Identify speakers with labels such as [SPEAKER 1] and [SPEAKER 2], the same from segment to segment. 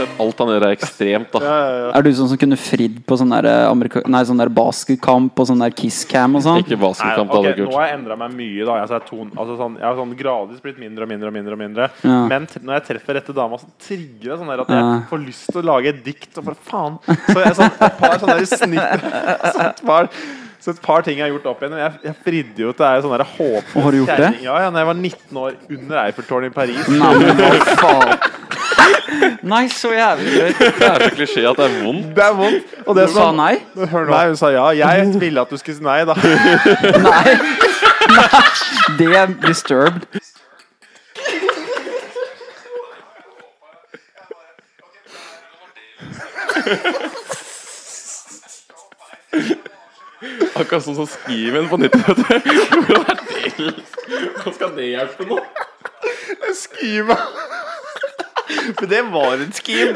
[SPEAKER 1] Sett alt han gjør, er ekstremt, da.
[SPEAKER 2] Er du sånn som kunne fridd på sånn der, eh, amerika- nei, sånn der basketkamp og sånn der kisscam og sånn?
[SPEAKER 1] Ikke basketkamp,
[SPEAKER 3] Nei,
[SPEAKER 1] det
[SPEAKER 3] ok,
[SPEAKER 1] hadde
[SPEAKER 3] Nå
[SPEAKER 1] vært
[SPEAKER 3] har jeg endra meg mye. da Jeg, så er ton, altså sånn, jeg har sånn gradvis blitt mindre og mindre. og mindre og mindre
[SPEAKER 2] Ja.
[SPEAKER 3] Men t når jeg treffer rette dama, så trigger det sånn der at jeg
[SPEAKER 2] Ja.
[SPEAKER 3] får lyst til å lage et dikt. Og bare faen Så jeg sånn, et par sånne der snitt så et, par, så et par ting jeg har gjort opp igjennom. Jeg, jeg fridde jo til ei sånn der
[SPEAKER 2] Og
[SPEAKER 3] håpløs
[SPEAKER 2] har du gjort det?
[SPEAKER 3] kjerring. Ja, ja, når jeg var 19 år, under Eiffeltårnet i Paris.
[SPEAKER 2] Nei, men hva faen? Nei, så jævlig drøyt.
[SPEAKER 1] Det er så klisjé at det er vondt.
[SPEAKER 3] Det er vondt. Og det
[SPEAKER 2] Du sa
[SPEAKER 3] som-
[SPEAKER 2] nei?
[SPEAKER 3] Hør nå. Nei, hun sa ja. Jeg ville at du skulle si nei, da.
[SPEAKER 2] Nei. nei. Det er disturbed.
[SPEAKER 1] Akkurat sånn som Skimen på 90-tallet. Hvordan er det? Hvordan skal det hjelpe nå?
[SPEAKER 3] Skima. Men det var et skim.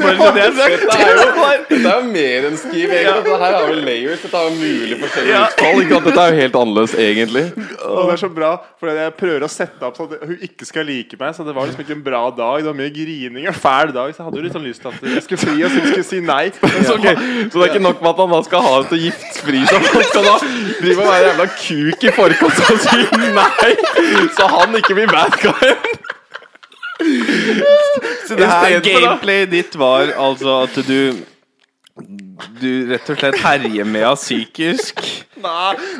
[SPEAKER 1] Bare så det er sagt. Dette er jo, dette er jo mer enn Skim, egentlig. Dette her er jo layers. Dette er jo mulig forskjellige
[SPEAKER 3] Ja.
[SPEAKER 1] utfall. Ikke sant? Dette er jo helt annerledes, egentlig.
[SPEAKER 3] Og det er så bra, for jeg prøver å sette opp sånn at hun ikke skal like meg. Så det var liksom ikke en bra dag. Det var mye grining og fæl dag. Så jeg hadde jo litt sånn lyst til at jeg skulle fri, og så hun skulle si nei. Men
[SPEAKER 1] Så,
[SPEAKER 3] så,
[SPEAKER 1] ok, så det er ikke nok med at han da skal ha det til giftfri seg. Han skal da drive og være jævla kuk i forkant og si nei, så han ikke blir bad guyen.
[SPEAKER 4] Så det her
[SPEAKER 1] Istedenfor, da.
[SPEAKER 4] gameplay ditt var altså at du Du rett og slett herjer med henne psykisk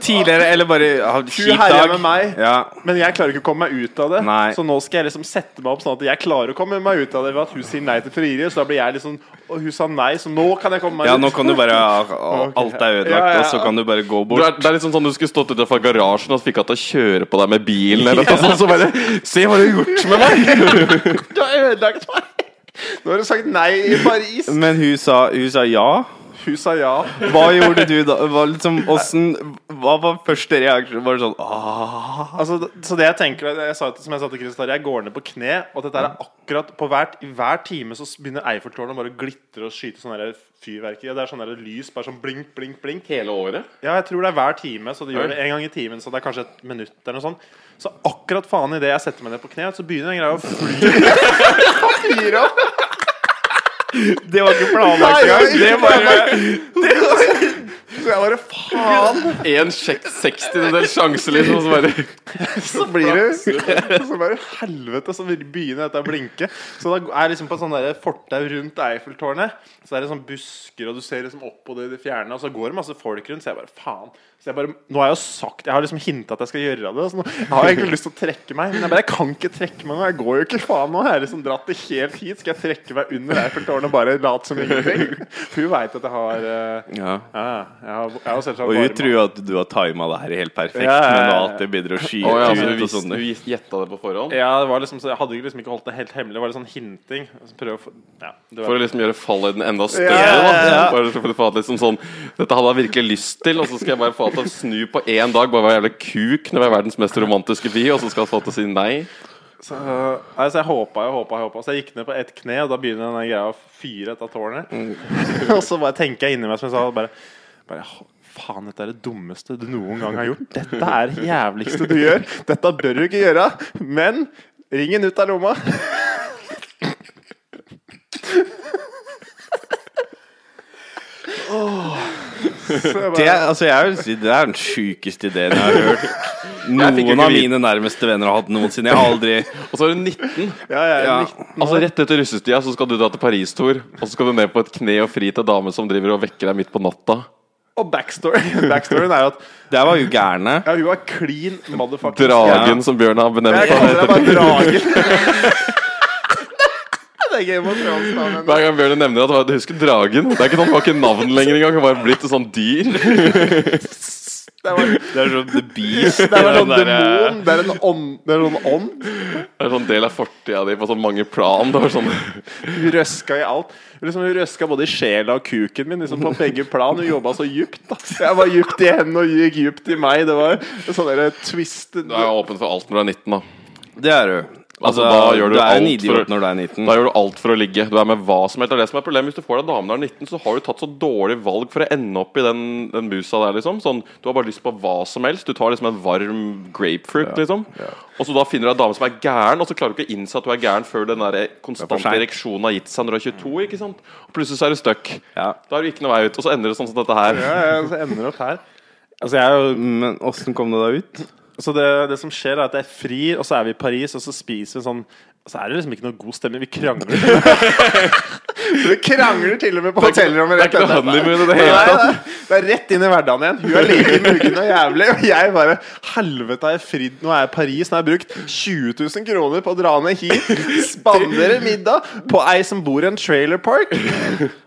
[SPEAKER 4] tidligere, eller bare ha en
[SPEAKER 3] Hun
[SPEAKER 4] kjip
[SPEAKER 3] herja
[SPEAKER 4] dag.
[SPEAKER 3] med meg.
[SPEAKER 4] Ja.
[SPEAKER 3] Men jeg klarer ikke å komme meg ut av det.
[SPEAKER 4] Nei.
[SPEAKER 3] Så nå skal jeg liksom sette meg opp sånn at jeg klarer å komme meg ut av det ved at hun sier nei til frieriet. Så da blir jeg liksom Og hun sa nei, så nå kan jeg komme meg
[SPEAKER 4] ja,
[SPEAKER 3] ut.
[SPEAKER 4] nå kan du bare ah, Alt er ødelagt,
[SPEAKER 3] Ja, ja, ja.
[SPEAKER 4] og så kan du bare gå
[SPEAKER 1] Det
[SPEAKER 4] bort.
[SPEAKER 1] er, det er liksom sånn du skulle stått utenfor garasjen og fikk henne til å kjøre på deg med bilen. Eller noe sånt, så bare Se hva du har gjort med meg!
[SPEAKER 3] Du har ødelagt meg. Nå har du sagt nei i Paris.
[SPEAKER 4] Men hun sa, hun sa ja.
[SPEAKER 3] Hun sa ja.
[SPEAKER 4] Hva gjorde du da? Hva, liksom, åssen- hva var første reaksjon? Var det sånn ah,
[SPEAKER 3] Altså, d- så det jeg tenker jeg sa, Som jeg sa til Kristian, jeg går ned på kne, og dette her er
[SPEAKER 4] Mm.
[SPEAKER 3] akkurat på hvert, I hver time så s- begynner Eiffeltårnet bare å glitre og skyte sånne her fyrverkeri. Og det er sånne her lys, bare sånn blink, blink, blink.
[SPEAKER 1] Hele året?
[SPEAKER 3] Ja, jeg tror det er hver time, så det gjør det en gang i timen. Så det er kanskje et minutt eller noe sånt. Så akkurat faen idet jeg setter meg ned på kne, så begynner den greia å fly. Fyre opp.
[SPEAKER 4] Det var ikke planlagt engang! Det var,
[SPEAKER 3] Så jeg bare faen,
[SPEAKER 1] En sjekk- sekstendedels sjanse, liksom. og Så bare
[SPEAKER 3] så blir det Så bare helvete, så begynner dette å blinke. Så da er jeg liksom på et sånn der fortau rundt Eiffeltårnet. Så er det sånn busker, og du ser liksom opp på det i det fjerne, og så går det masse folk rundt. Så jeg bare faen. Så jeg bare, nå har jeg jo sagt Jeg har liksom hinta at jeg skal gjøre det. Så nå jeg har jeg egentlig lyst til å trekke meg, men jeg bare jeg kan ikke trekke meg nå. Jeg går jo ikke faen nå. Jeg har liksom dratt det helt hit. Skal jeg trekke meg under Eiffeltårnet og bare late som ingenting? For hun veit at jeg har eh,
[SPEAKER 4] ja.
[SPEAKER 3] ja, jeg har, jeg har selvsagt
[SPEAKER 4] Og
[SPEAKER 3] varme.
[SPEAKER 4] hun tror jo at du har tima det her helt perfekt,
[SPEAKER 3] Ja, ja, ja.
[SPEAKER 4] men alt det begynner å skyte
[SPEAKER 1] Å ja, altså, så
[SPEAKER 4] ut
[SPEAKER 1] du,
[SPEAKER 4] og
[SPEAKER 1] visste-
[SPEAKER 4] sånn.
[SPEAKER 1] du gis- gjetta det på forhånd?
[SPEAKER 3] Ja, det var liksom, så jeg hadde liksom ikke holdt det helt hemmelig. Det var litt sånn hinting. Så prøv å få, ja, du vet.
[SPEAKER 1] For å liksom gjøre fallhøyden enda større.
[SPEAKER 3] Ja, ja, ja.
[SPEAKER 1] da. Bare for å få at liksom sånn Dette hadde jeg virkelig lyst til, og så skal jeg bare få henne til å snu på én dag. Bare være jævlig kuk når jeg er verdens mest romantiske by, og så skal jeg få henne til å si nei.
[SPEAKER 3] så, nei, så jeg håpa og håpa, håpa. Så jeg gikk ned på ett kne, og da begynner den der greia å fyre etter tårnet.
[SPEAKER 4] Mm.
[SPEAKER 3] og så bare tenker jeg inni meg som jeg sa, bare, bare «Hå, Faen, dette er det dummeste du noen gang har gjort. Dette er det jævligste du gjør. Dette bør du ikke gjøre. Men ringen ut av lomma. Så jeg bare-
[SPEAKER 4] Det, er- altså, jeg vil si, det er den sjukeste ideen jeg har hørt.
[SPEAKER 1] fikk jo
[SPEAKER 4] Noen
[SPEAKER 1] ikke
[SPEAKER 4] av
[SPEAKER 1] vite-
[SPEAKER 4] mine nærmeste venner har hatt noensinne. Jeg har aldri
[SPEAKER 1] Og så er du 19.
[SPEAKER 3] ja, jeg er
[SPEAKER 4] ja.
[SPEAKER 3] 19
[SPEAKER 1] Altså Rett etter russetida så skal du dra til Paris, Tor. Og så skal du ned på et kne og fri til dame som driver og vekker deg midt på natta.
[SPEAKER 3] Og backstory Backstoryen er jo at
[SPEAKER 4] Der var jo gærne.
[SPEAKER 3] ja, hun var clean motherfucker.
[SPEAKER 1] Dragen som Bjørn har benevnt
[SPEAKER 3] Jeg
[SPEAKER 1] ham.
[SPEAKER 3] kaller deg bare Dragen. det er Game of Thrones-navnet.
[SPEAKER 1] Hver gang Bjørn nevner at han- du husker dragen Det er ikke noen bak i navn lenger engang. Han var blitt et sånt dyr.
[SPEAKER 3] Det var-
[SPEAKER 4] Det er sånn The Beast.
[SPEAKER 3] det er sånn vel
[SPEAKER 4] den
[SPEAKER 3] en
[SPEAKER 4] der, eh,
[SPEAKER 3] demon. Det er en ånd. Det er en ånd.
[SPEAKER 1] Det er sånn del av fortida di på sånn mange plan. Det var sånn
[SPEAKER 3] Hun røska i alt. Liksom, hun røska både i sjela og kuken min, liksom, på begge plan. Hun jobba så djupt. da. Jeg var djupt i henne, og hun gikk djupt i meg. Det var sånn derre twisted
[SPEAKER 1] Du er jo åpen for alt når du er 19, da.
[SPEAKER 4] Det er du.
[SPEAKER 1] Altså,
[SPEAKER 4] Altså,
[SPEAKER 1] da gjør du,
[SPEAKER 4] du er en
[SPEAKER 1] alt
[SPEAKER 4] idiot
[SPEAKER 1] for,
[SPEAKER 4] når du er 19.
[SPEAKER 1] da gjør du alt for å ligge. Du er med hva som helst. Det er det som er problemet. Hvis du får deg dame når du er 19, så har du tatt så dårlig valg for å ende opp i den, den busa der, liksom. Sånn, du har bare lyst på hva som helst. Du tar liksom en varm grapefruit, liksom. Og så da finner du ei dame som er gæren, og så klarer du ikke å innse at du er gæren før den der
[SPEAKER 4] Det er for
[SPEAKER 1] konstante
[SPEAKER 4] sent.
[SPEAKER 1] ereksjonen har gitt seg når du er 22, ikke sant. Og plutselig så er du stuck.
[SPEAKER 4] Ja.
[SPEAKER 1] Da er du ikke noe vei ut. Og så ender det sånn som dette her.
[SPEAKER 3] Ja, ja, så ender det opp her.
[SPEAKER 4] Altså, jeg er jo Men åssen kom det da ut?
[SPEAKER 3] Så det, Altså, det som skjer, er at jeg frir, og så er vi i Paris, og så spiser vi sånn Så er det liksom ikke noe god stemning. Vi krangler.
[SPEAKER 5] Du krangler til og med på
[SPEAKER 1] Det er ikke-
[SPEAKER 5] hotellrommet
[SPEAKER 1] det er
[SPEAKER 5] rett
[SPEAKER 1] ikke noe
[SPEAKER 5] etterpå.
[SPEAKER 1] honeymoon i det
[SPEAKER 5] Nei,
[SPEAKER 1] hele tatt.
[SPEAKER 5] nei, Det er rett inn i hverdagen igjen. Hun er like muggen og jævlig, og jeg bare
[SPEAKER 3] Helvete, har jeg fridd
[SPEAKER 5] Nå er jeg i Paris, nå har jeg brukt 20 000 kroner på å dra ned hit, spandere middag på ei som bor i en trailer park.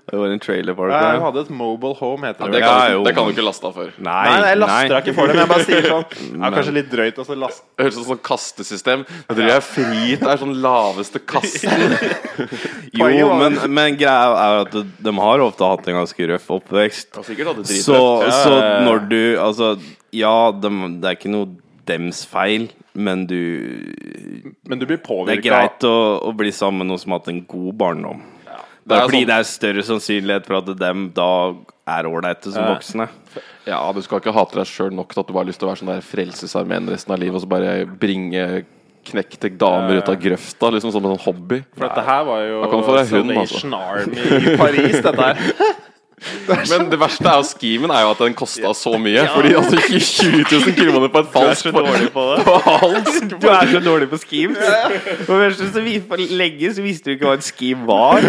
[SPEAKER 4] Det var en trailer park.
[SPEAKER 3] Ja, Hun
[SPEAKER 4] Ja,
[SPEAKER 3] hadde et mobile home, heter
[SPEAKER 1] Det
[SPEAKER 3] det.
[SPEAKER 4] Ja,
[SPEAKER 1] kan, du-
[SPEAKER 4] jo.
[SPEAKER 1] det kan du ikke laste av for. Det
[SPEAKER 4] nei,
[SPEAKER 3] Nei, nei, jeg laster ikke for det, men jeg bare sier sånn ja,
[SPEAKER 4] Men-
[SPEAKER 3] Kanskje litt drøyt, og så last
[SPEAKER 1] høres ut som sånn kastesystem. Jeg tror jeg er fri til er sånn laveste kasten.
[SPEAKER 5] Poenget
[SPEAKER 4] Jo,
[SPEAKER 5] var-
[SPEAKER 4] men, men greia er at de har ofte hatt en ganske røff oppvekst.
[SPEAKER 1] Sikkert hadde dritrøft.
[SPEAKER 4] Så, så
[SPEAKER 3] ja, ja.
[SPEAKER 4] når du Altså, ja, dem- det er ikke noe dems feil, men du
[SPEAKER 3] Men du blir
[SPEAKER 4] Det er
[SPEAKER 3] påvirka.
[SPEAKER 4] greit å, å bli sammen med noen som har hatt en god barndom.
[SPEAKER 1] Det
[SPEAKER 4] Det
[SPEAKER 1] er
[SPEAKER 4] er fordi
[SPEAKER 1] sånn-
[SPEAKER 4] det er større sannsynlighet for at dem da er ålreite som voksne.
[SPEAKER 1] Ja, du skal ikke hate deg sjøl nok til at du bare har lyst til å være sånn der Frelsesarmeen resten av livet og så bare bringe knekte damer ut av grøfta, liksom som en sånn hobby.
[SPEAKER 3] For dette her var
[SPEAKER 1] Da kan du
[SPEAKER 3] jo
[SPEAKER 1] få deg hund, altså.
[SPEAKER 3] Salvation Army i Paris, dette her.
[SPEAKER 1] Men det verste er jo skimen er jo at den kosta så mye. Fordi altså ikke 20 000 kroner på et falskt
[SPEAKER 3] på det.
[SPEAKER 1] på halsk
[SPEAKER 4] Du er så dårlig på schemes. For det første så vi- for lenge så visste du ikke hva en scheme var.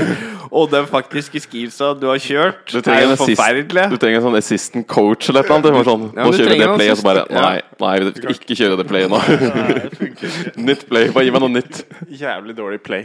[SPEAKER 4] Og den faktiske schemesa du har kjørt,
[SPEAKER 1] Du
[SPEAKER 4] er
[SPEAKER 1] trenger,
[SPEAKER 4] jo
[SPEAKER 1] en assist,
[SPEAKER 4] forferdelig.
[SPEAKER 1] du trenger en sånn assistant coach eller et eller annet. Det var Sånn,
[SPEAKER 4] Ja,
[SPEAKER 1] nå
[SPEAKER 4] men du
[SPEAKER 1] kjører vi
[SPEAKER 4] trenger
[SPEAKER 1] det
[SPEAKER 4] en
[SPEAKER 1] play, og så bare
[SPEAKER 4] assistent, ja.
[SPEAKER 1] Nei, nei vi skal ikke kjøre det play nå. nytt play. Bare gi meg noe nytt.
[SPEAKER 3] Jævlig dårlig play.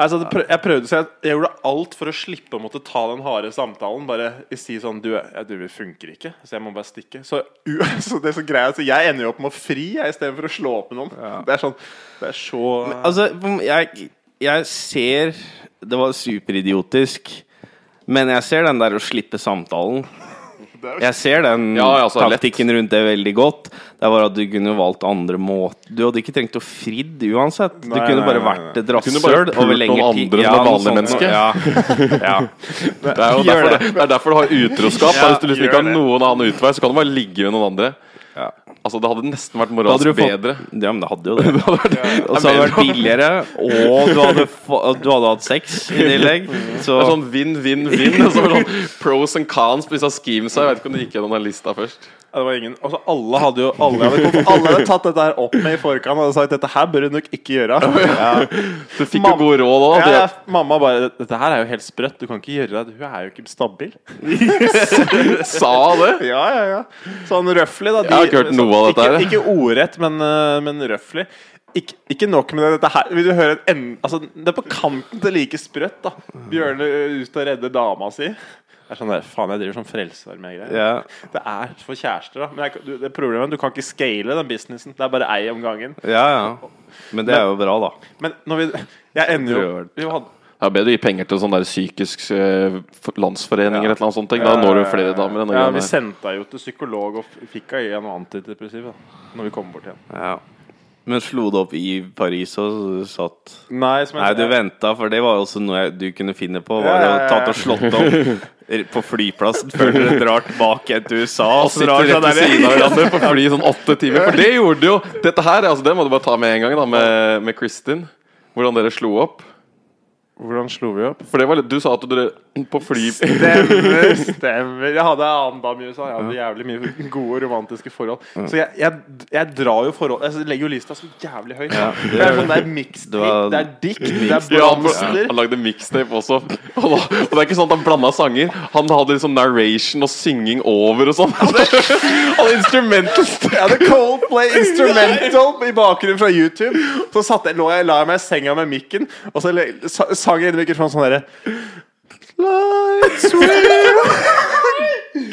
[SPEAKER 3] Altså, det prøv, jeg prøvde så jeg, jeg gjorde alt for å slippe å måtte ta den harde samtalen. Bare si sånn Du, jeg, du det funker ikke, så jeg må bare stikke. Så, u, så det er så greia Så jeg ender jo opp med å fri jeg, istedenfor å slå opp med noen. Det er sånn Det er så
[SPEAKER 4] Altså, jeg, jeg ser Det var superidiotisk. Men jeg ser den der å slippe samtalen. Jeg ser den
[SPEAKER 1] Ja, ja, altså, lett.
[SPEAKER 4] taktikken rundt det veldig godt. Det var at Du kunne valgt andre måter Du hadde ikke trengt å fridd uansett. Du
[SPEAKER 3] Nei,
[SPEAKER 4] kunne
[SPEAKER 3] nei,
[SPEAKER 4] bare
[SPEAKER 3] nei, nei.
[SPEAKER 4] vært et
[SPEAKER 1] kunne bare
[SPEAKER 4] rasshøl
[SPEAKER 1] pult
[SPEAKER 4] over lengre
[SPEAKER 1] noen
[SPEAKER 4] tid.
[SPEAKER 1] andre som er vanlige
[SPEAKER 4] noe sånt. Ja. ja.
[SPEAKER 1] Det er jo
[SPEAKER 4] Gjør
[SPEAKER 1] derfor,
[SPEAKER 4] det.
[SPEAKER 1] det. Det er derfor du har utroskap.
[SPEAKER 4] Ja,
[SPEAKER 1] er hvis du liksom ikke
[SPEAKER 4] gjør
[SPEAKER 1] har
[SPEAKER 4] det.
[SPEAKER 1] noen annen utvei, så kan du bare ligge med noen andre.
[SPEAKER 4] Ja.
[SPEAKER 1] Altså Det hadde nesten vært
[SPEAKER 4] Da hadde
[SPEAKER 1] moralsk
[SPEAKER 4] du fått-
[SPEAKER 1] bedre.
[SPEAKER 4] Ja, men det hadde jo det.
[SPEAKER 1] Det hadde vært,
[SPEAKER 4] Og så hadde det vært billigere, og du hadde, få- du hadde hatt sex i tillegg.
[SPEAKER 1] det
[SPEAKER 4] Så
[SPEAKER 1] er sånn vinn, vinn, vinn. Og så var det sånn pros and cons på disse schemesa. Jeg vet ikke om du gikk gjennom den lista først.
[SPEAKER 3] Ja, Det var ingen Altså, alle hadde jo Alle hadde, alle hadde tatt dette her opp med i forkant og hadde sagt dette her bør du nok ikke gjøre.
[SPEAKER 1] Du fikk jo gode råd òg.
[SPEAKER 3] Ja, ja, mamma bare Dette her er jo helt sprøtt. Du kan ikke gjøre det. Hun er jo ikke stabil.
[SPEAKER 1] Sa det?
[SPEAKER 3] Ja, ja, ja. Sånn røfflig, da.
[SPEAKER 1] Jeg har ikke hørt noe av dette
[SPEAKER 3] ikke,
[SPEAKER 1] her.
[SPEAKER 3] Ikke ordrett, men, eh, men røfflig. Ikke, ikke nok med det, dette her Vil du høre en ende Altså, det er på kanten til like sprøtt, da. Bjørne ø, ut og redde dama si. Det er sånn der, Faen, jeg driver sånn frelsesarmé-greier.
[SPEAKER 4] ja.
[SPEAKER 3] Det er for kjærester, da. Men jeg, kan- du, det problemet er at du kan ikke scale den businessen. Det er bare ei om gangen.
[SPEAKER 4] ja, ja. Men det er jo bra, da.
[SPEAKER 3] Men når vi Jeg ender jo vi hadde,
[SPEAKER 1] Det er bedre å gi penger til sånn der psykisk eh, for- landsforening eller et eller annet sånt. ting. Da når du flere damer. enn å
[SPEAKER 3] ja,
[SPEAKER 1] gjøre
[SPEAKER 3] Vi
[SPEAKER 1] det.
[SPEAKER 3] sendte henne jo til psykolog og f- fikk henne i en antidepressiv da, når vi kom bort igjen.
[SPEAKER 4] Ja. Men slo det opp i Paris og satt
[SPEAKER 3] Nei, som
[SPEAKER 4] Nei, du venta, for det var jo også noe jeg- du kunne finne på. Var det
[SPEAKER 3] ja, ja.
[SPEAKER 4] å tatt og slått opp på flyplassen før dere drar tilbake til USA?
[SPEAKER 1] Og
[SPEAKER 4] Og så sånn drar
[SPEAKER 1] sitter
[SPEAKER 4] dere
[SPEAKER 1] rett ved
[SPEAKER 4] der
[SPEAKER 1] siden av hverandre på fly i sånn åtte timer. For det gjorde du jo! Dette her, altså det må du bare ta med en gang, da, med, med Kristin. Hvordan dere slo opp.
[SPEAKER 3] Hvordan slo vi opp?
[SPEAKER 1] For det var litt, Du sa at dere på fly
[SPEAKER 3] Stemmer, stemmer. Jeg hadde en annen dame i USA. Jeg hadde jævlig mye gode romantiske forhold. Så jeg, jeg, jeg drar jo forhold Jeg legger jo lista så jævlig høyt. da.
[SPEAKER 4] det
[SPEAKER 3] Det er
[SPEAKER 4] gjør
[SPEAKER 3] sånn, det er
[SPEAKER 4] Du
[SPEAKER 3] mixtape,
[SPEAKER 4] har-
[SPEAKER 3] det er dikt, det er
[SPEAKER 1] Ja, han,
[SPEAKER 3] blomster.
[SPEAKER 1] han lagde mixtape også. Og, da, og det er ikke sånn at han blanda sanger. Han hadde liksom narration og synging over og sånn. Han hadde instrumentals.
[SPEAKER 3] Jeg hadde Coldplay Instrumental i bakgrunnen fra YouTube. Så satt jeg, lå jeg, la jeg meg i senga med mikken, og så le- sa- sang jeg inn i mikrofonen sånn derre Lights will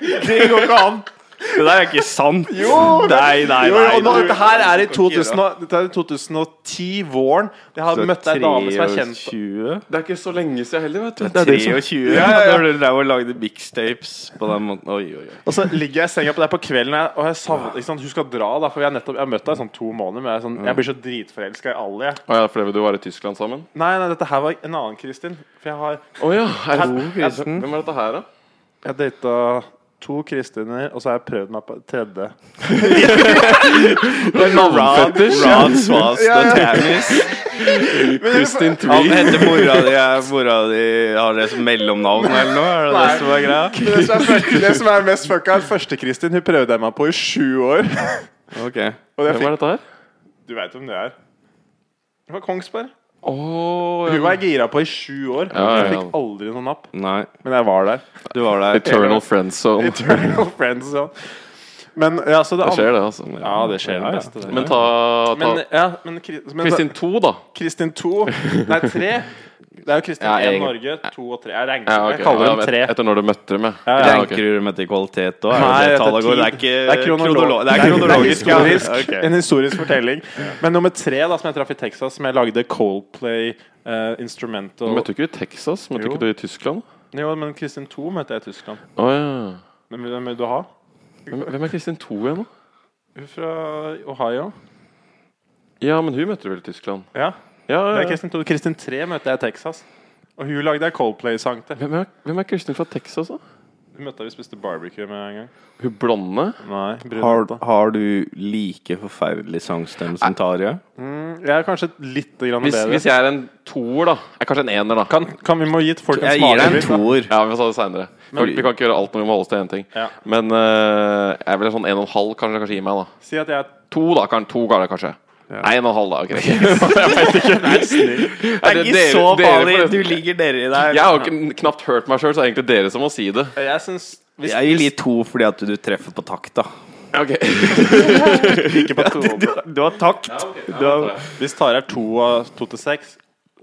[SPEAKER 3] Det går ikke an.
[SPEAKER 4] Det der er ikke sant.
[SPEAKER 3] Jo,
[SPEAKER 4] nei, nei,
[SPEAKER 3] Jo, jo,
[SPEAKER 4] nei.
[SPEAKER 3] og nå, dette her er i
[SPEAKER 4] Du kan ikke gjøre
[SPEAKER 3] 2000, og- dette er i 2010, våren. Jeg har møtt ei dame som er kjent
[SPEAKER 4] 23?
[SPEAKER 1] Det er ikke så lenge siden heller, vet du.
[SPEAKER 4] 23? Ja, ja, ja. Du drev og lagde mixtapes på den måten. Oi, oi, oi.
[SPEAKER 3] Og så ligger jeg i senga på deg på kvelden, jeg- og jeg savner ikke sant? Hun skal dra, da, for jeg har nettopp jeg har møtt deg i sånn to måneder. Men jeg, er sånn, jeg blir så dritforelska i alle, jeg.
[SPEAKER 1] Å ja, fordi du var i Tyskland sammen?
[SPEAKER 3] Nei, nei, dette her var en annen Kristin. For jeg har
[SPEAKER 1] Å ja. Er,
[SPEAKER 3] Her-
[SPEAKER 1] er, hvem er dette her, da?
[SPEAKER 3] Jeg data to Kristiner, og så har jeg prøvd meg på tredje.
[SPEAKER 4] Rad, Rad Svast og Tanis.
[SPEAKER 1] Kristin
[SPEAKER 4] Han
[SPEAKER 1] Tree.
[SPEAKER 4] heter mora di er Mora di har det som mellomnavn eller noe? Er det det som er greia?
[SPEAKER 3] Men Det som er, fuck- det som er mest fucka, er første Kristin. Hun prøvde jeg meg på i sju år. Og
[SPEAKER 4] Ok
[SPEAKER 3] jeg
[SPEAKER 1] Hvem
[SPEAKER 3] fikk,
[SPEAKER 1] er dette her?
[SPEAKER 3] du veit hvem det er. Det var Kongsberg.
[SPEAKER 1] Å
[SPEAKER 3] Hun
[SPEAKER 1] ja.
[SPEAKER 3] var jeg gira på i sju år.
[SPEAKER 1] Ja, ja,
[SPEAKER 3] Jeg
[SPEAKER 1] ja.
[SPEAKER 3] fikk aldri noen napp.
[SPEAKER 4] Nei,
[SPEAKER 3] Men jeg var der.
[SPEAKER 4] du var der.
[SPEAKER 1] Eternal Friend Zone. Det
[SPEAKER 3] Eternal friends og sånn. Men ja, så det,
[SPEAKER 1] skjer, det, altså.
[SPEAKER 3] Ja, det skjer det
[SPEAKER 4] Ja, ja.
[SPEAKER 3] beste. det.
[SPEAKER 1] Men ta, ta
[SPEAKER 3] Men, ja, men, Kri- men
[SPEAKER 1] Kristin 2, da.
[SPEAKER 3] Kristin 2 Nei, 3. Det er jo Kristin
[SPEAKER 1] Ja,
[SPEAKER 3] 1
[SPEAKER 1] jeg-
[SPEAKER 3] Norge, 2 og 3. Jeg regner
[SPEAKER 1] Ja, ok.
[SPEAKER 3] Jeg kaller
[SPEAKER 1] Ja,
[SPEAKER 3] dem 3.
[SPEAKER 1] et- Etter når du møtte dem, ja.
[SPEAKER 3] Ja,
[SPEAKER 1] ja,
[SPEAKER 4] Ranker
[SPEAKER 1] ok.
[SPEAKER 4] du dem etter kvalitet òg?
[SPEAKER 3] Nei,
[SPEAKER 4] Det,
[SPEAKER 3] etter
[SPEAKER 4] tallet går-
[SPEAKER 3] tid.
[SPEAKER 4] det er ikke
[SPEAKER 3] Det er kronolo-
[SPEAKER 4] kronolo- Eh, det er kronologisk. ja.
[SPEAKER 3] historisk,
[SPEAKER 4] Ok.
[SPEAKER 3] En historisk fortelling. Men nummer 3, da, som jeg traff i Texas, som jeg lagde Coldplay eh, Instrumental
[SPEAKER 1] Du møtte jo ikke i Texas, møtte
[SPEAKER 3] Jo.
[SPEAKER 1] ikke du i Tyskland?
[SPEAKER 3] Jo, men Kristin 2 møtte jeg i Tyskland.
[SPEAKER 1] Å ja.
[SPEAKER 3] Men hvem vil du ha?
[SPEAKER 1] Hvem, hvem er Kristin 2 igjen, da?
[SPEAKER 3] Hun fra Ohio.
[SPEAKER 1] Ja, men hun møtte du vel i Tyskland?
[SPEAKER 3] Ja,
[SPEAKER 1] Ja,
[SPEAKER 3] det
[SPEAKER 1] ja,
[SPEAKER 3] er
[SPEAKER 1] ja.
[SPEAKER 3] Kristin 2. Kristin 3 møtte jeg i Texas. Og hun lagde jeg Coldplay-sang til.
[SPEAKER 1] Hvem er, hvem er Kristin fra Texas, da?
[SPEAKER 3] Hun møtte jeg vi spiste barbecue med en gang.
[SPEAKER 1] Hun blonde?
[SPEAKER 3] Nei,
[SPEAKER 4] Har,
[SPEAKER 3] brunette.
[SPEAKER 4] har du like forferdelig sangstemme som Tarjei?
[SPEAKER 3] Mm, Jeg er kanskje litt grann
[SPEAKER 1] Hvis,
[SPEAKER 3] bedre.
[SPEAKER 1] hvis jeg er en toer, da. Jeg er kanskje en ener, da.
[SPEAKER 3] Kan, kan vi må gi folk en
[SPEAKER 4] Jeg gir deg en
[SPEAKER 3] smakevis? da?
[SPEAKER 4] toer.
[SPEAKER 1] Ja, vi får ta det senere Vi vi kan ikke gjøre alt når vi må holde oss til én ting.
[SPEAKER 3] Ja.
[SPEAKER 1] Men eh, jeg vil ha sånn en og en halv kanskje, kanskje gi meg, da.
[SPEAKER 3] Si at jeg er
[SPEAKER 1] To, da. Kan, to ga det kanskje. Nei, en og en halv, da. Ok, jeg vet ikke.
[SPEAKER 4] Det er ikke så farlig.
[SPEAKER 1] farlig.
[SPEAKER 4] Du ligger nedi der.
[SPEAKER 1] Jeg har jo ikke- knapt hørt meg sjøl, så det er egentlig dere som må si det.
[SPEAKER 3] Jeg syns hvis
[SPEAKER 4] Jeg gir litt to fordi at du treffer på takta.
[SPEAKER 1] Ok
[SPEAKER 3] ikke på to,
[SPEAKER 4] Du har takt. Du har
[SPEAKER 3] Hvis Tare er to av to til seks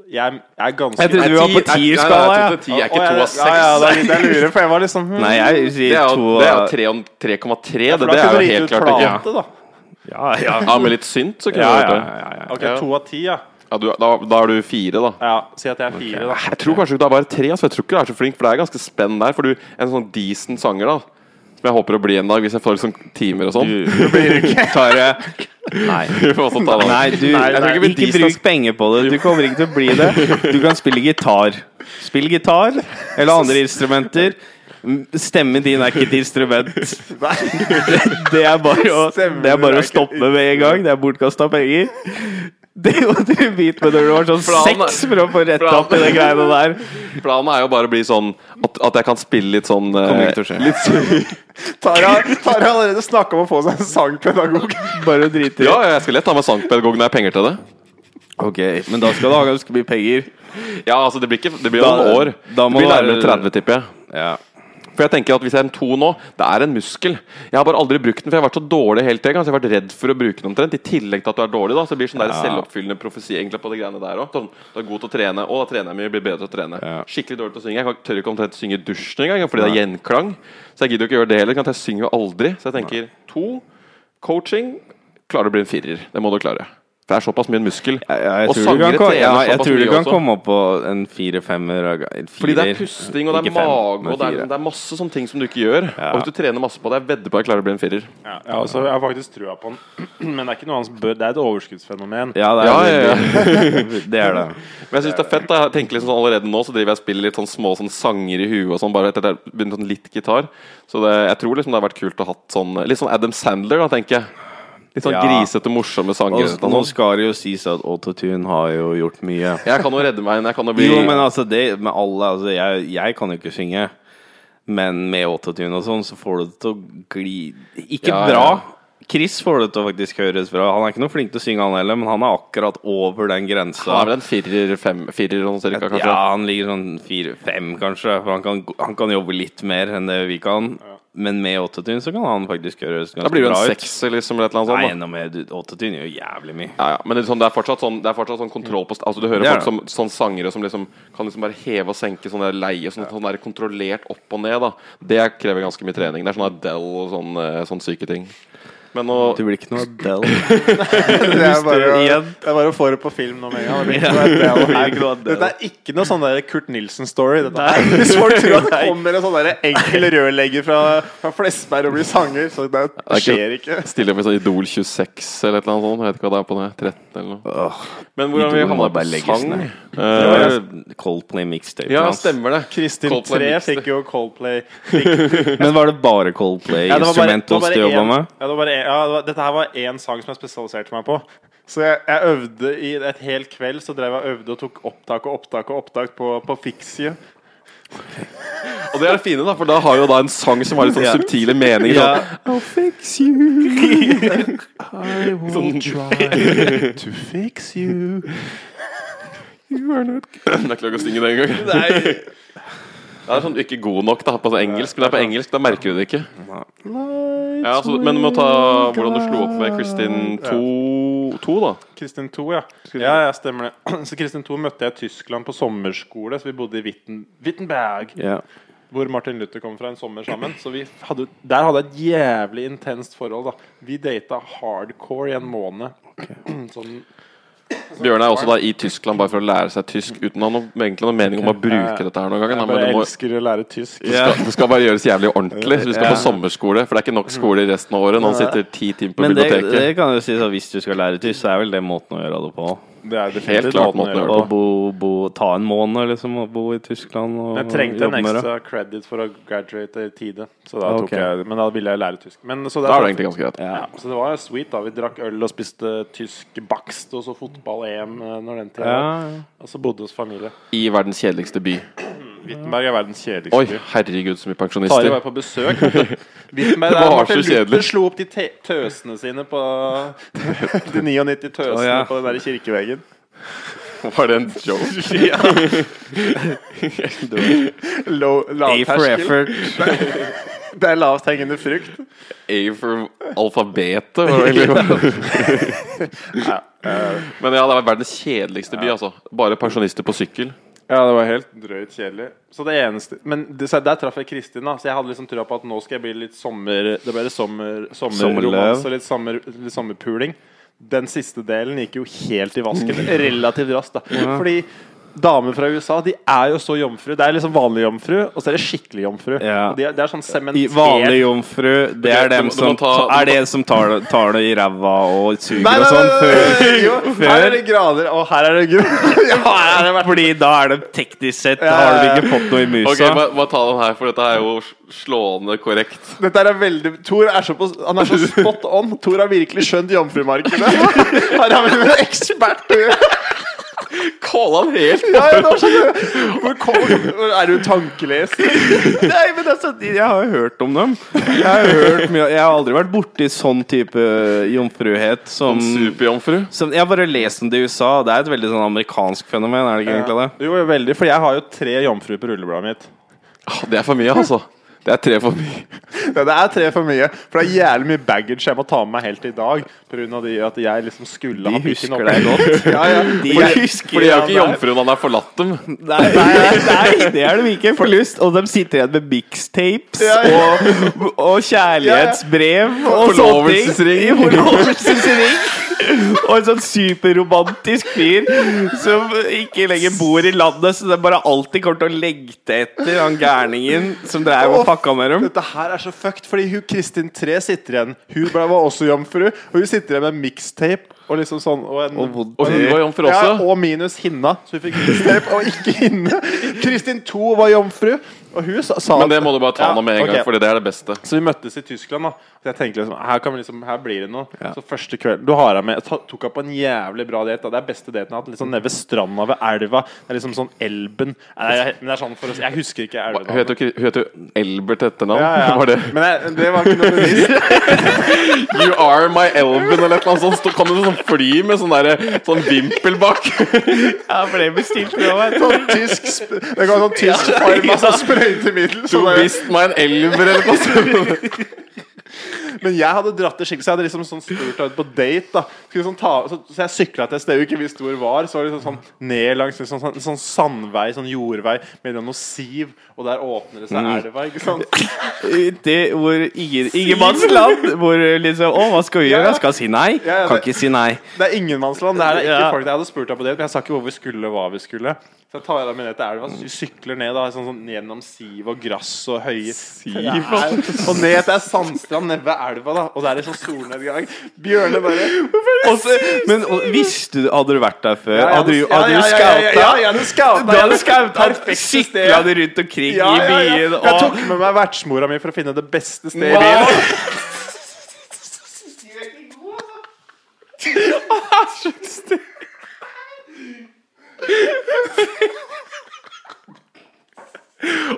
[SPEAKER 3] Jeg er ganske
[SPEAKER 4] Jeg trodde du var på tierskala, ja.
[SPEAKER 1] ja. Ti er ikke
[SPEAKER 3] Å,
[SPEAKER 1] to
[SPEAKER 3] jeg-
[SPEAKER 1] av
[SPEAKER 3] Ja, ja,
[SPEAKER 1] seks.
[SPEAKER 3] det er litt jeg lurer, for jeg var liksom hm,
[SPEAKER 4] Nei, jeg
[SPEAKER 1] Det
[SPEAKER 4] sier
[SPEAKER 1] er
[SPEAKER 4] to
[SPEAKER 1] jo det er jo tre om- 3,3. Det, det er jo helt klart
[SPEAKER 3] ikke
[SPEAKER 1] ikke.
[SPEAKER 3] plate, da.
[SPEAKER 4] Ja, ja,
[SPEAKER 1] Ja, med litt synt, så kunne
[SPEAKER 4] ja,
[SPEAKER 1] du
[SPEAKER 4] ja,
[SPEAKER 1] gjort det.
[SPEAKER 4] ja, ja.
[SPEAKER 3] Ok,
[SPEAKER 1] Ja.
[SPEAKER 3] to av ti, ja.
[SPEAKER 1] Ja, du, da, da er du fire, da.
[SPEAKER 3] ja. Si at jeg er fire, da.
[SPEAKER 1] Jeg tror kanskje du er bare tre, altså. Jeg tror ikke du er så flink, for det er ganske spenn der. For du, en sånn decent sanger, da. Som jeg håper å bli en dag, hvis jeg får liksom timer og sånn.
[SPEAKER 4] Tarjei. Nei.
[SPEAKER 1] Vi får også ta det.
[SPEAKER 4] Nei, du,
[SPEAKER 1] jeg tror ikke vi
[SPEAKER 4] ikke
[SPEAKER 1] distas-
[SPEAKER 4] bruk penger på det. Du kommer ikke til å bli det. Du kan spille gitar. Spill gitar eller andre instrumenter. M- Stemmen din er ikke et instrument. Det, det er bare å, det er bare å stoppe med en gang. Det er bortkasta penger. Det gjorde du bit med når du var sånn
[SPEAKER 1] Planen er-
[SPEAKER 4] seks for å få retta opp i de greiene der.
[SPEAKER 1] Planen er jo bare å bli sånn at, at jeg kan spille litt sånn eh,
[SPEAKER 4] Kommer ikke til å skje.
[SPEAKER 1] litt sånn-
[SPEAKER 3] Tara, Tara har allerede snakka om å få seg en sangpedagog.
[SPEAKER 4] Bare drite i
[SPEAKER 1] Ja,
[SPEAKER 4] det.
[SPEAKER 1] jeg skal lett ha med sangpedagog når jeg har penger til det.
[SPEAKER 4] Ok, men da skal du ha ganske mye penger.
[SPEAKER 1] Ja, altså Det blir ikke Det blir jo
[SPEAKER 4] Da-
[SPEAKER 1] noen år.
[SPEAKER 4] da må
[SPEAKER 1] det blir
[SPEAKER 4] det
[SPEAKER 1] nærmere
[SPEAKER 4] være-
[SPEAKER 1] 30, tipper jeg.
[SPEAKER 4] Ja.
[SPEAKER 1] For jeg tenker at Hvis jeg er en to nå, det er en muskel. Jeg har bare aldri brukt den, for jeg har vært så dårlig hele tiden. Så jeg har vært redd for å bruke den omtrent. I tillegg til at du er dårlig, da. Så det blir sånn der
[SPEAKER 4] Ja.
[SPEAKER 1] selvoppfyllende profesi egentlig på de greiene der også. Sånn, du er god til å trene, og da trener jeg mye, blir bedre til å trene.
[SPEAKER 4] Ja.
[SPEAKER 1] Skikkelig dårlig til å synge. Jeg kan- tør ikke omtrent synge i dusjen engang, fordi det er gjenklang. Så jeg gidder jo ikke gjøre det heller. ikke sant? Jeg synger jo aldri. Så jeg tenker to. Coaching klarer du å bli en firer. Det må du klare. For det er såpass mye en muskel.
[SPEAKER 4] Jeg, jeg,
[SPEAKER 1] Og
[SPEAKER 4] tror du kan,
[SPEAKER 1] sangere
[SPEAKER 4] ko-
[SPEAKER 1] trener
[SPEAKER 4] ja, jeg
[SPEAKER 1] såpass
[SPEAKER 4] tror du
[SPEAKER 1] mye
[SPEAKER 4] kan
[SPEAKER 1] også.
[SPEAKER 4] komme opp på en fire-femmer.
[SPEAKER 1] Fordi det er pusting, og det er mage, og det er, det er masse sånne ting som du ikke gjør. Og hvis du trener masse på det, jeg vedder på at jeg klarer å bli en firer.
[SPEAKER 3] Ja, altså, jeg har faktisk trua på den, men det er ikke noe annet bør Det er et overskuddsfenomen.
[SPEAKER 4] Ja, det er,
[SPEAKER 1] Ja, ja,
[SPEAKER 4] Det er det.
[SPEAKER 1] Men jeg syns det er fett. da. Jeg tenker liksom sånn Allerede nå så driver jeg og spiller litt sånn små sånn sanger i huet og sånn, bare etter at jeg begynte sånn litt gitar. Så det, jeg tror liksom det har vært kult å ha hatt sånn Litt sånn Adam Sandler, da, tenker jeg. Litt sånn
[SPEAKER 4] Ja.
[SPEAKER 1] grisete, morsomme sanger.
[SPEAKER 4] Og
[SPEAKER 1] Og, sånn.
[SPEAKER 4] nå skal det jo sies at autotune har jo gjort mye.
[SPEAKER 1] jeg kan jo redde meg inn. Jeg kan jo bli
[SPEAKER 4] Jo, men altså, det med alle altså, jeg, jeg kan jo ikke synge. Men med autotune og sånn, så får du det til å gli Ikke
[SPEAKER 1] Ja,
[SPEAKER 4] bra.
[SPEAKER 1] ja.
[SPEAKER 4] Chris får det til å faktisk høres bra. Han er ikke noe flink til å synge, han heller, men han er akkurat over den grensa.
[SPEAKER 1] Han er vel en firer, fem, firer sånn cirka, kanskje.
[SPEAKER 4] Ja, han ligger sånn fire-fem, kanskje. For han kan, han kan jobbe litt mer enn det vi kan. Men med autotune så kan han faktisk gjøre høres
[SPEAKER 1] Da
[SPEAKER 4] ganske
[SPEAKER 1] blir det
[SPEAKER 4] bra
[SPEAKER 1] en
[SPEAKER 4] ut.
[SPEAKER 1] sekser, liksom, eller et eller
[SPEAKER 4] Nei,
[SPEAKER 1] annet sånt. da.
[SPEAKER 4] enda mer. du- Autotune gjør jævlig mye.
[SPEAKER 1] Ja, ja. Men det er, sånn, det, er fortsatt sånn, det er fortsatt sånn kontroll på st- Altså Du hører
[SPEAKER 4] Det er
[SPEAKER 1] folk som sånn sangere som liksom kan liksom bare heve og senke sånne der leie, sånn, sånn der kontrollert opp og ned. da Det krever ganske mye trening. Det er sånn Adele og sånn, eh, sånn syke ting. Men nå
[SPEAKER 4] Du blir ikke noe Adele.
[SPEAKER 3] Det er bare,
[SPEAKER 4] igjen.
[SPEAKER 3] det er bare å få det på film nå med en gang. Det blir ikke noe Adele her. Dette er ikke noe sånn der Kurt Nilsen-story. dette her. Hvis folk tror at det kommer en sånn der enkel rørlegger fra, fra Flesberg og blir sanger, så det
[SPEAKER 1] er ikke-
[SPEAKER 3] skjer ikke.
[SPEAKER 1] stiller opp i sånn Idol 26 eller et eller annet sånt. Jeg vet ikke hva det er på det. 13 eller noe. Men hvordan vi
[SPEAKER 4] Idol må
[SPEAKER 1] havna
[SPEAKER 4] bare
[SPEAKER 1] på
[SPEAKER 4] legges
[SPEAKER 1] sang
[SPEAKER 4] ned.
[SPEAKER 1] Eh,
[SPEAKER 4] Coldplay mixtape.
[SPEAKER 1] Ja,
[SPEAKER 4] hans.
[SPEAKER 1] stemmer det.
[SPEAKER 3] Kristin
[SPEAKER 1] Coldplay
[SPEAKER 3] 3
[SPEAKER 1] mixte.
[SPEAKER 3] fikk jo Coldplay.
[SPEAKER 4] Men var det
[SPEAKER 3] Ja, det var bare-
[SPEAKER 4] bare
[SPEAKER 3] det var
[SPEAKER 4] Coldplay-instrumentals
[SPEAKER 3] bare
[SPEAKER 4] du jobba
[SPEAKER 3] en-
[SPEAKER 4] med?
[SPEAKER 3] Ja, det var bare en, ja, det var, dette her var én sang som jeg spesialiserte meg på. Så jeg, jeg øvde i et helt kveld Så drev jeg og øvde og tok opptak og opptak og opptak på, på Fixie.
[SPEAKER 1] Og det er det fine, da, for da har jo da en sang som har litt sånn
[SPEAKER 4] Ja.
[SPEAKER 1] subtile meninger.
[SPEAKER 4] Ja.
[SPEAKER 1] sånn, I'll fix you. I will try to fix you. You are not Det er ikke lov å synge det engang. Det er sånn ikke god nok da, på sånn engelsk, men det er på engelsk, da merker du det ikke. Ja, altså, men du må ta hvordan du slo opp med Kristin 2, 2 da.
[SPEAKER 3] Kristin 2, ja. Ja, ja, stemmer det. Så Kristin 2 møtte jeg i Tyskland på sommerskole, så vi bodde i Witten, Wittenberg.
[SPEAKER 4] Ja.
[SPEAKER 3] hvor Martin Luther kom fra en sommer sammen. Så vi hadde, der hadde jeg et jævlig intenst forhold. da Vi data hardcore i en måned. Sånn,
[SPEAKER 1] Bjørn er også da i Tyskland bare for å lære seg tysk uten å ha noe, egentlig noe mening om å bruke dette her noen gang. da,
[SPEAKER 3] jeg
[SPEAKER 1] Men
[SPEAKER 3] bare
[SPEAKER 1] det må,
[SPEAKER 3] elsker å lære tysk.
[SPEAKER 1] Det skal, det skal bare gjøres jævlig ordentlig. Så du skal på sommerskole, for det er ikke nok skole i resten av året. Nå sitter ti timer på
[SPEAKER 4] Men det,
[SPEAKER 1] biblioteket.
[SPEAKER 4] det kan jo si at hvis du skal lære tysk, så er vel det måten å gjøre det på.
[SPEAKER 3] Det er
[SPEAKER 1] Helt
[SPEAKER 3] definitivt
[SPEAKER 1] klart måten
[SPEAKER 3] måten å
[SPEAKER 1] å
[SPEAKER 3] gjøre
[SPEAKER 1] gjøre
[SPEAKER 4] Å bo, bo, ta en måned liksom og bo i Tyskland og
[SPEAKER 3] det. Jeg trengte en
[SPEAKER 4] jobbe med det.
[SPEAKER 3] ekstra credit for å graduate i tide, så da tok
[SPEAKER 4] Ok.
[SPEAKER 3] jeg, men da ville jeg lære tysk. Men, så, det sånn-
[SPEAKER 1] Da er det egentlig ganske greit.
[SPEAKER 4] Ja.
[SPEAKER 3] ja, så det var sweet, da. Vi drakk øl og spiste tysk bakst, og så fotball-EM eh, når den tida
[SPEAKER 4] Ja,
[SPEAKER 3] var.
[SPEAKER 4] ja.
[SPEAKER 3] Og så bodde hos familie.
[SPEAKER 1] I verdens kjedeligste by.
[SPEAKER 3] Wittenberg er verdens
[SPEAKER 1] Oi,
[SPEAKER 3] kjedeligste by.
[SPEAKER 1] herregud, så mye
[SPEAKER 3] Tari
[SPEAKER 1] pensjonister.
[SPEAKER 3] var på besøk. Wittenberg
[SPEAKER 1] Det
[SPEAKER 3] der
[SPEAKER 1] var
[SPEAKER 3] Martin
[SPEAKER 1] så kjedelig.
[SPEAKER 3] Luther slo opp de te tøsene sine på De 99 tøsene
[SPEAKER 4] Å, ja.
[SPEAKER 3] på den der kirkeveggen.
[SPEAKER 1] Var det en joke?
[SPEAKER 3] Low,
[SPEAKER 4] A for
[SPEAKER 3] lavterskel.
[SPEAKER 4] effort.
[SPEAKER 3] Det er lavthengende frukt.
[SPEAKER 1] A for alfabetet, var det egentlig. Men ja, det var verdens kjedeligste by, altså. Bare pensjonister på sykkel.
[SPEAKER 3] Ja, det var helt drøyt kjedelig. Så det eneste Men det, så der traff jeg Kristin, da. Så jeg hadde liksom trua på at nå skal jeg bli litt sommer Det ble litt sommer, sommerromans
[SPEAKER 4] Sommerløv.
[SPEAKER 3] og litt, sommer, litt sommerpuling. Den siste delen gikk jo helt i vasken relativt raskt, da. Fordi damer fra USA de er jo så jomfru. Det er liksom vanlig jomfru, og så er det skikkelig jomfru.
[SPEAKER 4] Ja.
[SPEAKER 3] Og de er, det er sånn
[SPEAKER 4] I
[SPEAKER 3] sementert
[SPEAKER 4] vanlig jomfru, det er
[SPEAKER 1] Du
[SPEAKER 4] dem
[SPEAKER 1] må- du
[SPEAKER 4] som,
[SPEAKER 1] må ta-
[SPEAKER 4] ta, er det som tar, det- tar det i ræva og suger
[SPEAKER 3] Nei,
[SPEAKER 4] og
[SPEAKER 3] nei,
[SPEAKER 4] sånn
[SPEAKER 3] nei, nei,
[SPEAKER 4] før.
[SPEAKER 3] nei, jo, Her er det grader, og her er det gul.
[SPEAKER 4] Fordi da er det teknisk sett Da har du ikke fått noe i musa.
[SPEAKER 1] Ok, bare bare ta den her, for dette er jo slående korrekt.
[SPEAKER 3] Dette er veldig Thor er så, på, han er så spot on. Thor har virkelig skjønt jomfrumarkedet. Her har vi en ekspert.
[SPEAKER 1] Kål han helt
[SPEAKER 3] Ja, ja, nå skjønner jeg. Hvor kommer- Er du tankeleser?
[SPEAKER 4] Nei, men altså, jeg har jo hørt om dem. Jeg har, jo hørt mye, jeg har aldri vært borti sånn type jomfruhet
[SPEAKER 1] Mm.
[SPEAKER 4] som,
[SPEAKER 1] Superjomfru.
[SPEAKER 4] som Jeg har bare lest om det i USA. Det er et veldig sånn amerikansk fenomen, er det ikke egentlig det?
[SPEAKER 3] Jo, veldig, for jeg har jo tre jomfruer på rullebladet mitt.
[SPEAKER 1] Å, Det er for mye, altså. Det er tre for mye.
[SPEAKER 3] Ja, det er tre for mye. For det er jævlig mye baggage jeg må ta med meg helt i dag. På grunn av de at jeg liksom skulle ha
[SPEAKER 4] De
[SPEAKER 3] pikken
[SPEAKER 4] husker
[SPEAKER 3] opp.
[SPEAKER 4] deg godt.
[SPEAKER 3] Ja, ja.
[SPEAKER 4] De
[SPEAKER 3] Fordi-
[SPEAKER 4] husker
[SPEAKER 1] For de er jo
[SPEAKER 4] deg.
[SPEAKER 1] ikke jomfruer når han har forlatt dem.
[SPEAKER 4] Nei, nei, nei, det er det ikke. Forlust. Og de sitter igjen med mixtapes
[SPEAKER 3] Ja,
[SPEAKER 4] og, og kjærlighetsbrev og sånne ting.
[SPEAKER 1] Forlovelsesring.
[SPEAKER 4] Forlovelsesring. Og en sånn superromantisk fyr som ikke lenger bor i landet, så det er bare alltid kommer til å lengte etter han gærningen som dreiv og pakka med dem.
[SPEAKER 3] Dette her er så fucked, fordi hun Kristin 3 sitter igjen. Hun ble, var også jomfru, og hun sitter igjen med mixtape og liksom sånn og en,
[SPEAKER 1] Og hun var jomfru
[SPEAKER 3] Ja,
[SPEAKER 1] også.
[SPEAKER 3] og minus hinna, så hun fikk mixtape og ikke hinne. Kristin 2 var jomfru, og hun sa, sa
[SPEAKER 1] Men det må du bare ta
[SPEAKER 3] Ja,
[SPEAKER 1] nå med en gang,
[SPEAKER 3] ok.
[SPEAKER 1] Fordi det er det beste.
[SPEAKER 3] Så vi møttes i Tyskland, da. Så jeg tenkte liksom, her, kan vi liksom, her blir det noe. Så første kvelden Du har deg med. Jeg ta- tok henne på en jævlig bra date. da. Det er beste daten jeg har hatt. Litt sånn nede ved stranda, ved elva. Det er liksom sånn Elben. Nei, jeg, men det er sånn for oss Jeg husker ikke elven.
[SPEAKER 1] Hun heter jo ikke- hun heter jo Elbert etternavn.
[SPEAKER 3] ja, ja.
[SPEAKER 1] Var det
[SPEAKER 3] Men jeg, det var ikke noe bevisst.
[SPEAKER 1] You are my Elven eller et eller annet sånt? Så kom det sånn fly med sånn derre sånn vimpel bak.
[SPEAKER 4] Ja, for det bestilte vi òg,
[SPEAKER 3] Sånn tysk sp- Det kan være sånn tysk farm altså, spray høy til middel.
[SPEAKER 1] Du
[SPEAKER 3] Så bare,
[SPEAKER 1] visste meg en elver eller noe sånt.
[SPEAKER 3] men jeg hadde dratt det skikkelig, så jeg hadde liksom sånn spurt deg ut på date. da Skulle sånn ta, så, så jeg sykla til et sted jeg ikke visste hvor var. Så var det liksom sånn ned langs liksom, sånn, sånn sandvei, sånn jordvei, mellom noe siv, og der åpner det seg
[SPEAKER 1] Mm.
[SPEAKER 3] elva. Ikke sant?
[SPEAKER 4] Uti hvor ingen, ingenmannsland. Hvor liksom Å, hva skal vi
[SPEAKER 3] Ja,
[SPEAKER 4] gjøre?
[SPEAKER 3] ja.
[SPEAKER 4] Skal jeg si nei?
[SPEAKER 3] Ja, ja,
[SPEAKER 4] Kan
[SPEAKER 3] det-
[SPEAKER 4] ikke si nei.
[SPEAKER 3] Det er ingenmannsland. Det her er ikke
[SPEAKER 4] Ja.
[SPEAKER 3] folk Jeg hadde spurt deg på det, men jeg sa ikke hvor vi skulle, og hva vi skulle. Så jeg tar deg med ned til elva, så sykler ned da, sånn, sånn, gjennom siv og grass og høye trær. Og ned til ei sandstrand nede ved elva, da. Og det er liksom solnedgang. Bjørne bare
[SPEAKER 4] Og så- men og, visste du Hadde du vært der før?
[SPEAKER 3] Ja, jeg
[SPEAKER 4] Hadde du,
[SPEAKER 3] ja,
[SPEAKER 4] hadde
[SPEAKER 3] ja,
[SPEAKER 4] du
[SPEAKER 3] ja, ja, ja,
[SPEAKER 4] skauta?
[SPEAKER 3] ja, jeg hadde skauta.
[SPEAKER 4] Da
[SPEAKER 3] Jeg
[SPEAKER 4] hadde
[SPEAKER 3] hadde
[SPEAKER 4] skauta
[SPEAKER 3] perfekte sted.
[SPEAKER 4] Sykla du rundt omkring
[SPEAKER 3] Ja,
[SPEAKER 4] i
[SPEAKER 3] ja, ja.
[SPEAKER 4] byen
[SPEAKER 3] Jeg tok
[SPEAKER 4] og
[SPEAKER 3] med meg vertsmora mi for å finne det beste stedet i byen.
[SPEAKER 4] Wow.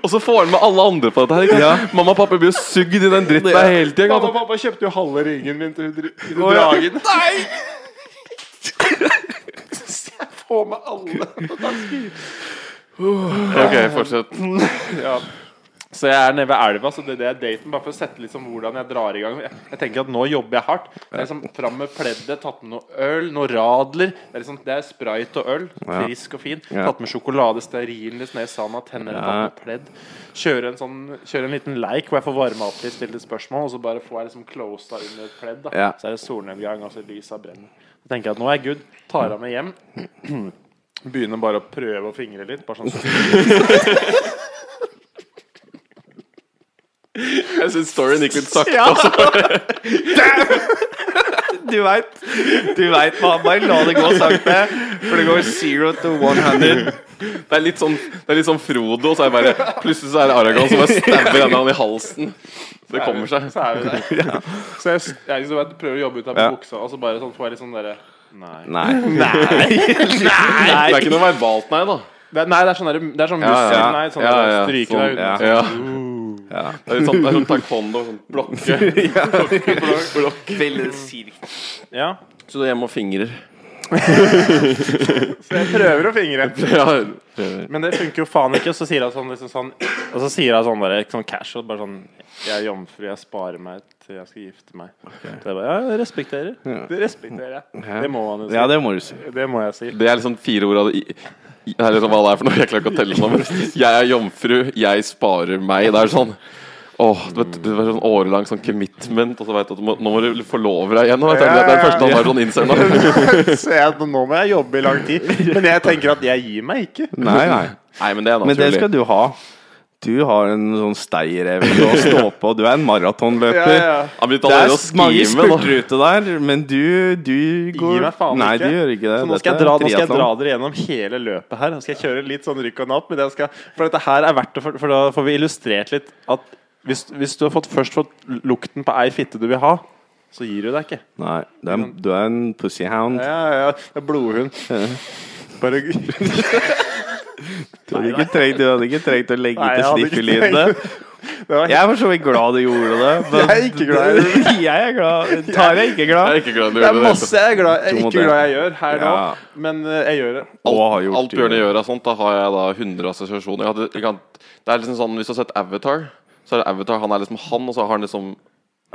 [SPEAKER 1] Og så får han med alle andre på dette her. Ikke? sant? Mamma og pappa blir jo sugd i den dritten der hele tida.
[SPEAKER 3] Mamma og pappa kjøpte jo halve ringen min til, dra- til
[SPEAKER 4] Å, ja.
[SPEAKER 3] dragen. Nei! Så jeg får med alle.
[SPEAKER 1] Ok, fortsett.
[SPEAKER 3] Ja. Så jeg er nede ved elva, så det, det er daten. Bare for å sette litt sånn hvordan jeg drar i gang. Jeg, jeg tenker at nå jobber jeg hardt. Det er liksom Fram med pleddet, tatt med noe øl, noe Radler. Det er, liksom, det er sprite og øl. Frisk og fin.
[SPEAKER 4] Ja.
[SPEAKER 3] Tatt med sjokolade, stearin, litt ned i sanda, tenner,
[SPEAKER 4] Ja.
[SPEAKER 3] tatt med pledd. Kjøre en, sånn, kjøre en liten leik hvor jeg får varma opp litt, stille litt spørsmål, og så bare får jeg liksom closa under et pledd. Da.
[SPEAKER 4] Ja.
[SPEAKER 3] Så er det solnedgang, og så lysa brenner. Så tenker jeg at nå er jeg good. Tar av meg hjem. Begynner bare å prøve å fingre litt. Bare sånn
[SPEAKER 1] Jeg syns storyen gikk litt sakte.
[SPEAKER 4] Du veit. Du vet, hva, Bare la det gå sakte. For det går zero to one hundred.
[SPEAKER 1] Det er litt sånn, det er litt sånn Frodo, så er det bare plutselig så er det Aragon som bare stabber en annen i halsen. Så det kommer seg.
[SPEAKER 3] Så er vi der. Så jeg, jeg liksom, jeg prøver å jobbe ut av
[SPEAKER 4] Ja.
[SPEAKER 3] buksa, og så bare sånn, får jeg litt sånn derre Nei.
[SPEAKER 4] Nei. Nei.
[SPEAKER 1] Det er ikke noe verbalt, nei, da.
[SPEAKER 3] Det er, nei, det er sånn, der, det er sånn muskel,
[SPEAKER 1] ja.
[SPEAKER 3] nei, sånn
[SPEAKER 1] Ja,
[SPEAKER 3] der,
[SPEAKER 1] ja.
[SPEAKER 3] stryke
[SPEAKER 4] Sånn,
[SPEAKER 3] deg uten. uh.
[SPEAKER 1] Ja. Det er litt sånn, det er sånn taekwondo. Sånn blokke.
[SPEAKER 4] Veldig sirk.
[SPEAKER 3] Ja.
[SPEAKER 1] Så du er hjemme og fingrer.
[SPEAKER 3] Så jeg prøver å fingre.
[SPEAKER 1] Ja.
[SPEAKER 3] Men det funker jo faen ikke. Og så sier hun sånn, liksom sånn Og så sier hun sånn bare sånn casual, bare sånn Jeg er jomfru, jeg sparer meg til jeg skal gifte meg. Så jeg bare Ja, jeg respekterer. Det respekterer jeg. Det må man jo si.
[SPEAKER 4] Ja, det må du si.
[SPEAKER 3] Det må jeg si.
[SPEAKER 1] Det er liksom fire ord av det i- i- Det er liksom hva det er for noe. Jeg klarer ikke å telle sammen. Jeg er jomfru, jeg sparer meg. Det er sånn Åh, du vet, det var sånn årelang sånn commitment, og så vet du at du må, nå må du forlove deg igjen. nå, Vet du. Det er det første han bare sånn innser nå.
[SPEAKER 3] Så jeg, nå må jeg jobbe i lang tid. Men jeg tenker at jeg gir meg ikke.
[SPEAKER 4] Nei, nei.
[SPEAKER 1] Nei, men det er
[SPEAKER 4] Men det
[SPEAKER 1] naturlig.
[SPEAKER 4] skal du ha. Du har en sånn steirev å stå på. Du er en maratonløper.
[SPEAKER 1] Han begynte
[SPEAKER 4] Det er
[SPEAKER 1] allerede å
[SPEAKER 4] mange
[SPEAKER 1] skrive nå.
[SPEAKER 4] spurter ute der, men du, du går
[SPEAKER 3] Gi meg faen
[SPEAKER 4] Nei,
[SPEAKER 3] ikke.
[SPEAKER 4] du gjør ikke det.
[SPEAKER 3] Så nå skal,
[SPEAKER 4] Eh, Dette
[SPEAKER 3] jeg dra,
[SPEAKER 4] er
[SPEAKER 3] nå skal jeg
[SPEAKER 4] triathlon.
[SPEAKER 3] dra dere gjennom hele løpet her. Nå skal jeg kjøre litt sånn rykk og napp. Men jeg skal, for dette her er verdt det, for, for da får vi illustrert litt at hvis, hvis du har fått, først fått lukten på ei fitte du vil ha, så gir du deg ikke.
[SPEAKER 4] Nei, du er, du er en pussyhound.
[SPEAKER 3] Ja, ja, det er blodhund. Bare Nei,
[SPEAKER 4] Du hadde ikke trengt, du hadde ikke trengt å legge
[SPEAKER 3] jeg
[SPEAKER 4] til
[SPEAKER 3] hadde ikke
[SPEAKER 4] sniffelydene.
[SPEAKER 3] tenkt- Det var helt
[SPEAKER 4] Jeg er for så vidt glad du gjorde det. men-
[SPEAKER 3] Jeg er ikke glad i
[SPEAKER 4] jeg er glad. Tar jeg ikke glad?
[SPEAKER 1] Jeg er ikke glad i å
[SPEAKER 3] det
[SPEAKER 1] gjøre
[SPEAKER 3] er
[SPEAKER 1] det.
[SPEAKER 3] masse jeg er glad, jeg
[SPEAKER 4] Du
[SPEAKER 3] er
[SPEAKER 4] må
[SPEAKER 3] ikke
[SPEAKER 4] det.
[SPEAKER 3] glad jeg gjør her nå,
[SPEAKER 4] Ja.
[SPEAKER 3] men eh, jeg gjør det.
[SPEAKER 4] Og har
[SPEAKER 1] Alt,
[SPEAKER 4] gjort
[SPEAKER 1] alt Bjørne gjør av sånt, da har jeg da 100 assosiasjoner. Jeg hadde, jeg kan, det er liksom sånn, Hvis du har sett Avatar, så er det Avatar. Han er liksom han, og så har han liksom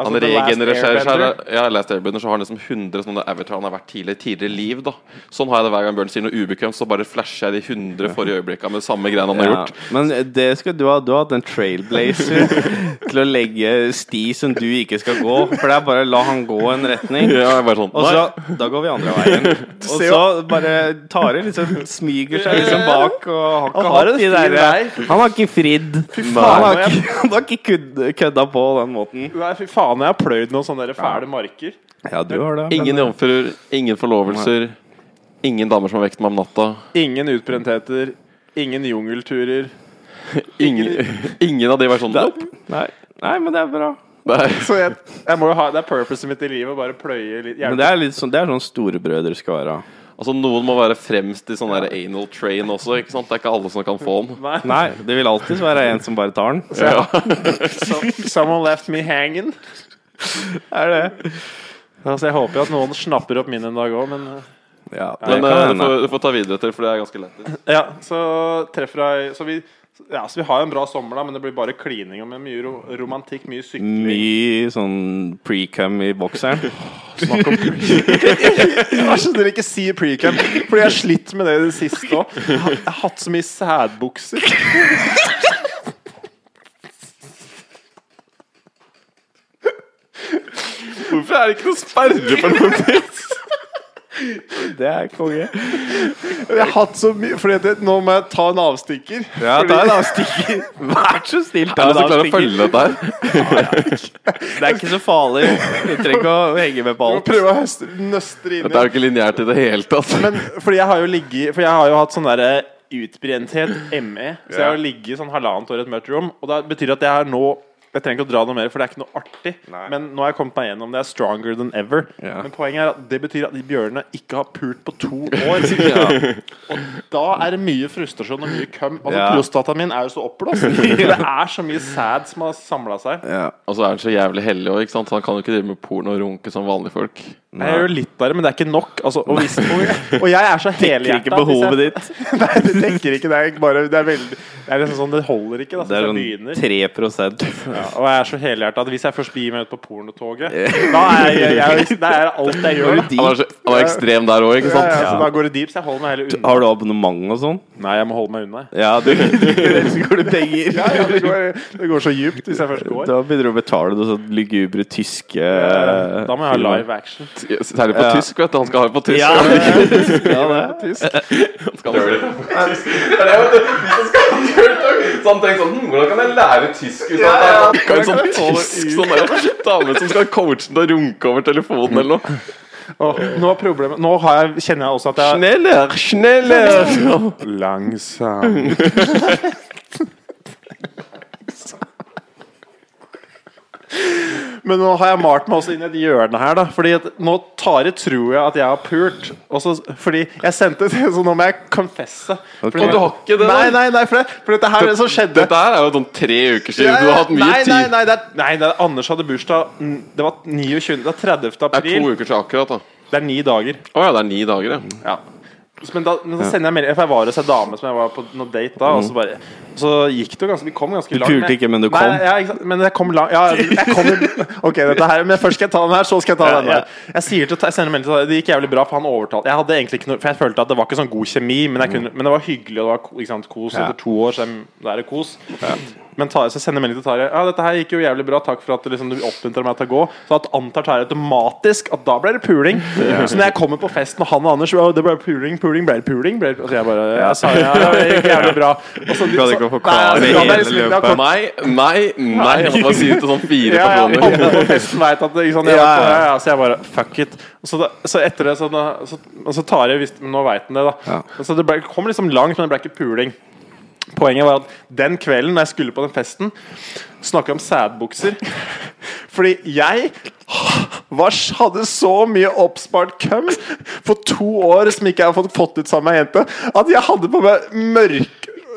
[SPEAKER 1] han
[SPEAKER 3] Altså, The Last
[SPEAKER 1] regenererer seg. så er
[SPEAKER 3] Airbender.
[SPEAKER 1] det- Ja, Last Airbender, så har han liksom 100 sånne Avatar han har vært tidligere, tidligere liv. da Sånn har jeg det hver gang Bjørn sier noe ubekvemt, så bare flasher jeg de 100 forrige øyeblikka med samme greiene han har
[SPEAKER 4] Ja,
[SPEAKER 1] gjort.
[SPEAKER 4] men det skal du ha. Du har hatt en trailblazer til å legge sti som du ikke skal gå. For det er bare å la han gå en retning.
[SPEAKER 1] Ja, jeg er bare sånn
[SPEAKER 4] Og
[SPEAKER 1] Nei,
[SPEAKER 4] så, Da går vi andre veien. Og
[SPEAKER 3] ser
[SPEAKER 4] så bare Tare liksom smyger seg liksom bak og har ikke
[SPEAKER 3] Han har
[SPEAKER 4] hatt
[SPEAKER 3] en
[SPEAKER 4] de
[SPEAKER 3] fin
[SPEAKER 4] der
[SPEAKER 3] vei.
[SPEAKER 4] Han har ikke fridd. Han har ikke, han har ikke kødd- kødda på den måten.
[SPEAKER 3] Nei, fy faen, jeg har pløyd noen sånne der fæle marker.
[SPEAKER 4] Ja, du har det.
[SPEAKER 1] ingen jomfruer, ingen forlovelser, ingen damer som har vekt meg om natta.
[SPEAKER 3] Ingen utbrentheter. Ingen jungelturer.
[SPEAKER 1] Ingen, ingen av de versjonene.
[SPEAKER 4] Nei. Nei, men det er bra.
[SPEAKER 1] Nei.
[SPEAKER 3] Så jeg, jeg må jo ha, det er purposen mitt i livet. Bare pløye litt
[SPEAKER 4] Men
[SPEAKER 3] hjelpe.
[SPEAKER 4] det er litt sånn, det er sånn storebrødre skal være.
[SPEAKER 1] Altså Noen må være fremst i sånn der anal train også. ikke sant? Det er ikke alle som kan få den.
[SPEAKER 3] Nei.
[SPEAKER 4] Nei, det vil alltid være en som bare tar den.
[SPEAKER 1] Ja.
[SPEAKER 3] Some- Someone left me hanging.
[SPEAKER 4] Er det?
[SPEAKER 3] Altså, jeg håper jo at noen snapper opp min en dag òg, men eh,
[SPEAKER 4] Ja, det
[SPEAKER 1] Men
[SPEAKER 4] kan
[SPEAKER 1] eh, du
[SPEAKER 4] hende.
[SPEAKER 1] får, du får ta videre til, for det er ganske lett.
[SPEAKER 3] Ja, så treffer jeg Så vi Ja, så Vi har jo en bra sommer, da men det blir bare klining og med mye ro romantikk. Mye sykling.
[SPEAKER 4] Mye sånn pre-cum i bokseren.
[SPEAKER 3] Vær så snill, ikke si precam, Fordi jeg har slitt med det i det siste òg. Jeg har jeg har hatt så mye sædbukser.
[SPEAKER 1] Hvorfor er det ikke noe sperre på den?
[SPEAKER 4] Det er konge.
[SPEAKER 3] Jeg har hatt så mye Fordi at jeg- Nå må jeg ta en avstikker.
[SPEAKER 4] Ja, ta en avstikker. Vær så snill, ta
[SPEAKER 1] Er det
[SPEAKER 4] en
[SPEAKER 1] så klarer å
[SPEAKER 4] avstikker.
[SPEAKER 1] følge dette her?
[SPEAKER 4] Det er ikke så farlig. Vi trenger ikke å henge med på
[SPEAKER 3] Jeg må
[SPEAKER 4] alt.
[SPEAKER 3] prøve å høste, nøstre inn i
[SPEAKER 1] Det er jo ikke lineært i det hele tatt.
[SPEAKER 3] Men fordi jeg har jo ligget For jeg har jo hatt sånn derre utbrenthet, ME. Så jeg har jo ligget sånn halvannet år i et mørkt rom. Og det betyr at jeg er nå Jeg trenger ikke å dra noe mer, for det er ikke noe artig.
[SPEAKER 4] Nei.
[SPEAKER 3] Men nå har jeg kommet meg gjennom det. Jeg er stronger than ever.
[SPEAKER 4] Ja.
[SPEAKER 3] Men poenget er at det betyr at de bjørnene ikke har pult på to år. Og da er det mye frustrasjon og mye køm. Altså,
[SPEAKER 4] Ja.
[SPEAKER 3] Prostataen min er jo så oppblåst. Det er så mye sæd som har samla seg.
[SPEAKER 1] Og så Altså, er han så jævlig hellig òg, ikke sant? Så han kan jo ikke drive med porno og runke som vanlige folk.
[SPEAKER 3] Jeg gjør litt der, men det er ikke nok. Altså, og, hvis, og, og jeg er så
[SPEAKER 4] Dekker
[SPEAKER 3] helhjerta.
[SPEAKER 4] ikke behovet ditt.
[SPEAKER 3] Nei, det dekker ikke. Det er ikke bare Det er veldig Det er liksom sånn, det holder ikke. Da,
[SPEAKER 4] Det er
[SPEAKER 3] sånn,
[SPEAKER 4] sånn
[SPEAKER 3] begynner.
[SPEAKER 4] 3
[SPEAKER 3] Ja, og jeg er så helhjerta at hvis jeg først begir meg ut på pornotoget, da er jeg, jeg, det er alt jeg gjør. Da.
[SPEAKER 1] Han er, så, han er ekstrem der òg, ikke
[SPEAKER 3] Ja, ja,
[SPEAKER 1] sant?
[SPEAKER 3] så da går det deep, så jeg holder meg heller unna.
[SPEAKER 4] Har du abonnement og sånn?
[SPEAKER 3] Nei, jeg må holde meg unna.
[SPEAKER 4] Ja, du Elsker du penger?
[SPEAKER 3] Ja, ja, det, går, det går så djupt hvis jeg først går.
[SPEAKER 4] Da begynner du å betale noe sånn lugubre tyske
[SPEAKER 3] Eh, Da må jeg ha live action.
[SPEAKER 1] Særlig på
[SPEAKER 4] Ja.
[SPEAKER 1] tysk, vet du. Han skal ha det på tysk.
[SPEAKER 4] Ja,
[SPEAKER 1] Han
[SPEAKER 4] ja, det.
[SPEAKER 1] skal ha det på tysk. Det er jo det- de som skal ha dirtdog. Så han tenker sånn hm, Hvordan kan jeg lære tysk uten at jeg har en sånn tysk sånn der, dame som skal coache den til å runke over telefonen eller noe?
[SPEAKER 3] Åh, nå, er problemet- nå har jeg, kjenner jeg også at jeg
[SPEAKER 1] Schneller, schneller!
[SPEAKER 3] Langsom. Men nå har jeg malt meg også inn i et hjørne her, da. Fordi at nå Tare tror jeg at jeg har pult. Og så- fordi jeg sendte det, så nå må jeg confesse. Fordi-
[SPEAKER 1] Og du har ikke det, da?
[SPEAKER 3] Nei, nei, nei, for, det, for dette her er det som skjedde.
[SPEAKER 1] Dette her er jo sånn tre uker siden. Du har hatt mye
[SPEAKER 3] nei, nei,
[SPEAKER 1] tid.
[SPEAKER 3] nei, det er, nei, det er, Anders hadde bursdag mm, Det var 29. Det er 30.
[SPEAKER 1] Det er to
[SPEAKER 3] april.
[SPEAKER 1] uker til akkurat, da.
[SPEAKER 3] Det er ni dager.
[SPEAKER 1] Å ja, det er ni dager, ja.
[SPEAKER 3] Ja. Så- Men, da, men så sender jeg melding For jeg var hos ei dame som jeg var på noen date da. Og så bare Så gikk det jo ganske Vi kom ganske langt.
[SPEAKER 4] pulte ikke, men Mhm. du kom.
[SPEAKER 3] Nei, ja, ikke sant, men jeg kom langt. Ja, jeg kom Ok, dette her Men først skal jeg ta den her, så skal jeg ta
[SPEAKER 4] Ja,
[SPEAKER 3] den
[SPEAKER 4] ja.
[SPEAKER 3] der. Jeg sier til Jeg sender melding til Det gikk jævlig bra, for han overtalte Jeg hadde egentlig ikke noe For jeg følte at det var ikke sånn god kjemi, men, jeg kunne, men det var hyggelig, og det var ko- ikke sant, kos
[SPEAKER 4] Mm. Ja.
[SPEAKER 3] etter to år, så jeg- da er det kos. Men Tarjei- så sender jeg melding til Tarjei Ja, dette her gikk jo jævlig bra Takk for at du, liksom, du oppmuntrer meg til å gå Så at antar Tarjei automatisk At da ble det puling Så når jeg kommer på festen Og han og Anders «Å, Det ble puling, puling, ble det puling ble det... Og så jeg bare Jeg sa ja, det gikk jævlig bra Og så
[SPEAKER 4] Prøvde ikke å
[SPEAKER 3] så- Nei,
[SPEAKER 4] forklare
[SPEAKER 3] ja, det er
[SPEAKER 4] hele
[SPEAKER 3] liksom- det er
[SPEAKER 4] løpet.
[SPEAKER 3] kort-
[SPEAKER 1] Nei, nei, nei. Jeg måtte bare si det til sånn fire
[SPEAKER 3] ja, ja,
[SPEAKER 1] personer.
[SPEAKER 3] alle på festen vet at det, ikke sant, jeg,
[SPEAKER 4] Ja, ja.
[SPEAKER 3] ja, ja, Så jeg bare Fuck it. Og Så, da, så etter det, så, da, så, og så tar jeg visst men Nå veit han det, da. Så det ble, kom liksom langt, men det ble ikke puling. Poenget var at den kvelden da jeg skulle på den festen, snakka om sædbukser. Fordi jeg var, hadde så mye oppspart køm for to år som ikke jeg har fått, fått ut sammen med ei jente, at jeg hadde på meg mørk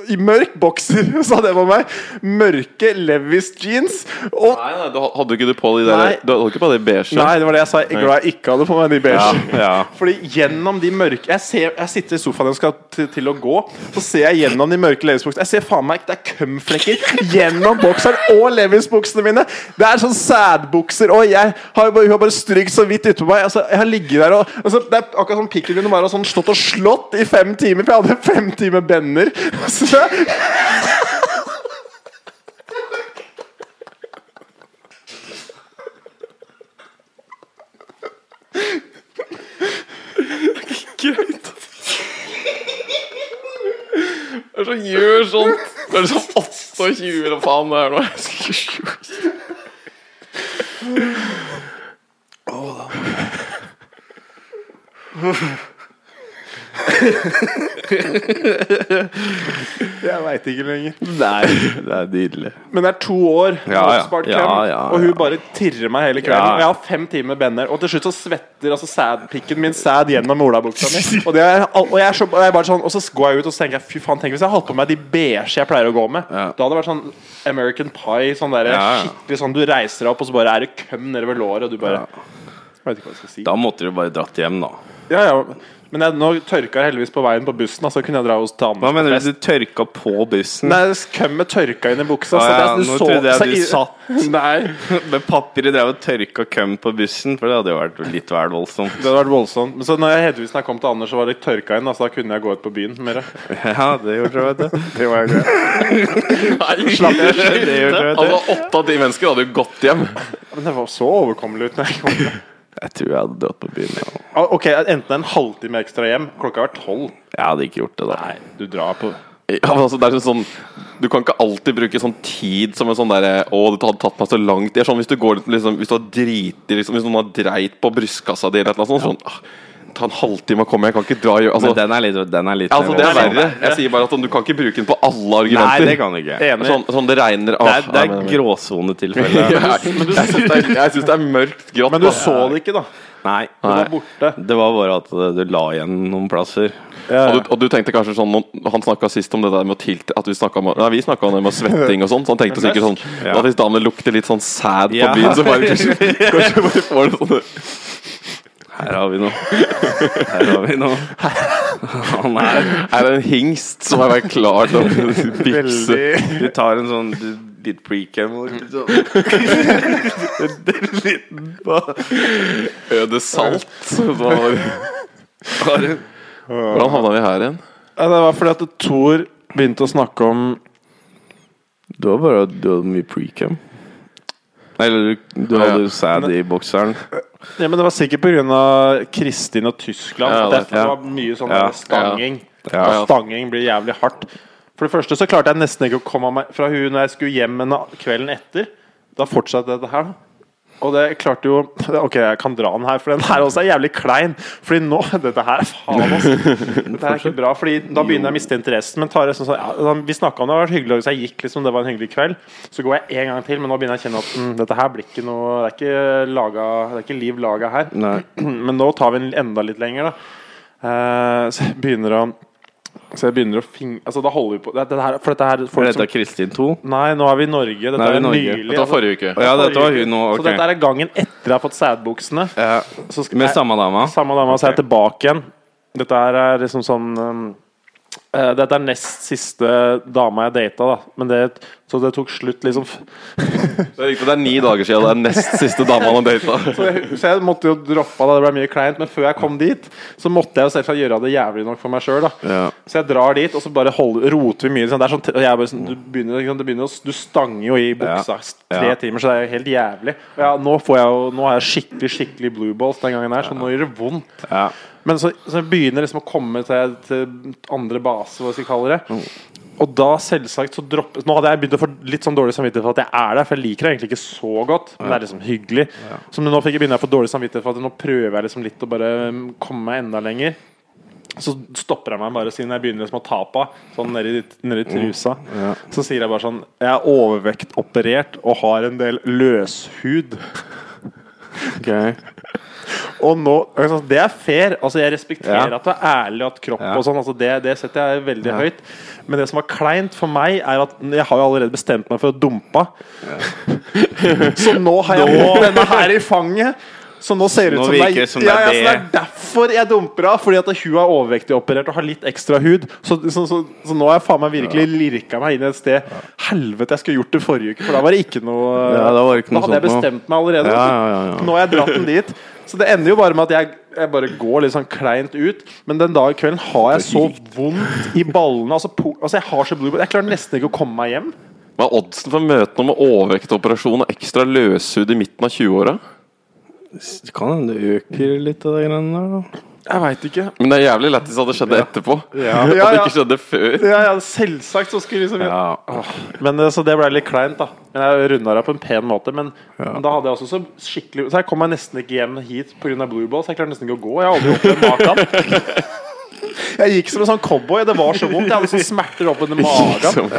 [SPEAKER 3] i mørk bokser, så hadde jeg på meg mørke Levis jeans og
[SPEAKER 1] Nei, nei, du ha- hadde ikke du på de der
[SPEAKER 3] Nei.
[SPEAKER 1] Du hadde ikke på de beige?
[SPEAKER 3] Nei, det var det jeg sa. Jeg er glad jeg ikke hadde på meg de beige.
[SPEAKER 4] Ja.
[SPEAKER 3] Fordi gjennom de mørke Jeg, ser, jeg sitter i sofaen og skal til, til å gå, så ser jeg gjennom de mørke Levis-buksene. Jeg ser faen meg det er kømflekker gjennom bokseren og Levis-buksene mine! Det er sånn sædbukser. Og jeg har jo bare, hun har bare strykt så vidt utpå meg. Altså, jeg har ligget der og altså, Det er akkurat som pikken min var og sånn slått og slått i fem timer, for jeg hadde fem timer bender. Så
[SPEAKER 1] Hva er det som gjør sånt? Det er sånn 28 eller faen det er nå. Jeg skal ikke skjønne.
[SPEAKER 3] jeg veit ikke lenger.
[SPEAKER 4] Nei, det er nydelig.
[SPEAKER 3] Men det er to år med
[SPEAKER 4] Ja, ja.
[SPEAKER 3] oppspart
[SPEAKER 4] Ja,
[SPEAKER 3] klem,
[SPEAKER 4] ja,
[SPEAKER 3] og hun
[SPEAKER 4] ja.
[SPEAKER 3] bare tirrer meg hele kvelden.
[SPEAKER 4] Ja.
[SPEAKER 3] Og jeg har fem timer benner, og til slutt så svetter altså sædpikken min sæd gjennom olabuksa mi. Og, det er, og, jeg er så, og, jeg er bare sånn, og så går jeg ut og så tenker jeg, fy faen, tenk hvis jeg hadde på meg de beige jeg pleier å gå med.
[SPEAKER 4] Ja.
[SPEAKER 3] Da hadde det vært sånn American Pie, sånn der,
[SPEAKER 4] Ja, ja.
[SPEAKER 3] skikkelig sånn du reiser deg opp, og så bare er det køm nedover låret, og du bare
[SPEAKER 4] Ja.
[SPEAKER 3] Jeg vet ikke hva jeg skal si.
[SPEAKER 4] Da måtte du bare dratt hjem, da.
[SPEAKER 3] Ja, ja. Men jeg, nå tørka jeg heldigvis på veien på bussen, så kunne jeg dra hos
[SPEAKER 4] Hva
[SPEAKER 3] damen.
[SPEAKER 4] mener du? Du tørka på bussen
[SPEAKER 3] Nei, skummet tørka inn i buksa.
[SPEAKER 4] Ah, ja,
[SPEAKER 3] så det,
[SPEAKER 4] nå
[SPEAKER 3] så,
[SPEAKER 4] trodde jeg
[SPEAKER 3] så,
[SPEAKER 4] du
[SPEAKER 3] satt Nei,
[SPEAKER 4] med papir og drev og tørka køm på bussen? For det hadde jo vært litt vel voldsomt.
[SPEAKER 3] det hadde vært voldsomt. Men så når jeg heldigvis når jeg kom til Anders, så var det tørka inn. Altså, da kunne jeg gå ut på byen mer.
[SPEAKER 4] Ja, det gjorde det, vet du.
[SPEAKER 3] Det var jeg gøy.
[SPEAKER 1] Slapp
[SPEAKER 4] Det gjorde det, vet du.
[SPEAKER 1] Altså, åtte av ti mennesker hadde jo gått hjem.
[SPEAKER 3] Men det var så overkommelig ut. Når jeg kom.
[SPEAKER 4] Jeg tror jeg hadde dødd på byen. Ja.
[SPEAKER 3] Ah, Ok, Enten en halvtime ekstra hjem Klokka var tolv.
[SPEAKER 4] Jeg hadde ikke gjort det, da.
[SPEAKER 3] Nei, du drar på
[SPEAKER 1] Ja, men altså, det er sånn, du kan ikke alltid bruke sånn tid som en sånn derre Å, det hadde tatt meg så langt. Det er sånn hvis du går litt, liksom, Hvis du har driti liksom, Hvis noen har dreit på brystkassa di eller et eller annet sånt, sånn «Ah, Ta en halvtime og kom, jeg kan ikke dra og gjøre
[SPEAKER 4] Men
[SPEAKER 1] altså,
[SPEAKER 4] den er litt, den er litt
[SPEAKER 1] altså, Det er verre. Jeg sier bare at sånn, du kan ikke bruke den på alle
[SPEAKER 4] Nei,
[SPEAKER 1] argumenter.
[SPEAKER 4] det kan du ikke. Det
[SPEAKER 1] Sånn, sånn det regner ah,
[SPEAKER 4] er, det er
[SPEAKER 1] nei, men-
[SPEAKER 4] gråsonetilfelle.
[SPEAKER 1] Jeg, jeg syns det, er- jeg syns det er mørkt grått.
[SPEAKER 3] Men du
[SPEAKER 1] da.
[SPEAKER 3] så det ikke, da.
[SPEAKER 4] Nei.
[SPEAKER 3] Du var borte.
[SPEAKER 4] Det var bare at eh, du la igjen noen plasser.
[SPEAKER 1] Og du, og du tenkte kanskje sånn noen- Han snakka sist om det der med å tilte At vi snakka om Nei, vi snakka om det med svetting og sånn, så han tenkte sikkert sånn
[SPEAKER 4] Ja.
[SPEAKER 1] At hvis damene lukter litt sånn sæd på
[SPEAKER 4] Ja.
[SPEAKER 1] byen, så bare kanskje, kanskje bare får det sånn
[SPEAKER 4] Her har vi noe. Her har vi noe. Han er
[SPEAKER 1] Er det en hingst som har vært klar til å bikse?
[SPEAKER 4] Du tar en sånn du, litt precam og litt sånn En liten ba-
[SPEAKER 1] Øde salt? Så Hvordan
[SPEAKER 4] bare-
[SPEAKER 1] havna vi her igjen?
[SPEAKER 3] Ja, det var fordi at Thor begynte å snakke om
[SPEAKER 4] Du har bare du har mye precam. Eller du, du hadde jo sæd i bokseren.
[SPEAKER 3] Ja, men Det var sikkert pga. Kristin og Tyskland.
[SPEAKER 1] Ja,
[SPEAKER 3] at
[SPEAKER 1] det-
[SPEAKER 3] det, det var mye sånn
[SPEAKER 4] Ja.
[SPEAKER 3] stanging.
[SPEAKER 4] Ja.
[SPEAKER 3] Og Stanging blir jævlig hardt. For det første så klarte jeg nesten ikke å komme meg fra hun når jeg skulle hjem en kvelden etter. Da fortsatte dette her. da. Og det klarte jo Ok, jeg kan dra den her, for den her også er jævlig klein. Fordi nå Dette her er faen, altså. Dette her er ikke bra. Fordi da begynner jeg å miste interessen. Men tar det sånn, sånn, ja, vi snakka om det, det var hyggelig, så jeg gikk liksom, det var en hyggelig kveld. Så går jeg en gang til, men nå begynner jeg å kjenne at mm, dette her blir ikke noe Det er ikke, laga, det er ikke liv laga her.
[SPEAKER 4] Nei.
[SPEAKER 3] Men nå tar vi den enda litt lenger, da. Eh, så jeg begynner å Så jeg begynner å fing... Altså, da holder vi på det, det her, For dette her
[SPEAKER 4] For
[SPEAKER 3] folk
[SPEAKER 4] dette
[SPEAKER 3] som,
[SPEAKER 4] er Kristin 2.
[SPEAKER 3] Nei, nå er vi i Norge. Dette
[SPEAKER 4] Nå er vi i
[SPEAKER 3] er
[SPEAKER 4] Norge.
[SPEAKER 3] nylig. altså.
[SPEAKER 1] Det var forrige uke.
[SPEAKER 4] Å ja, dette var hun nå.
[SPEAKER 3] Så dette
[SPEAKER 4] Ok.
[SPEAKER 3] er gangen etter jeg har fått sædbuksene.
[SPEAKER 4] Ja.
[SPEAKER 3] Så skal-
[SPEAKER 4] Med
[SPEAKER 3] Nei,
[SPEAKER 4] samme dama.
[SPEAKER 3] Samme dama, så er jeg tilbake igjen. Dette her er liksom sånn um, eh, Dette er nest siste dama jeg data, da. Men det, så det tok slutt, liksom.
[SPEAKER 1] Det er riktig, det er ni dager siden. Det er nest siste dama han har data.
[SPEAKER 3] Så jeg, så jeg måtte jo droppe det, det ble mye kleint. Men før jeg kom dit, så måtte jeg jo selvsagt gjøre det jævlig nok for meg sjøl, da.
[SPEAKER 4] Ja.
[SPEAKER 3] Så jeg drar dit, og så bare holder, roter vi mye. Liksom. Det er sånn, og jeg bare, sånn, du, begynner, ikke sant, det begynner, å- du stanger jo i buksa
[SPEAKER 4] Ja.
[SPEAKER 3] tre
[SPEAKER 4] Ja.
[SPEAKER 3] timer, så det er jo helt jævlig. Og ja, nå, får jeg jo, nå er jeg skikkelig skikkelig blue balls den gangen her, så nå gjør det vondt.
[SPEAKER 4] Ja.
[SPEAKER 3] Men så, så jeg begynner liksom å komme til, til andre base, hva skal jeg kalle det.
[SPEAKER 4] Mm.
[SPEAKER 3] Og da selvsagt så droppes Nå hadde jeg begynt å få litt sånn dårlig samvittighet for at jeg er der, for jeg liker det egentlig ikke så godt. Men det er liksom hyggelig. Så nå fikk jeg begynne å få dårlig samvittighet for at nå prøver jeg liksom litt å bare mm, komme meg enda lenger. Så stopper jeg meg bare siden jeg begynner liksom å ta på Sånn nedi, nedi
[SPEAKER 4] Mm.
[SPEAKER 3] trusa. Så sier jeg bare sånn Jeg er overvektoperert og har en del løshud. Og nå, altså, det er fair. Altså, jeg respekterer
[SPEAKER 4] Ja.
[SPEAKER 3] at du er ærlig, at kropp
[SPEAKER 4] Ja.
[SPEAKER 3] og sånn altså, det, det setter jeg veldig høyt. Men det som var kleint for meg, er at jeg har jo allerede bestemt meg for å dumpe. så nå har jeg fått denne her i fanget. Så nå ser det ut
[SPEAKER 4] Nå
[SPEAKER 3] som
[SPEAKER 4] virker
[SPEAKER 3] det
[SPEAKER 4] det
[SPEAKER 3] er,
[SPEAKER 4] som
[SPEAKER 3] ja, ja,
[SPEAKER 4] det
[SPEAKER 3] så det
[SPEAKER 4] er
[SPEAKER 3] er
[SPEAKER 4] det.
[SPEAKER 3] derfor jeg dumper av. Fordi at hun er overvektig operert og har litt ekstra hud. Så, så, så, så nå har jeg faen meg virkelig lirka meg inn et sted. Helvete, jeg skulle gjort det forrige uke, for da var det ikke noe
[SPEAKER 4] Ja, da var det ikke noe
[SPEAKER 3] hadde jeg
[SPEAKER 4] sånt nå.
[SPEAKER 3] bestemt meg allerede.
[SPEAKER 4] Ja, ja, ja, ja.
[SPEAKER 3] Nå har jeg dratt den dit. Så det ender jo bare med at jeg, jeg bare går litt sånn kleint ut. Men den dagen kvelden har jeg så vondt i ballene. Altså, po- altså Jeg har så blod Jeg klarer nesten ikke å komme meg hjem.
[SPEAKER 1] Hva er oddsen for å møte noen med overvektoperasjon og ekstra løshud i midten av 20-åra?
[SPEAKER 4] Det kan hende det øker litt av de greiene der, da.
[SPEAKER 3] Jeg veit ikke.
[SPEAKER 1] Men det er jævlig lættis at det skjedde etterpå.
[SPEAKER 3] Ja.
[SPEAKER 1] At
[SPEAKER 3] Ja,
[SPEAKER 1] det
[SPEAKER 3] ja.
[SPEAKER 1] ikke skjedde før.
[SPEAKER 3] Ja, ja, selvsagt så skulle liksom
[SPEAKER 4] Ja.
[SPEAKER 3] Men eh, Så det ble litt kleint, da. Men Jeg runda det på en pen måte. Men, men da hadde jeg også så skikkelig Så jeg kom meg nesten ikke hjem hit pga. blue balls. Jeg klarte nesten ikke å gå. Jeg har aldri opplevd maken. Jeg gikk som en sånn cowboy. Det var så vondt. Jeg hadde sånn smerter opp under magen.
[SPEAKER 1] Som,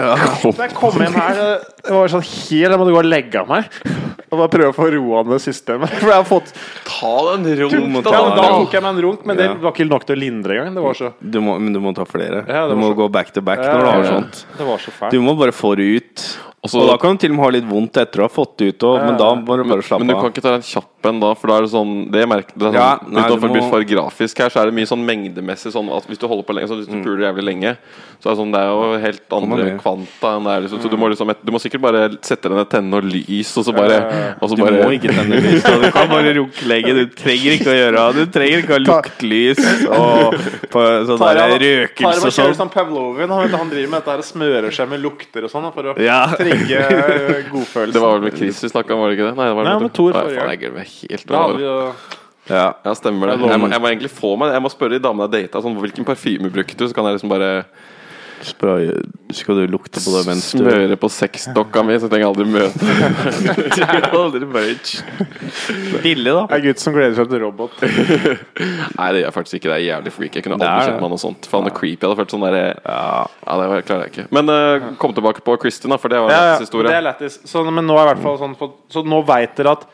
[SPEAKER 3] Så jeg kom hjem her Det var sånn helt Jeg måtte gå og legge av meg. Og bare prøve å få roa ned systemet. For jeg har fått
[SPEAKER 1] Ta den rom
[SPEAKER 3] ja, men Da tok jeg meg en runk, men det var ikke nok til å lindre engang. Det var så
[SPEAKER 4] Du må, men du må ta flere.
[SPEAKER 3] Ja,
[SPEAKER 4] du
[SPEAKER 3] det var
[SPEAKER 4] må
[SPEAKER 3] så-
[SPEAKER 4] gå back to back
[SPEAKER 3] Ja,
[SPEAKER 4] når du
[SPEAKER 3] ja,
[SPEAKER 4] har
[SPEAKER 3] ja.
[SPEAKER 4] sånt.
[SPEAKER 3] Det var så
[SPEAKER 4] Du
[SPEAKER 3] fælt.
[SPEAKER 4] må bare få det ut.
[SPEAKER 1] Og så-
[SPEAKER 4] og da kan du til og med ha litt vondt etter å ha fått det ut òg, men da må du bare slappe
[SPEAKER 1] Men du
[SPEAKER 4] av.
[SPEAKER 1] kan ikke ta en kjapp appen da? For da er det sånn Det merker det er sånn,
[SPEAKER 4] Ja, nei,
[SPEAKER 1] Uten at
[SPEAKER 4] du
[SPEAKER 1] folk blir
[SPEAKER 4] må-
[SPEAKER 1] for grafisk her, så er det mye sånn mengdemessig sånn at hvis du holder på lenge Så hvis
[SPEAKER 3] Mm.
[SPEAKER 1] du puler jævlig lenge, så er det sånn Det er jo helt andre
[SPEAKER 4] ned.
[SPEAKER 1] kvanta enn det er liksom. Så du må liksom et- Du må sikkert bare sette deg ned tenne og lys, og så bare og så
[SPEAKER 4] Du
[SPEAKER 1] bare,
[SPEAKER 4] må ikke tenne lys, da. du kan bare runklegge. Du trenger ikke å gjøre Du trenger ikke å ha luktlys og på sånn
[SPEAKER 5] Tar
[SPEAKER 4] der
[SPEAKER 5] han- Tar
[SPEAKER 4] røkelse
[SPEAKER 5] han
[SPEAKER 4] og
[SPEAKER 5] og kjører
[SPEAKER 4] sånn.
[SPEAKER 5] sånn Pavlovian. Han, vet du, han driver med dette her og smører seg med lukter og sånn da, for å
[SPEAKER 4] Ja.
[SPEAKER 5] trigge eh, godfølelsen.
[SPEAKER 1] Det var vel med Chris vi snakka om, var det ikke det? Nei, det var
[SPEAKER 5] Nei,
[SPEAKER 1] det
[SPEAKER 5] med Thor
[SPEAKER 1] Nei,
[SPEAKER 5] forrige
[SPEAKER 1] faen,
[SPEAKER 5] gang.
[SPEAKER 1] jeg glemmer helt
[SPEAKER 5] Da
[SPEAKER 1] hva
[SPEAKER 5] hadde
[SPEAKER 1] det
[SPEAKER 5] vi
[SPEAKER 1] var.
[SPEAKER 5] jo
[SPEAKER 4] Ja.
[SPEAKER 1] Ja, stemmer det.
[SPEAKER 5] lover.
[SPEAKER 1] Jeg må, jeg må egentlig få meg Jeg må spørre de damene jeg data, sånn, hvilken parfyme brukte du? Så kan jeg liksom bare
[SPEAKER 4] Spray, skal du lukte på det mens du
[SPEAKER 1] smøre på sexdokka mi, så trenger jeg aldri møte
[SPEAKER 4] Aldri merch. Billig, da.
[SPEAKER 5] er gutt som gleder seg til robot.
[SPEAKER 1] Nei, det gjør jeg faktisk ikke. Det er jævlig freak. Jeg kunne
[SPEAKER 4] Det er
[SPEAKER 1] aldri
[SPEAKER 4] det.
[SPEAKER 1] kjøpt meg noe sånt. Faen, det er creepy. Jeg hadde følt sånn derre ja.
[SPEAKER 4] Ja.
[SPEAKER 1] det var- klarer jeg ikke. Men eh, kom tilbake på Kristin, da, for det var
[SPEAKER 5] Ja,
[SPEAKER 1] hennes
[SPEAKER 5] ja,
[SPEAKER 1] historie.
[SPEAKER 5] Det er lættis. Så, men nå er i hvert fall sånn fått- Så nå veit dere at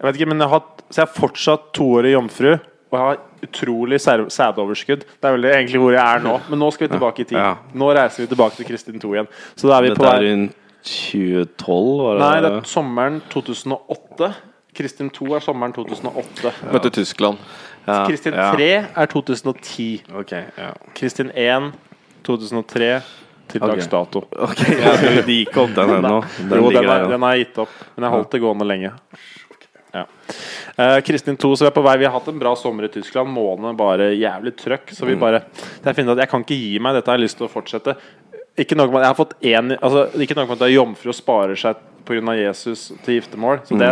[SPEAKER 5] Jeg vet ikke, men jeg har hatt Så jeg er fortsatt toårig jomfru. Og jeg har utrolig sær- sædoverskudd. Det er veldig egentlig hvor jeg er nå. Men nå skal vi tilbake i tid.
[SPEAKER 4] Ja.
[SPEAKER 5] Nå reiser vi tilbake til Kristin 2 igjen. Så da er vi på
[SPEAKER 4] Dette er
[SPEAKER 5] vei
[SPEAKER 4] rundt 2012, var det?
[SPEAKER 5] Nei, det er sommeren 2008. Kristin 2 er sommeren 2008.
[SPEAKER 1] Møtte Tyskland.
[SPEAKER 4] ja.
[SPEAKER 5] Kristin
[SPEAKER 4] ja.
[SPEAKER 5] 3 er 2010.
[SPEAKER 4] Ok, ja.
[SPEAKER 5] Kristin 1 2003 til
[SPEAKER 4] Ok.
[SPEAKER 5] dags dato.
[SPEAKER 4] Ok, ja, du- De gikk opp den ennå. Den
[SPEAKER 5] jo, den,
[SPEAKER 4] ligger
[SPEAKER 5] er,
[SPEAKER 4] der.
[SPEAKER 5] den har jeg gitt opp, men jeg holdt det gående lenge. Ja. Eh, Kristin 2, så vi er på vei. Vi har hatt en bra sommer i Tyskland. Måneden bare jævlig trøkk. Så vi bare Jeg finner at jeg kan ikke gi meg. Dette har jeg lyst til å fortsette. Ikke nok med at jeg har fått én altså, Ikke nok med at du er jomfru og sparer seg pga. Jesus til giftermål. Så det,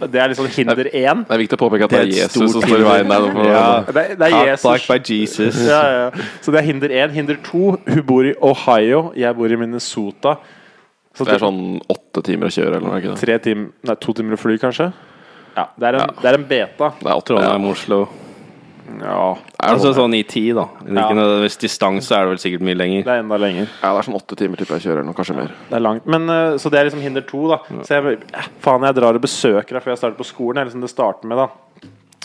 [SPEAKER 5] er- det er liksom hinder én.
[SPEAKER 1] Det er viktig å påpeke at det
[SPEAKER 4] Det er
[SPEAKER 1] er
[SPEAKER 4] et
[SPEAKER 1] Jesus som
[SPEAKER 4] stort
[SPEAKER 1] står i veien der. nå.
[SPEAKER 4] Ja.
[SPEAKER 5] Det, er- det er
[SPEAKER 4] Hot
[SPEAKER 5] Jesus.
[SPEAKER 4] Black by Jesus.
[SPEAKER 5] Ja, ja. ja. Så det er hinder én. Hinder to, hun bor i Ohio, jeg bor i Minnesota. Så
[SPEAKER 1] Det er sånn åtte timer å kjøre, eller noe? er det Ikke det?
[SPEAKER 5] tre tim- nei, to timer å fly, kanskje? Ja, det er en, Det er en beta.
[SPEAKER 1] Det er åtte ja.
[SPEAKER 4] Trondheim, Oslo.
[SPEAKER 5] Ja,
[SPEAKER 4] Altså sånn i tid, da.
[SPEAKER 5] Ja.
[SPEAKER 4] Ikke nødvendigvis distanse er det vel sikkert mye lenger.
[SPEAKER 5] det er enda lenger.
[SPEAKER 1] ja, det er sånn åtte timer tipper jeg kjører, eller noe, kanskje mer.
[SPEAKER 5] Det er langt. Men, eh, så det er liksom hinder to, da. Så jeg, bare, eh, faen, jeg drar og besøker deg før jeg starter på skolen. Det er liksom det starter med, da.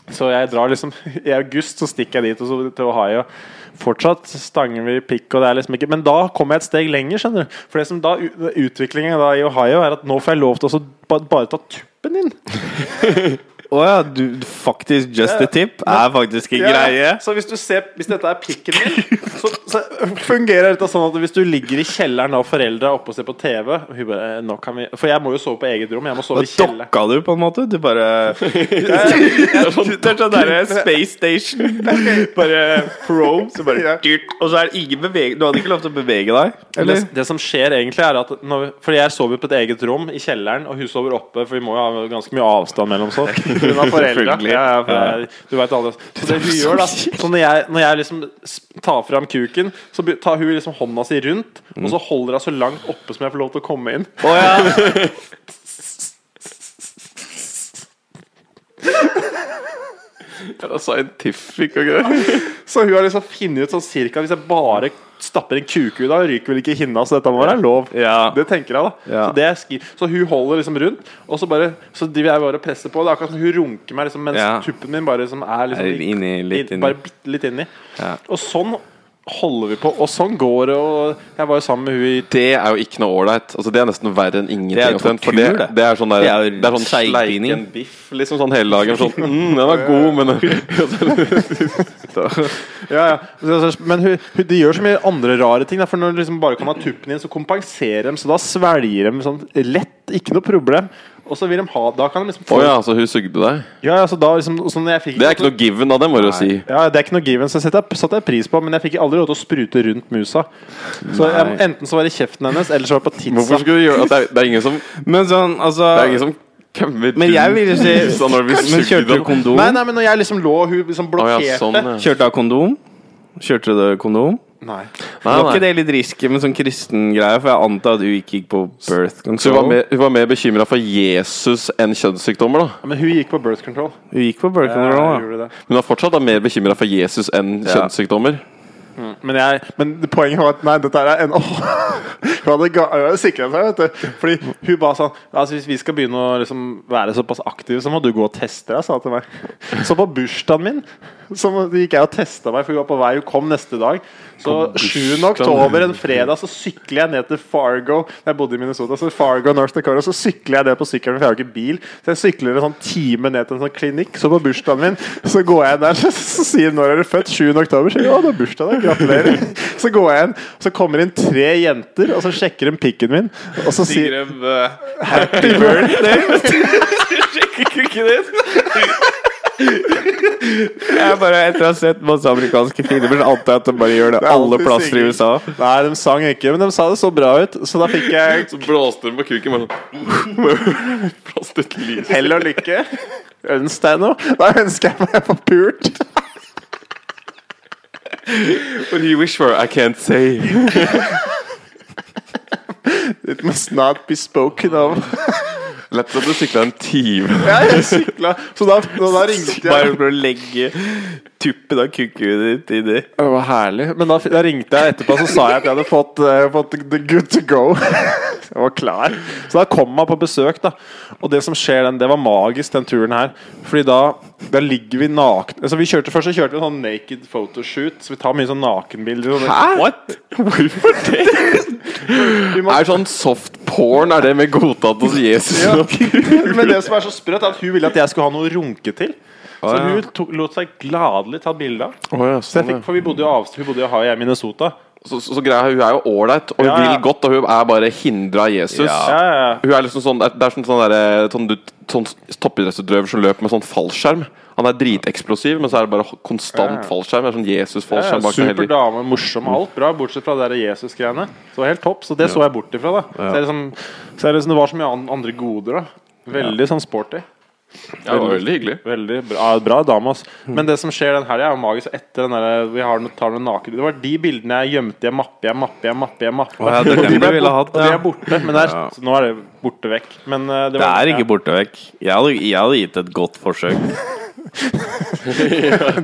[SPEAKER 5] Så jeg drar liksom I august så stikker jeg dit og så til Ohio. Fortsatt stanger vi pikk, og det er liksom ikke Men da kommer jeg et steg lenger, skjønner du. For det som da utviklinga da i Ohio, er at nå får jeg lov til å så ba, bare ta tuppen inn.
[SPEAKER 4] Å ja, du, du- faktisk just a tip er faktisk en greie.
[SPEAKER 5] Ja, Så hvis du ser Hvis dette er pikken min, så, så fungerer dette sånn at hvis du ligger i kjelleren av foreldra oppe og ser på TV og hun bare, eh, nå kan vi, For jeg må jo sove på eget rom. Jeg må
[SPEAKER 4] Da
[SPEAKER 5] sove i kjelleren.
[SPEAKER 4] dokka du, på en måte. Du bare Det er sånn derre Space Station. Bare probe, så bare dyrt. Og så er det ingen beveg... Du hadde ikke lov til å bevege deg?
[SPEAKER 5] Det,
[SPEAKER 4] Eller?
[SPEAKER 5] det som skjer egentlig, er at når, vi- Fordi jeg sover på et eget rom i kjelleren, og hun sover oppe, for vi må jo ha ganske mye avstand mellom oss. Hun har foreldre.
[SPEAKER 4] Selvfølgelig.
[SPEAKER 5] Ja, ja, for jeg, du vet alle Så det hun gjør, da Så når jeg, når jeg liksom s- tar fram kuken, så be- tar hun liksom hånda si rundt, og så holder hun så langt oppe som jeg får lov til å komme inn.
[SPEAKER 4] Å ja.
[SPEAKER 1] Ja, det er scientific og greier.
[SPEAKER 5] Så hun har liksom funnet ut sånn cirka Hvis jeg bare stapper en kuku da, ryker vel ikke hinna, så dette må være lov.
[SPEAKER 4] Ja.
[SPEAKER 5] Det tenker jeg, da.
[SPEAKER 4] Ja.
[SPEAKER 5] Så, det er skri- så hun holder liksom rundt, og så bare Så driver jeg bare og presser på. Det er akkurat som hun runker meg liksom, mens
[SPEAKER 4] Ja.
[SPEAKER 5] tuppen min bare liksom er liksom
[SPEAKER 4] Er inni, litt inni.
[SPEAKER 5] Bare bitte litt inni.
[SPEAKER 4] Ja.
[SPEAKER 5] Og sånn holder vi på, og sånn går det, og jeg var jo sammen med hun i
[SPEAKER 1] Det er jo ikke noe ålreit. Altså, det er nesten verre enn ingenting.
[SPEAKER 4] Det er jo
[SPEAKER 1] omtrent, for
[SPEAKER 4] tortur,
[SPEAKER 1] det,
[SPEAKER 4] det.
[SPEAKER 1] det er sånn der,
[SPEAKER 4] Det er jo
[SPEAKER 1] det er sånn
[SPEAKER 4] seigbinding.
[SPEAKER 1] sleiken biff liksom sånn hele dagen. Sånn, mm, den var god, men
[SPEAKER 5] Ja, ja. Så- så- Men hun, hun, de gjør så mye andre rare ting. Da, for når du liksom bare kan ha tuppen inn, så kompenserer de. Så da svelger de sånn lett, ikke noe problem. Og så vil de ha Da kan de liksom
[SPEAKER 1] Å
[SPEAKER 5] få
[SPEAKER 1] ja, så hun sugde deg?
[SPEAKER 5] Ja, ja, så da liksom så når jeg fikk
[SPEAKER 1] Det er ikke noe given, da, det må du jo si.
[SPEAKER 5] ja, det er ikke noe given, så setter jeg satte jeg pris på, men jeg fikk aldri lov til å sprute rundt musa. Så jeg, enten så var det i kjeften hennes, eller så var det på
[SPEAKER 1] Hvorfor
[SPEAKER 5] tidsa.
[SPEAKER 1] skulle du gjøre at det er, det er ingen som
[SPEAKER 4] Men sånn,
[SPEAKER 1] Det er ingen
[SPEAKER 4] altså
[SPEAKER 1] som kømmer
[SPEAKER 4] Men jeg ville si
[SPEAKER 1] når vi
[SPEAKER 4] Men
[SPEAKER 1] sugde
[SPEAKER 4] kjørte du
[SPEAKER 1] den.
[SPEAKER 4] kondom?
[SPEAKER 5] Nei, nei, men når jeg liksom lå og hun liksom
[SPEAKER 1] Å
[SPEAKER 5] blokkerte
[SPEAKER 1] ja, sånn, ja.
[SPEAKER 4] Kjørte du kondom? Kjørte du kondom?
[SPEAKER 5] Nei.
[SPEAKER 1] Nei,
[SPEAKER 4] Var ikke
[SPEAKER 1] nei.
[SPEAKER 4] det litt risky med sånn kristen greie? For jeg antar at du ikke gikk på birth control.
[SPEAKER 1] Så hun var mer, hun var mer bekymra for Jesus enn kjønnssykdommer, da.
[SPEAKER 5] Ja, Men hun gikk på birth control.
[SPEAKER 4] Du gikk på birth
[SPEAKER 5] Ja,
[SPEAKER 4] control,
[SPEAKER 5] gjorde det.
[SPEAKER 1] Men hun er fortsatt da mer bekymra for Jesus enn
[SPEAKER 4] Ja.
[SPEAKER 1] kjønnssykdommer.
[SPEAKER 5] Men jeg
[SPEAKER 3] Men poenget var at Nei, dette er en åh. Hun hadde, ga- hun hadde sikra seg, vet du. Fordi hun ba sånn
[SPEAKER 5] Altså Hvis vi skal begynne å liksom være såpass aktive, så må du gå og teste deg, sa hun til meg. Så på bursdagen min så må- gikk jeg og testa meg, for hun var på vei. Hun kom neste dag. Så 7. oktober, en fredag, så sykler jeg ned til Fargo. Jeg bodde i Minnesota, så Fargo, North Dakota. Så sykler jeg ned på sykkelen, for jeg har ikke bil. Så jeg sykler en sånn time ned til en sånn klinikk. Så på bursdagen min, så går jeg der, så sier hun, når er du født? 7. oktober. Så sier hun, å, det er bursdag, da. Gratulerer. Så går jeg inn, så kommer inn tre jenter, og så sjekker de pikken min, og så sier
[SPEAKER 4] Sigrem, eh,
[SPEAKER 5] Happy birthday!
[SPEAKER 4] Sjekker kukken din! Jeg bare, Etter å ha sett masse amerikanske filmer, så antar jeg at de bare gjør det
[SPEAKER 5] er
[SPEAKER 4] alle
[SPEAKER 5] alltid
[SPEAKER 4] plasser i
[SPEAKER 5] Sigrid.
[SPEAKER 4] USA.
[SPEAKER 5] Nei, de sang ikke, men de sa det så bra ut. Så da fikk jeg
[SPEAKER 1] Så blåste den på kuken bare sånn Blåste et lys.
[SPEAKER 5] hell og lykke. Ønsk deg noe. Da ønsker jeg meg på pult.
[SPEAKER 1] What do you wish for? I can't say.
[SPEAKER 5] It must not be spoken of.
[SPEAKER 1] Lett som du sykla en time.
[SPEAKER 5] Ja, jeg sykla. Så da, da, da ringte jeg.
[SPEAKER 4] Bare for å legge tuppen av kukken ditt i det.
[SPEAKER 5] Det var herlig. Men da, da ringte jeg etterpå, så sa jeg at jeg hadde fått, eh, fått the good to go. Jeg var klar. Så da kom han på besøk, da. Og det som skjer den, det var magisk, den turen her. Fordi da, da ligger vi nakne altså, vi kjørte, Først så kjørte vi en sånn naked photoshoot, så vi tar mye sånn nakenbilder. og det-
[SPEAKER 4] What?
[SPEAKER 1] Ah. Hvorfor det? Er sånn soft porn Er det med godtatt hos Jesus?
[SPEAKER 5] Men det som er så sprøtt, er at hun ville at jeg skulle ha noe å runke til. Så hun tok, lot seg gladelig ta bilde av. Så
[SPEAKER 4] sånn,
[SPEAKER 5] jeg fikk- For vi bodde jo avst- hun bodde jo i Hawaii, jeg i Minnesota.
[SPEAKER 1] Så, så, så greia er, Hun er jo ålreit og hun
[SPEAKER 5] Ja, ja.
[SPEAKER 1] vil godt, og hun er bare hindra av Jesus.
[SPEAKER 5] Ja, ja, ja.
[SPEAKER 1] Hun er liksom sånn, Det er sånn, sånn, der, sånn, du- sånn toppidrettsutøver som løper med sånn fallskjerm. Han er driteksplosiv, men så er det bare konstant fallskjerm. Det er sånn
[SPEAKER 5] Ja,
[SPEAKER 1] Jesus-fallskjerm bak seg
[SPEAKER 5] Super
[SPEAKER 1] hele tiden.
[SPEAKER 5] dame, morsom og alt bra, bortsett fra det der Jesus-greiene. Så det var helt topp, så det så jeg bort ifra. da Så, jeg liksom, så jeg liksom, det var så mye an- andre goder. da Veldig sånn sporty.
[SPEAKER 1] Ja, det var veldig hyggelig.
[SPEAKER 5] Veldig bra, ja, bra dame, ass. Men det som skjer den helga, er jo magisk. Etter den der, vi har, noe- tar noen naken Det var de bildene jeg gjemte i en mappe, i en mappe, i en mappe. i en mappe
[SPEAKER 4] ja, det er
[SPEAKER 5] Og
[SPEAKER 4] dem
[SPEAKER 5] de
[SPEAKER 4] du
[SPEAKER 5] ble
[SPEAKER 4] ville hatt,
[SPEAKER 5] bort- og de
[SPEAKER 4] ja.
[SPEAKER 5] er borte. Men det er,
[SPEAKER 4] Ja.
[SPEAKER 5] så nå er det borte vekk. Men eh, det,
[SPEAKER 4] Det
[SPEAKER 5] var-
[SPEAKER 4] er
[SPEAKER 5] ja.
[SPEAKER 4] ikke borte vekk. Jeg hadde, jeg hadde gitt et godt forsøk.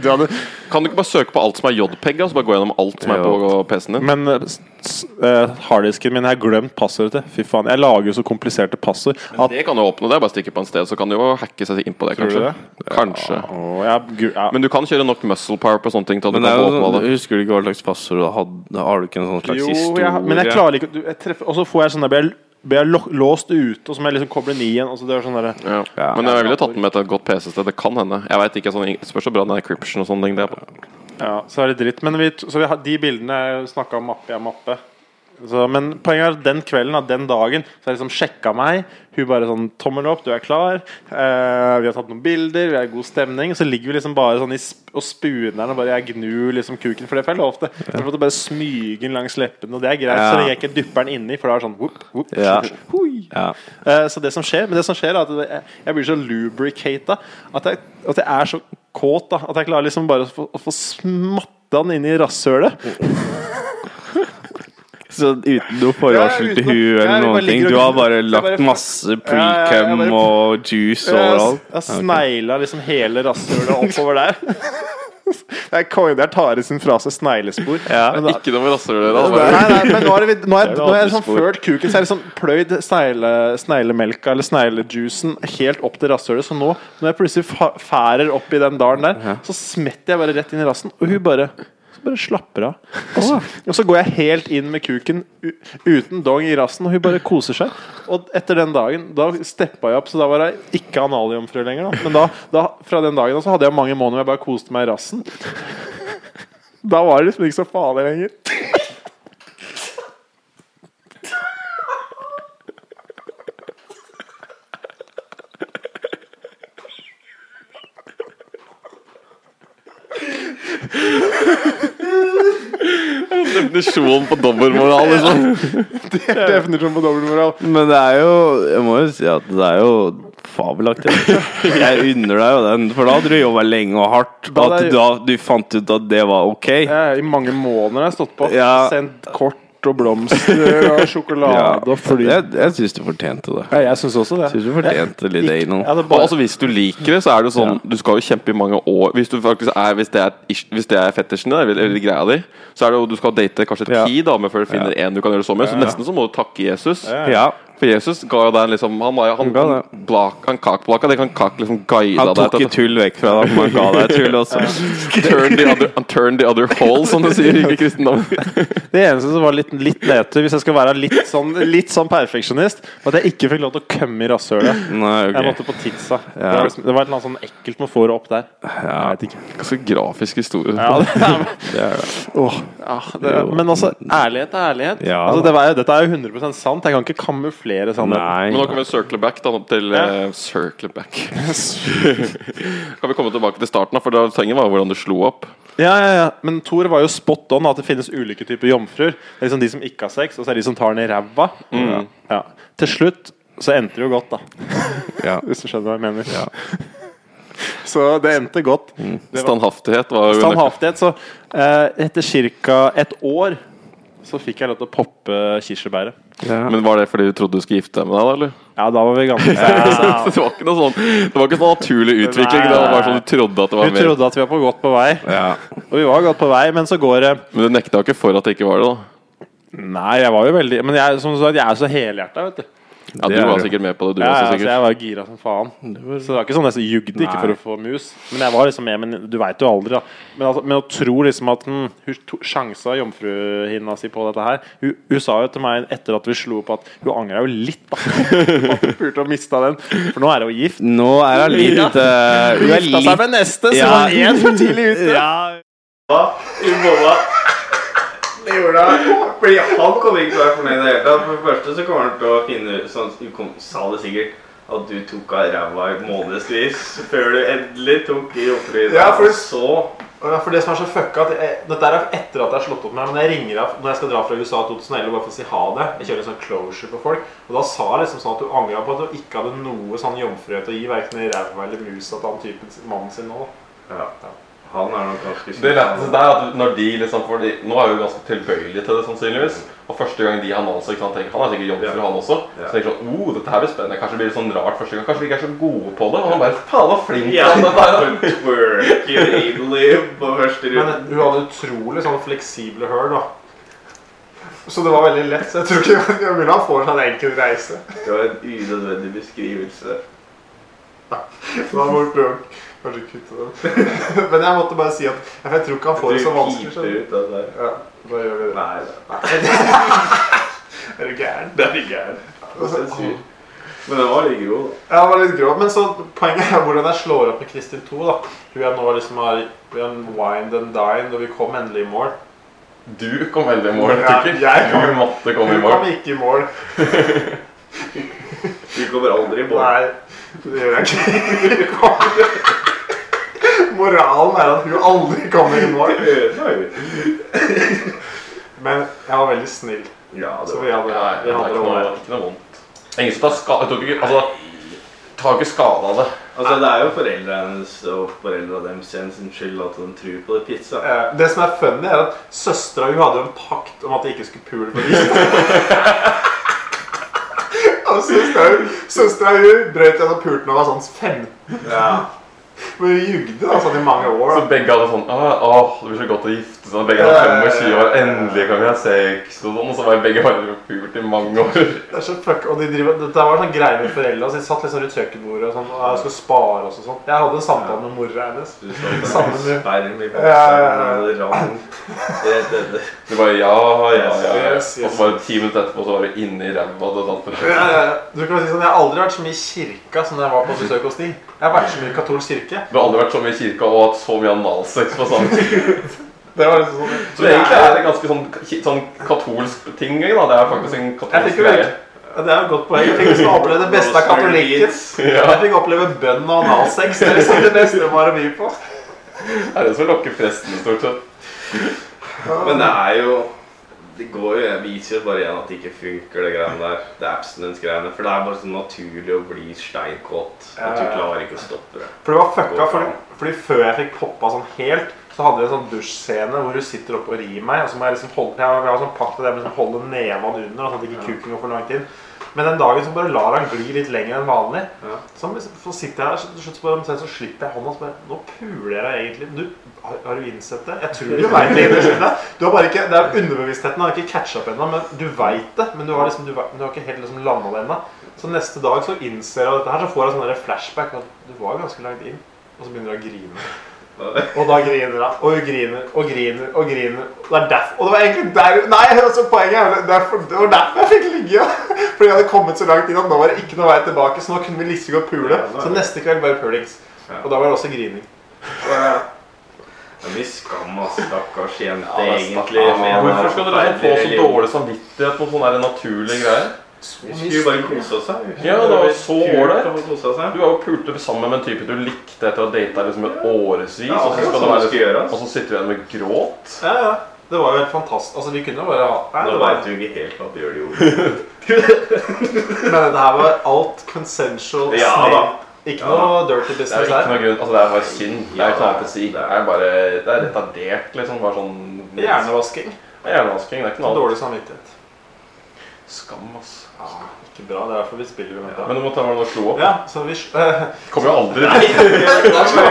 [SPEAKER 5] Du hadde-
[SPEAKER 1] Kan du ikke bare søke på alt som er JPEG, og så altså bare gå gjennom alt som er
[SPEAKER 4] Jo.
[SPEAKER 1] på PC-en din?
[SPEAKER 5] Men eh, s- s- eh, harddisken min, jeg har glemt passordet til. Fy faen, jeg lager jo så kompliserte passord. At,
[SPEAKER 1] Det kan du åpne, det er bare å stikke på en sted, så kan du jo hacke seg inn på det,
[SPEAKER 5] du
[SPEAKER 1] kanskje.
[SPEAKER 5] det?
[SPEAKER 1] Kanskje.
[SPEAKER 5] Å, jeg, gu- ja.
[SPEAKER 1] Men du kan kjøre nok muscle power på sånne ting til at du
[SPEAKER 4] Men det
[SPEAKER 1] kan
[SPEAKER 4] er
[SPEAKER 1] få
[SPEAKER 4] jo
[SPEAKER 1] åpna
[SPEAKER 4] sånn,
[SPEAKER 1] det.
[SPEAKER 4] Husker du ikke hva slags passord du hadde? Har du ikke en sånn slags
[SPEAKER 5] jo,
[SPEAKER 4] historie?
[SPEAKER 5] jeg, har- men jeg klarer ikke du, jeg treffer, Og så får jeg sånn der blir jeg, blir jeg lo- låst ute, og så må jeg liksom koble den i igjen. Og så det er sånn der,
[SPEAKER 1] Ja.
[SPEAKER 4] Ja.
[SPEAKER 1] Men jeg ville tatt den med til et godt PC-sted. Det kan hende. Jeg vet ikke, sånn, det spørs så bra den er encryption og sånne ting. Det er på.
[SPEAKER 5] Ja, så er det dritt. Men vi, så vi har de bildene jeg snakka om mappe, ja, mappe. Så, men poenget er at den kvelden, da, den dagen, så er det liksom sjekka meg. Hun bare sånn 'Tommel opp, du er klar'. Eh, vi har tatt noen bilder, vi er i god stemning. Så ligger vi liksom bare sånn i sp og spuner og bare jeg gnur liksom kuken, for det får jeg lov til. Jeg måtte bare smyge den langs leppene, og det er greit,
[SPEAKER 4] Ja.
[SPEAKER 5] så lenge jeg ikke dypper den inni, for da er det sånn whoop, whoop,
[SPEAKER 4] Ja.
[SPEAKER 5] hui.
[SPEAKER 4] Ja.
[SPEAKER 5] Eh, Så det som skjer, men det som skjer er at jeg- jeg blir så lubricata at jeg, at jeg er så kåt da, at jeg klarer liksom bare å få, å få smatta den inn i rasshølet.
[SPEAKER 4] Så uten noe forvarsel
[SPEAKER 5] Ja,
[SPEAKER 4] til
[SPEAKER 5] uten-
[SPEAKER 4] hun
[SPEAKER 5] Ja,
[SPEAKER 4] eller
[SPEAKER 5] jeg bare
[SPEAKER 4] noen ting?
[SPEAKER 5] ligger og-
[SPEAKER 4] Du har bare
[SPEAKER 5] jeg bare-
[SPEAKER 4] lagt masse
[SPEAKER 5] Ja, ja, jeg
[SPEAKER 4] precum
[SPEAKER 5] bare-
[SPEAKER 4] og juice
[SPEAKER 5] Jeg,
[SPEAKER 4] overalt?
[SPEAKER 5] jeg snegla liksom hele rasshølet oppover der.
[SPEAKER 3] Det er konge, det er Tare sin frase.
[SPEAKER 5] Sneglespor.
[SPEAKER 4] Ja.
[SPEAKER 5] Men da-
[SPEAKER 1] Ikke noe med rasshølet. da.
[SPEAKER 5] Nei, nei, men nå er det, vid- nå er,
[SPEAKER 4] Det er
[SPEAKER 5] nå er det
[SPEAKER 4] andre
[SPEAKER 5] sånn
[SPEAKER 4] spor.
[SPEAKER 5] ført kuken, så er det sånn pløyd snegle, sneglemelka eller sneglejuicen helt opp til rasshølet. Så nå, når jeg plutselig fa- færer opp i den dalen der, så smetter jeg bare rett inn i rassen, og hun bare så bare slapper av. Og så, og så går jeg helt inn med kuken u uten dong i rassen, og hun bare koser seg. Og etter den dagen, da steppa jeg opp, så da var jeg ikke analiumfrø lenger. Da. Men da, da, fra den dagen da, så hadde jeg mange måneder hvor jeg bare koste meg i rassen. Da var det liksom ikke så farlig lenger.
[SPEAKER 1] Definisjonen på dobbeltmoral, liksom.
[SPEAKER 3] Definisjon på dobbeltmoral.
[SPEAKER 4] Men det er jo Jeg må jo si at det er jo fabelaktig. Jeg unner deg jo den, for da hadde du jobba lenge og hardt.
[SPEAKER 5] Da
[SPEAKER 4] At
[SPEAKER 5] hadde jeg-
[SPEAKER 4] da du fant ut at det var ok.
[SPEAKER 5] Jeg, I mange måneder har jeg stått på.
[SPEAKER 4] Ja.
[SPEAKER 5] Sendt kort
[SPEAKER 3] kort og blomster og sjokolade og fly.
[SPEAKER 4] Jeg, jeg syns du fortjente det.
[SPEAKER 3] Ja, jeg syns også det.
[SPEAKER 4] Syns du fortjente litt det i
[SPEAKER 5] Ja,
[SPEAKER 4] noe.
[SPEAKER 5] det er
[SPEAKER 1] Og
[SPEAKER 5] bare,
[SPEAKER 1] altså Hvis du liker det, så er det jo sånn Du skal jo kjempe i mange år. Hvis, du faktisk er, hvis, det, er, ish- hvis det er fetisjen din, eller, eller greia di, så er det jo du skal date kanskje
[SPEAKER 4] Ja.
[SPEAKER 1] ti damer før du finner én du kan gjøre det sånn med. Så nesten så må du takke Jesus.
[SPEAKER 4] Ja.
[SPEAKER 1] For Jesus ga jo deg en liksom Han, var jo- han,
[SPEAKER 4] Han ga
[SPEAKER 1] han, blak, han kakblaka deg, han kak liksom guida
[SPEAKER 4] Han
[SPEAKER 1] deg
[SPEAKER 4] tok
[SPEAKER 1] til
[SPEAKER 4] ikke tull vekk fra deg, men han ga deg tull også.
[SPEAKER 1] turn the, other, turn the other hole, som det sier i kristendommen.
[SPEAKER 5] det eneste som var litt, litt nedtur, hvis jeg skal være litt sånn, litt sånn perfeksjonist, var at jeg ikke fikk lov til å kømme i rasshølet.
[SPEAKER 4] Nei, ok.
[SPEAKER 5] Jeg måtte på tidsa. Det var liksom- det var et eller annet sånn ekkelt med fåret opp der.
[SPEAKER 4] Ja.
[SPEAKER 5] Jeg vet ikke.
[SPEAKER 1] Ganske grafisk historie.
[SPEAKER 5] Ja, det er,
[SPEAKER 4] Det er det.
[SPEAKER 5] Åh, ja, det, men altså, ærlighet er ærlighet.
[SPEAKER 4] Ja,
[SPEAKER 5] altså, det var, dette er jo 100 sant. Jeg kan ikke kamuflere sannheten.
[SPEAKER 1] Men nå
[SPEAKER 4] Nei.
[SPEAKER 1] kan vi circle back da, til eh, Circle back Kan vi komme tilbake til starten, da? For da tingen var jo hvordan du slo opp.
[SPEAKER 5] Ja, ja, ja. Men Thor var jo spot on at det finnes ulike typer jomfruer. Det er liksom De som ikke har sex, og så er det de som tar den i ræva. Ja. Til slutt så endte det jo godt, da.
[SPEAKER 4] Ja.
[SPEAKER 5] Hvis du skjønner hva jeg mener.
[SPEAKER 3] Så det endte godt.
[SPEAKER 1] Standhaftighet var jo
[SPEAKER 5] Standhaftighet. Sånn Så eh, etter ca. et år så fikk jeg lov til å poppe kirsebæret.
[SPEAKER 4] Ja.
[SPEAKER 1] Men var det fordi du trodde du skulle gifte deg med deg, da? eller?
[SPEAKER 5] Ja, da var vi ganske ja.
[SPEAKER 1] Så det var ikke noe sånn Det var ikke sånn naturlig utvikling. Det var bare sånn du trodde at det
[SPEAKER 5] Vi
[SPEAKER 1] var mer.
[SPEAKER 5] trodde at vi var på godt på vei,
[SPEAKER 4] Ja.
[SPEAKER 5] og vi var godt på vei, men så går det
[SPEAKER 1] Men du nekta ikke for at det ikke var det, da.
[SPEAKER 5] Nei, jeg var jo veldig Men jeg, som sagt, jeg er så helhjerta, vet du.
[SPEAKER 1] Ja,
[SPEAKER 4] Det
[SPEAKER 1] Du
[SPEAKER 4] er
[SPEAKER 1] var
[SPEAKER 4] det.
[SPEAKER 1] sikkert med på det, du
[SPEAKER 5] Ja, ja,
[SPEAKER 1] også.
[SPEAKER 5] altså,
[SPEAKER 1] sikkert
[SPEAKER 5] jeg var gira som faen. Så det var ikke sånn at jeg jugde ikke for å få mus. Men jeg var liksom med, men du veit jo aldri, da. Men, altså, men å tro liksom at hm, hun to- sjansa jomfruhinna si på dette her hun, hun sa jo til meg etter at vi slo opp, at hun angra jo litt, da. På at hun burde ha mista den. For nå er hun gift.
[SPEAKER 4] Nå er hun litt
[SPEAKER 5] Ja.
[SPEAKER 4] eh, Hun er
[SPEAKER 5] Gifta seg
[SPEAKER 4] litt
[SPEAKER 5] med neste, så
[SPEAKER 4] Ja.
[SPEAKER 5] hun er én for tidlig ute.
[SPEAKER 4] Fordi han kommer ikke til å være fornøyd i det hele tatt. For det første så kommer han til å finne ut sånn, Du kom, sa det sikkert. At du tok av ræva i månedsvis før du endelig tok i jomfruen.
[SPEAKER 5] Ja, for-
[SPEAKER 4] Og så
[SPEAKER 5] Ja, for det som er så fucka at jeg, Dette er etter at jeg har slått opp med her, men jeg ringer av når jeg skal dra fra USA i 2011 bare for å si ha det. Jeg kjører en sånn closure på folk. Og da sa jeg liksom sånn at du angra på at du ikke hadde noe sånn jomfruhet å gi, verken i ræva eller musa til han typen sin- mannen sin nå. da.
[SPEAKER 4] Ja. Han er nok ganske
[SPEAKER 1] Det letteste der er at når de liksom for de, Nå er jo ganske tilbøyelige til det, sannsynligvis. Og første gang de har nans, ikke sant, tenker, han er sikkert jomfru, han også. Så tenker sånn Oh, dette her blir spennende. Kanskje blir det sånn rart første gang. Kanskje vi ikke er så gode på det. Og han bare Faen, så flink
[SPEAKER 4] Ja,
[SPEAKER 1] han er.
[SPEAKER 4] twerker Abely på første runde.
[SPEAKER 5] Men hun hadde utrolig sånn fleksible hull, da. Så det var veldig lett. Så jeg tror ikke jeg ville ha for seg en enkel reise.
[SPEAKER 4] Det var en unødvendig beskrivelse.
[SPEAKER 5] Så da må vi prøve å kanskje kutte det. Men jeg måtte bare si at for Jeg tror ikke han
[SPEAKER 4] Du
[SPEAKER 5] får det så vanskelig.
[SPEAKER 4] piper
[SPEAKER 5] skjønner du.
[SPEAKER 4] ut av det.
[SPEAKER 5] Ja, da gjør vi det.
[SPEAKER 4] Nei, det
[SPEAKER 5] Er du gæren?
[SPEAKER 4] det er ikke gærent. Men den var litt god.
[SPEAKER 5] Ja, det var litt grov, men så poenget er hvordan jeg slår opp med Kristin 2. da Hun er nå liksom har blir en wind and dine, og vi kom endelig i mål.
[SPEAKER 1] Du kom veldig i mål,
[SPEAKER 5] Ja,
[SPEAKER 1] Tukker.
[SPEAKER 5] jeg kom-
[SPEAKER 1] Du måtte
[SPEAKER 5] Hun
[SPEAKER 1] komme i mål.
[SPEAKER 5] kom ikke i mål.
[SPEAKER 4] Du kommer aldri i mål.
[SPEAKER 5] Nei, det gjør jeg ikke. Hun kom- Moralen er at hun aldri kommer i mål. Men jeg var veldig snill.
[SPEAKER 4] Ja, det
[SPEAKER 5] Så
[SPEAKER 4] var
[SPEAKER 5] vi hadde,
[SPEAKER 1] Nei, det
[SPEAKER 5] vi
[SPEAKER 1] er
[SPEAKER 5] hadde
[SPEAKER 1] ikke
[SPEAKER 5] det
[SPEAKER 1] noe,
[SPEAKER 5] over.
[SPEAKER 1] ikke noe vondt. Ingen som tar skade tok ikke, Altså, tar ikke skade av det.
[SPEAKER 4] Altså, det er jo foreldrene hennes og foreldrene deres igjen sin skyld at de tror på det pizza.
[SPEAKER 5] Eh, Det som er funny, er at søstera hun hadde jo en pakt om at jeg ikke skulle pule på dem. Og søstera hun, søstera hun brøt gjennom pulten og var sånn 15. Men hun jugde da, sånn i mange år.
[SPEAKER 1] Så
[SPEAKER 5] da.
[SPEAKER 1] begge hadde sånn Åh, åh, det blir så godt å gifte seg. Begge hadde 25 år. Endelig kan vi ha sex. Og sånn, og så var begge bare pult i mange år.
[SPEAKER 5] Det er så fuck, og de driver, Dette var sånn greie med foreldra. De satt liksom rundt kjøkkenbordet og sånn, og jeg skulle spare oss og sånn. Jeg hadde en samtale med mora hennes.
[SPEAKER 4] Du så det
[SPEAKER 5] Samme
[SPEAKER 4] var
[SPEAKER 5] det.
[SPEAKER 4] sperm i
[SPEAKER 5] Ja, ja, ja.
[SPEAKER 4] boksen, og det rant rett etter.
[SPEAKER 1] Det var ja, ja, ja.
[SPEAKER 5] Yes, yes.
[SPEAKER 1] Og så var det ti minutter etterpå, så var du inni ræva. og alt det der.
[SPEAKER 5] Jeg, du kan si sånn, jeg har aldri vært så mye i kirka som da jeg var på besøk hos de. Jeg har vært så mye i katolsk kirke.
[SPEAKER 1] Du har aldri vært så mye i kirka og hatt så mye analsex på samme tid.
[SPEAKER 5] Det var liksom sånn
[SPEAKER 1] Så egentlig er det ganske sånn, ki- sånn katolsk ting. Da. Det er faktisk en
[SPEAKER 5] Jeg
[SPEAKER 1] katolsk
[SPEAKER 5] fikk jo
[SPEAKER 1] greie.
[SPEAKER 5] ja, Det er et godt poeng. Jeg fikk liksom oppleve det beste av katolikken. Jeg fikk oppleve bønn og analsex. Det er liksom det beste de har å by på.
[SPEAKER 1] Det er det som lokker presten, stort sett.
[SPEAKER 4] Men det er jo Det går jo, jeg viser jo bare igjen at det ikke funker, det greiene der. Det er abstinence-greiene. For det er bare så naturlig å bli steinkåt. At du klarer ikke å stoppe det.
[SPEAKER 5] For det var fucka fordi, fordi før jeg fikk poppa sånn helt,
[SPEAKER 3] Så hadde vi en sånn dusjscene hvor du sitter oppe og rir meg. Og så må jeg liksom holde, jeg har sånn pakk til det, liksom holde nevene under, og sånn at ikke kuken går for langt inn. Men den dagen så bare lar han gli litt lenger enn vanlig. Så, liksom, så sitter jeg her, så til slutt så bare omtrent så slipper jeg hånda. Så bare, Nå puler jeg deg egentlig. Du, har, har du innsett det? Jeg tror du veit det. egentlig. Du har bare ikke, det er underbevisstheten har ikke catcha opp ennå, men du veit det. Men du har, liksom, du, vet- du har ikke helt liksom landa det ennå. Så neste dag så innser jeg dette her, så får jeg sånn der flashback. At du var jo ganske langt inn. Og så begynner jeg å grine. Og da griner han. Og hun griner og griner og griner. Og det er derf og det var egentlig der Nei, altså poenget er vel derfor, det var derfor jeg fikk ligge. Fordi jeg hadde kommet så langt inn at nå var det ikke noe vei tilbake. Så nå kunne vi like så godt pule. Så neste kveld bare pulings. Og da var det også grining.
[SPEAKER 6] Det er mye skam, ass. Stakkars jente,
[SPEAKER 1] Ja, det er
[SPEAKER 6] egentlig.
[SPEAKER 1] stakkars.
[SPEAKER 6] men
[SPEAKER 1] Hvorfor skal dere liksom få så dårlig samvittighet på sånne der naturlige greier?
[SPEAKER 6] Vi skulle bare kose oss. her.
[SPEAKER 1] Ja, det var så
[SPEAKER 6] Kult
[SPEAKER 1] ålreit.
[SPEAKER 6] å kose oss her.
[SPEAKER 1] Du har jo pult opp sammen med en type du likte etter å ha data liksom et årevis,
[SPEAKER 6] Ja,
[SPEAKER 1] og, så
[SPEAKER 6] akkurat
[SPEAKER 1] skal
[SPEAKER 6] sånn
[SPEAKER 1] det
[SPEAKER 6] det skal
[SPEAKER 1] være,
[SPEAKER 6] gjøres.
[SPEAKER 1] og så sitter du igjen med gråt.
[SPEAKER 3] Ja, ja. Det var jo helt fantastisk. Altså, vi kunne jo bare ha Nei,
[SPEAKER 6] Nå
[SPEAKER 3] det var,
[SPEAKER 6] veit du ikke helt hva du gjør, jo.
[SPEAKER 3] Men det her var alt consensual
[SPEAKER 6] Ja,
[SPEAKER 3] snake.
[SPEAKER 6] da.
[SPEAKER 3] Ikke noe dirty
[SPEAKER 1] Det er
[SPEAKER 3] business
[SPEAKER 1] ikke
[SPEAKER 3] her.
[SPEAKER 1] noe grunn, altså det er bare synd. Det er ikke noe
[SPEAKER 6] Ja,
[SPEAKER 1] annet å si.
[SPEAKER 6] det
[SPEAKER 1] Det
[SPEAKER 6] er-
[SPEAKER 1] er bare det er retardert, liksom. Bare sånn
[SPEAKER 3] Hjernevasking.
[SPEAKER 1] Det er Hjernevasking. Det er ikke noe annet.
[SPEAKER 3] Dårlig samvittighet.
[SPEAKER 1] Skam, ass.
[SPEAKER 3] Ja, ikke bra. Det er derfor vi spiller med det.
[SPEAKER 1] Men du må ta med deg og slo opp.
[SPEAKER 3] Ja, så vi
[SPEAKER 1] Kommer jo aldri til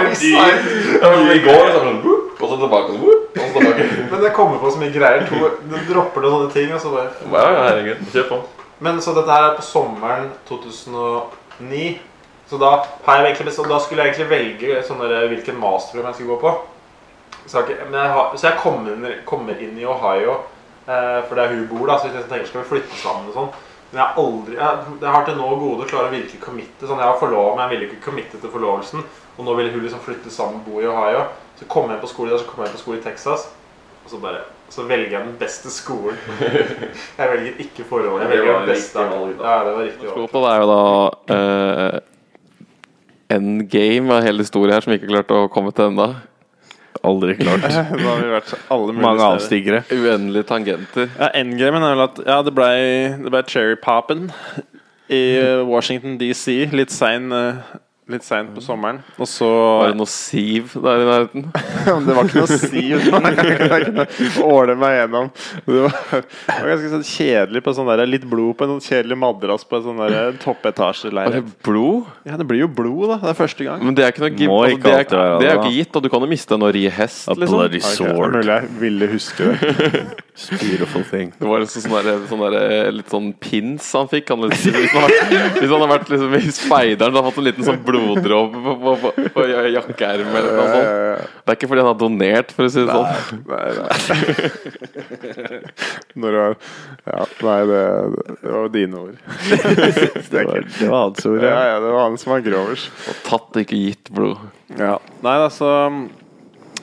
[SPEAKER 1] Ja, men I går så var det sånn whoop, og så tilbake og så whoop, og så tilbake.
[SPEAKER 3] Men jeg kommer på så mye greier. To, du dropper noen sånne ting. Og så bare.
[SPEAKER 1] Ja, ja, herregud. Kjør på.
[SPEAKER 3] Men så dette her er på sommeren 2009. Så da, har jeg egentlig, bestemt- da skulle jeg egentlig velge sånn der, hvilken masterprogram jeg skulle gå på. Så jeg, har ikke- men jeg har, så jeg kommer inn, kommer inn i Ohio, eh, for der hun bor. da Så jeg liksom tenker skal vi flytte sammen og sånn. Men jeg har aldri jeg, jeg har til nå gode å klare å virkelig committe. Sånn, jeg var forlovet, men jeg ville ikke committe til forlovelsen. Og nå ville hun liksom flytte sammen og bo i Ohio. Så kom jeg på skole der, så kom jeg på skole i Texas. Og så bare Så velger jeg den beste skolen. jeg velger ikke forholdet. Jeg
[SPEAKER 6] Det
[SPEAKER 3] velger
[SPEAKER 6] var
[SPEAKER 3] den beste.
[SPEAKER 6] riktig valg, da.
[SPEAKER 3] Ja, det var riktig valg.
[SPEAKER 1] Skåpet er jo da eh, endgame av hele historien her som vi ikke klarte å komme til ennå.
[SPEAKER 4] Aldri klart.
[SPEAKER 5] Da har vi vært alle mulige
[SPEAKER 4] Mange
[SPEAKER 5] steder.
[SPEAKER 4] avstigere.
[SPEAKER 1] Uendelige tangenter.
[SPEAKER 5] Ja, endgamen er vel at Ja, det ble, det ble cherry poppen i eh, Washington DC. Litt sein eh, Litt seint på sommeren. Og så
[SPEAKER 1] Var det noe siv der i nærheten?
[SPEAKER 5] Det var ikke noe å si. nei. Jeg kunne Åle meg gjennom. Det var, det var ganske sånn kjedelig på sånn der Litt blod på en sånn kjedelig madrass på en sånn der
[SPEAKER 1] Var det
[SPEAKER 5] toppetasjeleilighet.
[SPEAKER 1] blod?
[SPEAKER 5] Ja, det blir jo blod, da. Det er første gang.
[SPEAKER 1] Men det er ikke noe gib-
[SPEAKER 4] Må
[SPEAKER 1] altså,
[SPEAKER 4] ikke
[SPEAKER 1] det, er,
[SPEAKER 4] alltid
[SPEAKER 1] det
[SPEAKER 4] være
[SPEAKER 1] er jo
[SPEAKER 4] det,
[SPEAKER 1] ikke gitt, og du kan jo miste når i hest,
[SPEAKER 4] A
[SPEAKER 1] liksom.
[SPEAKER 4] bloody
[SPEAKER 5] Ok, det er
[SPEAKER 4] sword.
[SPEAKER 5] mulig jeg ville huske det.
[SPEAKER 4] Beautiful thing.
[SPEAKER 1] Det var liksom sånn der, sånn der, litt sånn pins han fikk. Han, liksom, hvis han hadde vært, hvis han hadde vært liksom, i speideren og fått en liten sånn bloddråpe på, på, på, på jakkeermet eller noe sånt. Det er ikke fordi han har donert, for å si det sånn.
[SPEAKER 5] Nei, nei. Når det var Ja, nei, det, det var dine ord.
[SPEAKER 4] Det var, det var hans ord.
[SPEAKER 5] Ja, ja, det var han som var grovers.
[SPEAKER 1] Og tatt, ikke gitt blod.
[SPEAKER 5] Ja. Nei, altså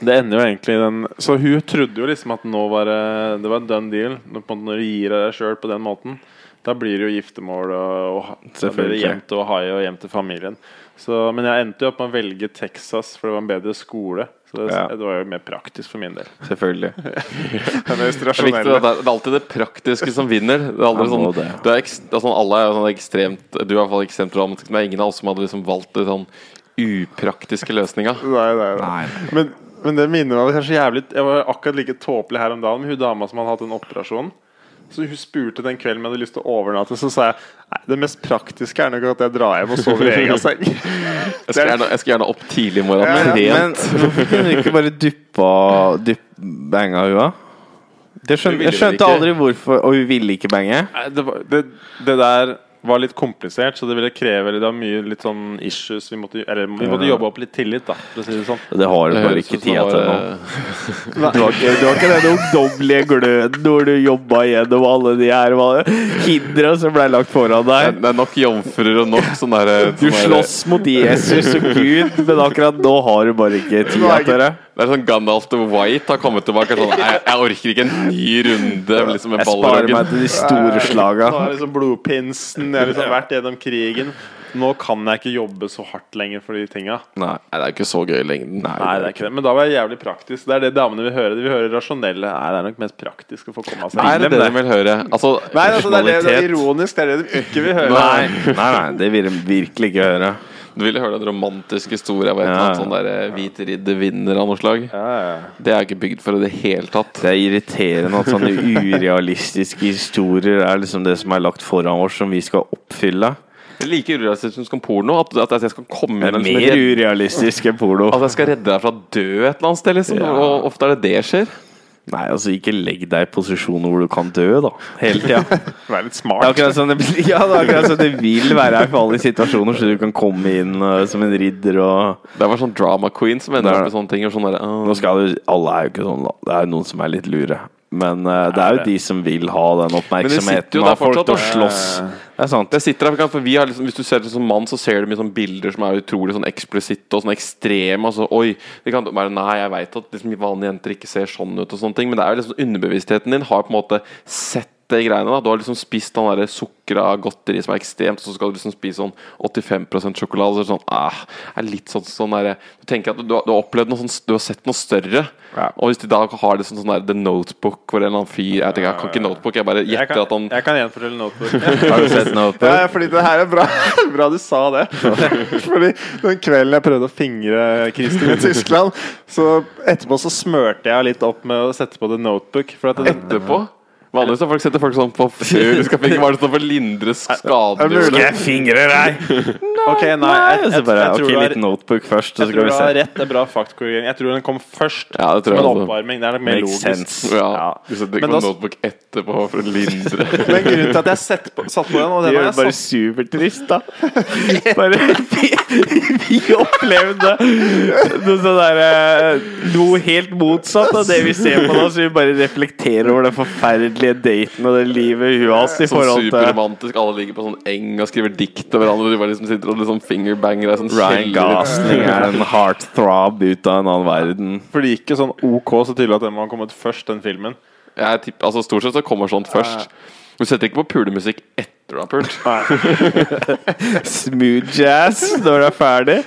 [SPEAKER 5] Det ender jo egentlig i den Så hun trodde jo liksom at nå var det Det var done deal. Når, på en måte, når du gir deg sjøl på den måten, da blir det jo giftermål og, og da blir det
[SPEAKER 4] Selvfølgelig.
[SPEAKER 5] hjem til Ohio og hjem til familien. Så, men jeg endte jo opp med å velge Texas, for det var en bedre skole. Så det,
[SPEAKER 4] Ja.
[SPEAKER 5] det var jo mer praktisk for min del.
[SPEAKER 4] Selvfølgelig.
[SPEAKER 5] Den
[SPEAKER 1] Det er, viktig, det, er, det er alltid det praktiske som vinner. Det er aldri
[SPEAKER 4] Ja,
[SPEAKER 1] sånn,
[SPEAKER 4] må det.
[SPEAKER 1] du er ekst, det er sånn, alle er jo sånn ekstremt Du er i hvert fall ekstremt dramatisk, men det er ingen av oss som hadde liksom valgt det sånn upraktiske løsninga.
[SPEAKER 5] Nei, nei, nei. Men, men det minner meg det er så jævlig Jeg var akkurat like tåpelig her om dagen med hun dama som hadde hatt en operasjon. Så hun spurte den kvelden om jeg hadde lyst til å overnatte. Så sa jeg nei, det mest praktiske er nok at jeg drar hjem og sover i egen seng.
[SPEAKER 1] Jeg skal gjerne, jeg skal gjerne opp tidlig i morgen.
[SPEAKER 5] Ja,
[SPEAKER 1] Men
[SPEAKER 4] Men
[SPEAKER 1] rent
[SPEAKER 4] hvorfor kunne du ikke bare duppa dupp, banga hua? Det
[SPEAKER 1] Hun
[SPEAKER 4] skjønte,
[SPEAKER 1] ville
[SPEAKER 4] jeg skjønte
[SPEAKER 1] vel ikke.
[SPEAKER 4] aldri hvorfor Og hun ville ikke bange?
[SPEAKER 5] Nei, Det, var, det, det der var litt komplisert, så det ville kreve Det var mye litt sånn issues vi måtte, eller, vi måtte jobbe opp litt tillit, da, for å si det sånn.
[SPEAKER 4] Det har du
[SPEAKER 1] Det
[SPEAKER 4] bare
[SPEAKER 1] høres ut
[SPEAKER 4] ikke
[SPEAKER 1] som
[SPEAKER 4] tida til
[SPEAKER 1] det
[SPEAKER 4] nå.
[SPEAKER 1] Eh, var, eh,
[SPEAKER 4] Du har ikke, du har ikke den ungdommelige gløden når du jobba gjennom alle de her hva- hindra som ble lagt foran deg.
[SPEAKER 1] Det er nok jomfruer og nok sånn derre
[SPEAKER 4] Du slåss mot Jesus og Gud, men akkurat nå har du bare ikke tida til det.
[SPEAKER 1] Det er sånn Gandalf the White har kommet tilbake. Sånn, jeg, jeg orker ikke en ny runde liksom, med
[SPEAKER 4] Jeg sparer meg
[SPEAKER 1] ballroggen.
[SPEAKER 4] til de store slaga.
[SPEAKER 5] Nå er det liksom blodpinsen, jeg har liksom vært gjennom krigen. Nå kan jeg ikke jobbe så hardt lenger for de tinga.
[SPEAKER 1] Nei, det er ikke så gøy i lengden.
[SPEAKER 5] Nei, det er ikke det. Men da var jeg jævlig praktisk. Det er det damene vil høre. De vil høre rasjonelle. Nei, det er nok mest praktisk å få komme av seg.
[SPEAKER 1] Er det det de vil høre? Altså,
[SPEAKER 5] Nei, altså, det, er det, det
[SPEAKER 4] Rasjonalitet.
[SPEAKER 5] er ironisk. Det er det de ikke vil høre.
[SPEAKER 4] Nei, nei, nei, det vil de virkelig ikke høre.
[SPEAKER 1] Du ville høre en romantisk historie av et eller annet
[SPEAKER 4] Ja.
[SPEAKER 1] sånn der eh, Hvit ridder vinner av noe slag. Det er ikke bygd for i det hele tatt.
[SPEAKER 4] Det er irriterende at sånne urealistiske historier er liksom det som er lagt foran oss, som vi skal oppfylle.
[SPEAKER 1] Det er like urealistisk som porno. At, at jeg skal komme
[SPEAKER 4] Det
[SPEAKER 1] inn og
[SPEAKER 4] er
[SPEAKER 1] liksom
[SPEAKER 4] mer Altså,
[SPEAKER 1] redde-
[SPEAKER 4] urealistisk enn porno.
[SPEAKER 1] At jeg skal redde deg fra å dø et eller annet sted, liksom.
[SPEAKER 4] Ja.
[SPEAKER 1] Og ofte er det det skjer.
[SPEAKER 4] Nei, altså, ikke legg deg i posisjoner hvor du kan dø, da. Hele tida. Det
[SPEAKER 5] Vær litt
[SPEAKER 4] er
[SPEAKER 5] smart.
[SPEAKER 4] akkurat sånn det, blir- ja, det, er akkurat sånn det vil være her for alle situasjoner, så du kan komme inn eh, som en ridder og
[SPEAKER 1] Det var sånn drama queen som
[SPEAKER 4] Det
[SPEAKER 1] ender
[SPEAKER 4] er
[SPEAKER 1] opp
[SPEAKER 4] det.
[SPEAKER 1] i sånne ting. Og sånn der, «Åh,
[SPEAKER 4] Nå skal du, Alle er jo ikke sånn, da. Det er noen som er litt lure. Men eh, det er jo de som vil ha den
[SPEAKER 1] sitter jo
[SPEAKER 4] oppmerksomheten
[SPEAKER 1] der
[SPEAKER 4] av folk
[SPEAKER 1] fortsatt, eh,
[SPEAKER 4] til å
[SPEAKER 1] da.
[SPEAKER 4] slåss. Det er sant.
[SPEAKER 1] Det sitter der, for vi har liksom, Hvis du ser det som mann, så ser du mye sånne bilder som er utrolig sånn eksplisitte og sånn ekstreme. Altså, oi, det kan være, Nei, jeg veit at liksom, vanlige jenter ikke ser sånn ut, og sånne ting men det er jo liksom underbevisstheten din har på en måte sett det greiene. da Du har liksom spist den der sukra godteri som er ekstremt, og så skal du liksom spise sånn 85 sjokolade. Så er det sånn, ah, er litt sånn, sånn der, Du tenker at du, du har- du har opplevd noe sånn, du har sett noe større. Og hvis de da har det sånn, sånn der The Notebook, hvor en eller annen fyr Jeg tenker, jeg kan ikke Notebook, jeg bare
[SPEAKER 3] Jeg
[SPEAKER 1] gjetter at
[SPEAKER 3] kan,
[SPEAKER 1] han
[SPEAKER 3] jeg kan gjenfortelle notebook.
[SPEAKER 4] Har du sett den oppe?
[SPEAKER 5] Ja, fordi det her er bra, bra du sa det. Fordi den kvelden jeg prøvde å fingre Kristin i Tyskland, så etterpå så smørte jeg litt opp med å sette på The Notebook. For at det,
[SPEAKER 1] etterpå. Vanligvis har folk setter folk sånn på før de skal finne hva er det som for å lindre
[SPEAKER 5] Er det
[SPEAKER 1] skader.
[SPEAKER 5] mulig?
[SPEAKER 4] Jeg fingrer deg!
[SPEAKER 5] ok, nei, jeg, jeg,
[SPEAKER 4] Så
[SPEAKER 5] jeg,
[SPEAKER 4] bare,
[SPEAKER 5] tror
[SPEAKER 4] ok,
[SPEAKER 5] du har,
[SPEAKER 4] litt notebook først, så
[SPEAKER 5] jeg tror
[SPEAKER 4] skal
[SPEAKER 5] du
[SPEAKER 4] vi
[SPEAKER 5] har
[SPEAKER 4] se.
[SPEAKER 5] rett. Det er bra faktkorrigering. Jeg tror den kom først
[SPEAKER 1] Ja, det
[SPEAKER 5] som
[SPEAKER 1] tror
[SPEAKER 5] en
[SPEAKER 1] jeg også.
[SPEAKER 5] oppvarming. Det er nok mer
[SPEAKER 4] Makes
[SPEAKER 5] logisk.
[SPEAKER 4] sense.
[SPEAKER 1] Ja, du setter ikke
[SPEAKER 5] Men
[SPEAKER 1] på
[SPEAKER 5] da-
[SPEAKER 1] notebook etterpå for å lindre.
[SPEAKER 5] Men grunnen til at jeg sett på, satt på den, og
[SPEAKER 4] Det
[SPEAKER 5] den har
[SPEAKER 4] gjør det
[SPEAKER 5] jeg
[SPEAKER 4] bare
[SPEAKER 5] satt
[SPEAKER 4] supertrist, da. Bare, vi, vi opplevde noe sånn derre Noe helt motsatt av det vi ser på nå, så vi bare reflekterer over den forferdelige daten og det livet hun har hatt i
[SPEAKER 1] Sånn
[SPEAKER 4] forhold til
[SPEAKER 1] superromantisk. Alle ligger på sånn eng og skriver dikt til hverandre. og De bare liksom sitter og liksom fingerbanger deg. Sånn
[SPEAKER 4] Ryan
[SPEAKER 1] kjeller.
[SPEAKER 4] Gosling er en heartthrob ut av en annen verden.
[SPEAKER 5] For det gikk jo sånn OK så tydelig at den må ha kommet først, den filmen.
[SPEAKER 1] Jeg tipp- altså, stort sett så kommer sånt først. Du setter ikke på pulemusikk etter du har pult.
[SPEAKER 4] Smooth jazz når du er ferdig.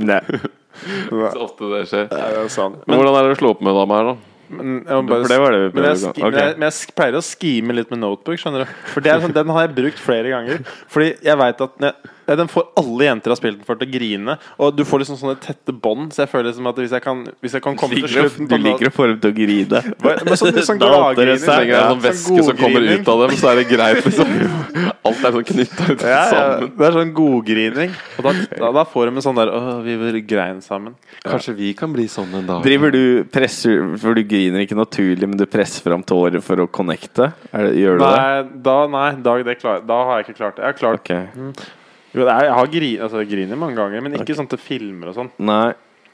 [SPEAKER 4] Nei.
[SPEAKER 1] Så ofte det skjer.
[SPEAKER 5] Ja, det er sant.
[SPEAKER 1] Men hvordan er det å slå opp med dama her, da?
[SPEAKER 5] Men jeg må bare
[SPEAKER 4] For det var det vi
[SPEAKER 5] Men jeg,
[SPEAKER 4] prøvde
[SPEAKER 5] ski,
[SPEAKER 4] å
[SPEAKER 5] men, jeg, men jeg sk- pleier å skime litt med notebook, skjønner du. For det er sånn, Den har jeg brukt flere ganger. Fordi jeg vet at når jeg- den får alle jenter jeg har spilt den for, til å grine. Og du får liksom sånne tette bånd, så jeg føler liksom at hvis jeg kan, hvis jeg kan komme til
[SPEAKER 4] Liker å-
[SPEAKER 5] slutten
[SPEAKER 4] Du
[SPEAKER 5] på
[SPEAKER 4] liker å få dem til å grine.
[SPEAKER 5] Hva- men sånn- sånn
[SPEAKER 4] Da åpner det
[SPEAKER 5] gladgrining,
[SPEAKER 1] Så
[SPEAKER 4] seg.
[SPEAKER 1] lenge det er en sånn
[SPEAKER 5] Ja, sånn
[SPEAKER 1] væske som kommer
[SPEAKER 5] godgrining.
[SPEAKER 1] ut av dem, så er det greit, liksom. Alt er sånn knytta ut
[SPEAKER 5] ja, ja,
[SPEAKER 1] sammen.
[SPEAKER 5] Det er sånn godgrining. Og da, da, da får de en sånn der Å, vi vil grein sammen.
[SPEAKER 1] Kanskje vi kan bli sånn en dag.
[SPEAKER 4] Driver du presser, For du griner ikke naturlig, men du presser fram tårer for å connecte? Er det, gjør du det?
[SPEAKER 5] Nei, da, nei da, det klar, da har jeg ikke klart det. Jeg har klart
[SPEAKER 4] Ok.
[SPEAKER 5] jo, det er, jeg har gri, altså, jeg griner mange ganger, men ikke sånn til filmer og sånn.
[SPEAKER 4] Nei.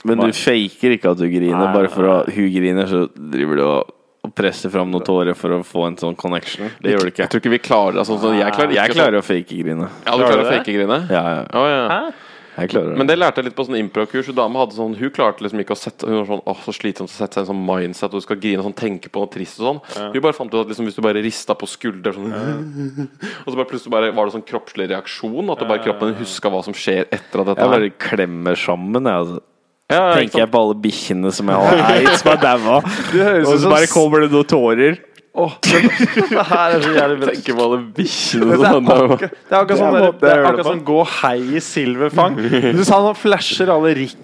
[SPEAKER 4] Men du faker ikke at du griner.
[SPEAKER 5] Nei,
[SPEAKER 4] Bare for å hun griner, så driver du og og presser fram noen tårer for å få en sånn connection. Det gjør du ikke.
[SPEAKER 1] Jeg tror ikke vi klarer altså, sånn, Jeg klarer,
[SPEAKER 4] Jeg klarer å fake-grine.
[SPEAKER 1] Ja, du klarer å fake grine?
[SPEAKER 4] Ja, ja.
[SPEAKER 1] Ja, ja.
[SPEAKER 4] Jeg klarer det.
[SPEAKER 1] Men det lærte jeg litt på sånn impro-kurs. Hun dama hadde sånn Hun klarte liksom ikke å sette Hun var sånn Åh, så slitsomt å sette seg i en sånn mindset og du skal grine og sånn, tenke på noe trist og sånn. Hun bare fant ut at liksom hvis du bare rista på skulder sånn Og så bare plutselig bare var det sånn kroppslig reaksjon. At du bare kroppen din huska hva som skjer etter at dette
[SPEAKER 4] Jeg
[SPEAKER 1] her.
[SPEAKER 4] bare klemmer sammen, jeg. Altså.
[SPEAKER 1] Ja, ja, ikke
[SPEAKER 4] Tenker jeg på alle bikkjene som jeg har eid, som er daua. Og
[SPEAKER 5] ut
[SPEAKER 4] så
[SPEAKER 5] som
[SPEAKER 4] bare
[SPEAKER 5] s-
[SPEAKER 4] kommer det noen tårer.
[SPEAKER 1] sant? Tenker på alle bikkjene
[SPEAKER 5] Det er
[SPEAKER 1] som
[SPEAKER 5] akkurat, det er akkurat sånn, der,
[SPEAKER 4] måten
[SPEAKER 5] det
[SPEAKER 4] jeg gjør Sånn
[SPEAKER 5] er
[SPEAKER 4] det
[SPEAKER 5] akkurat
[SPEAKER 4] på.
[SPEAKER 5] sånn gå hei i silverfang. Du sa han flasher alle Ricky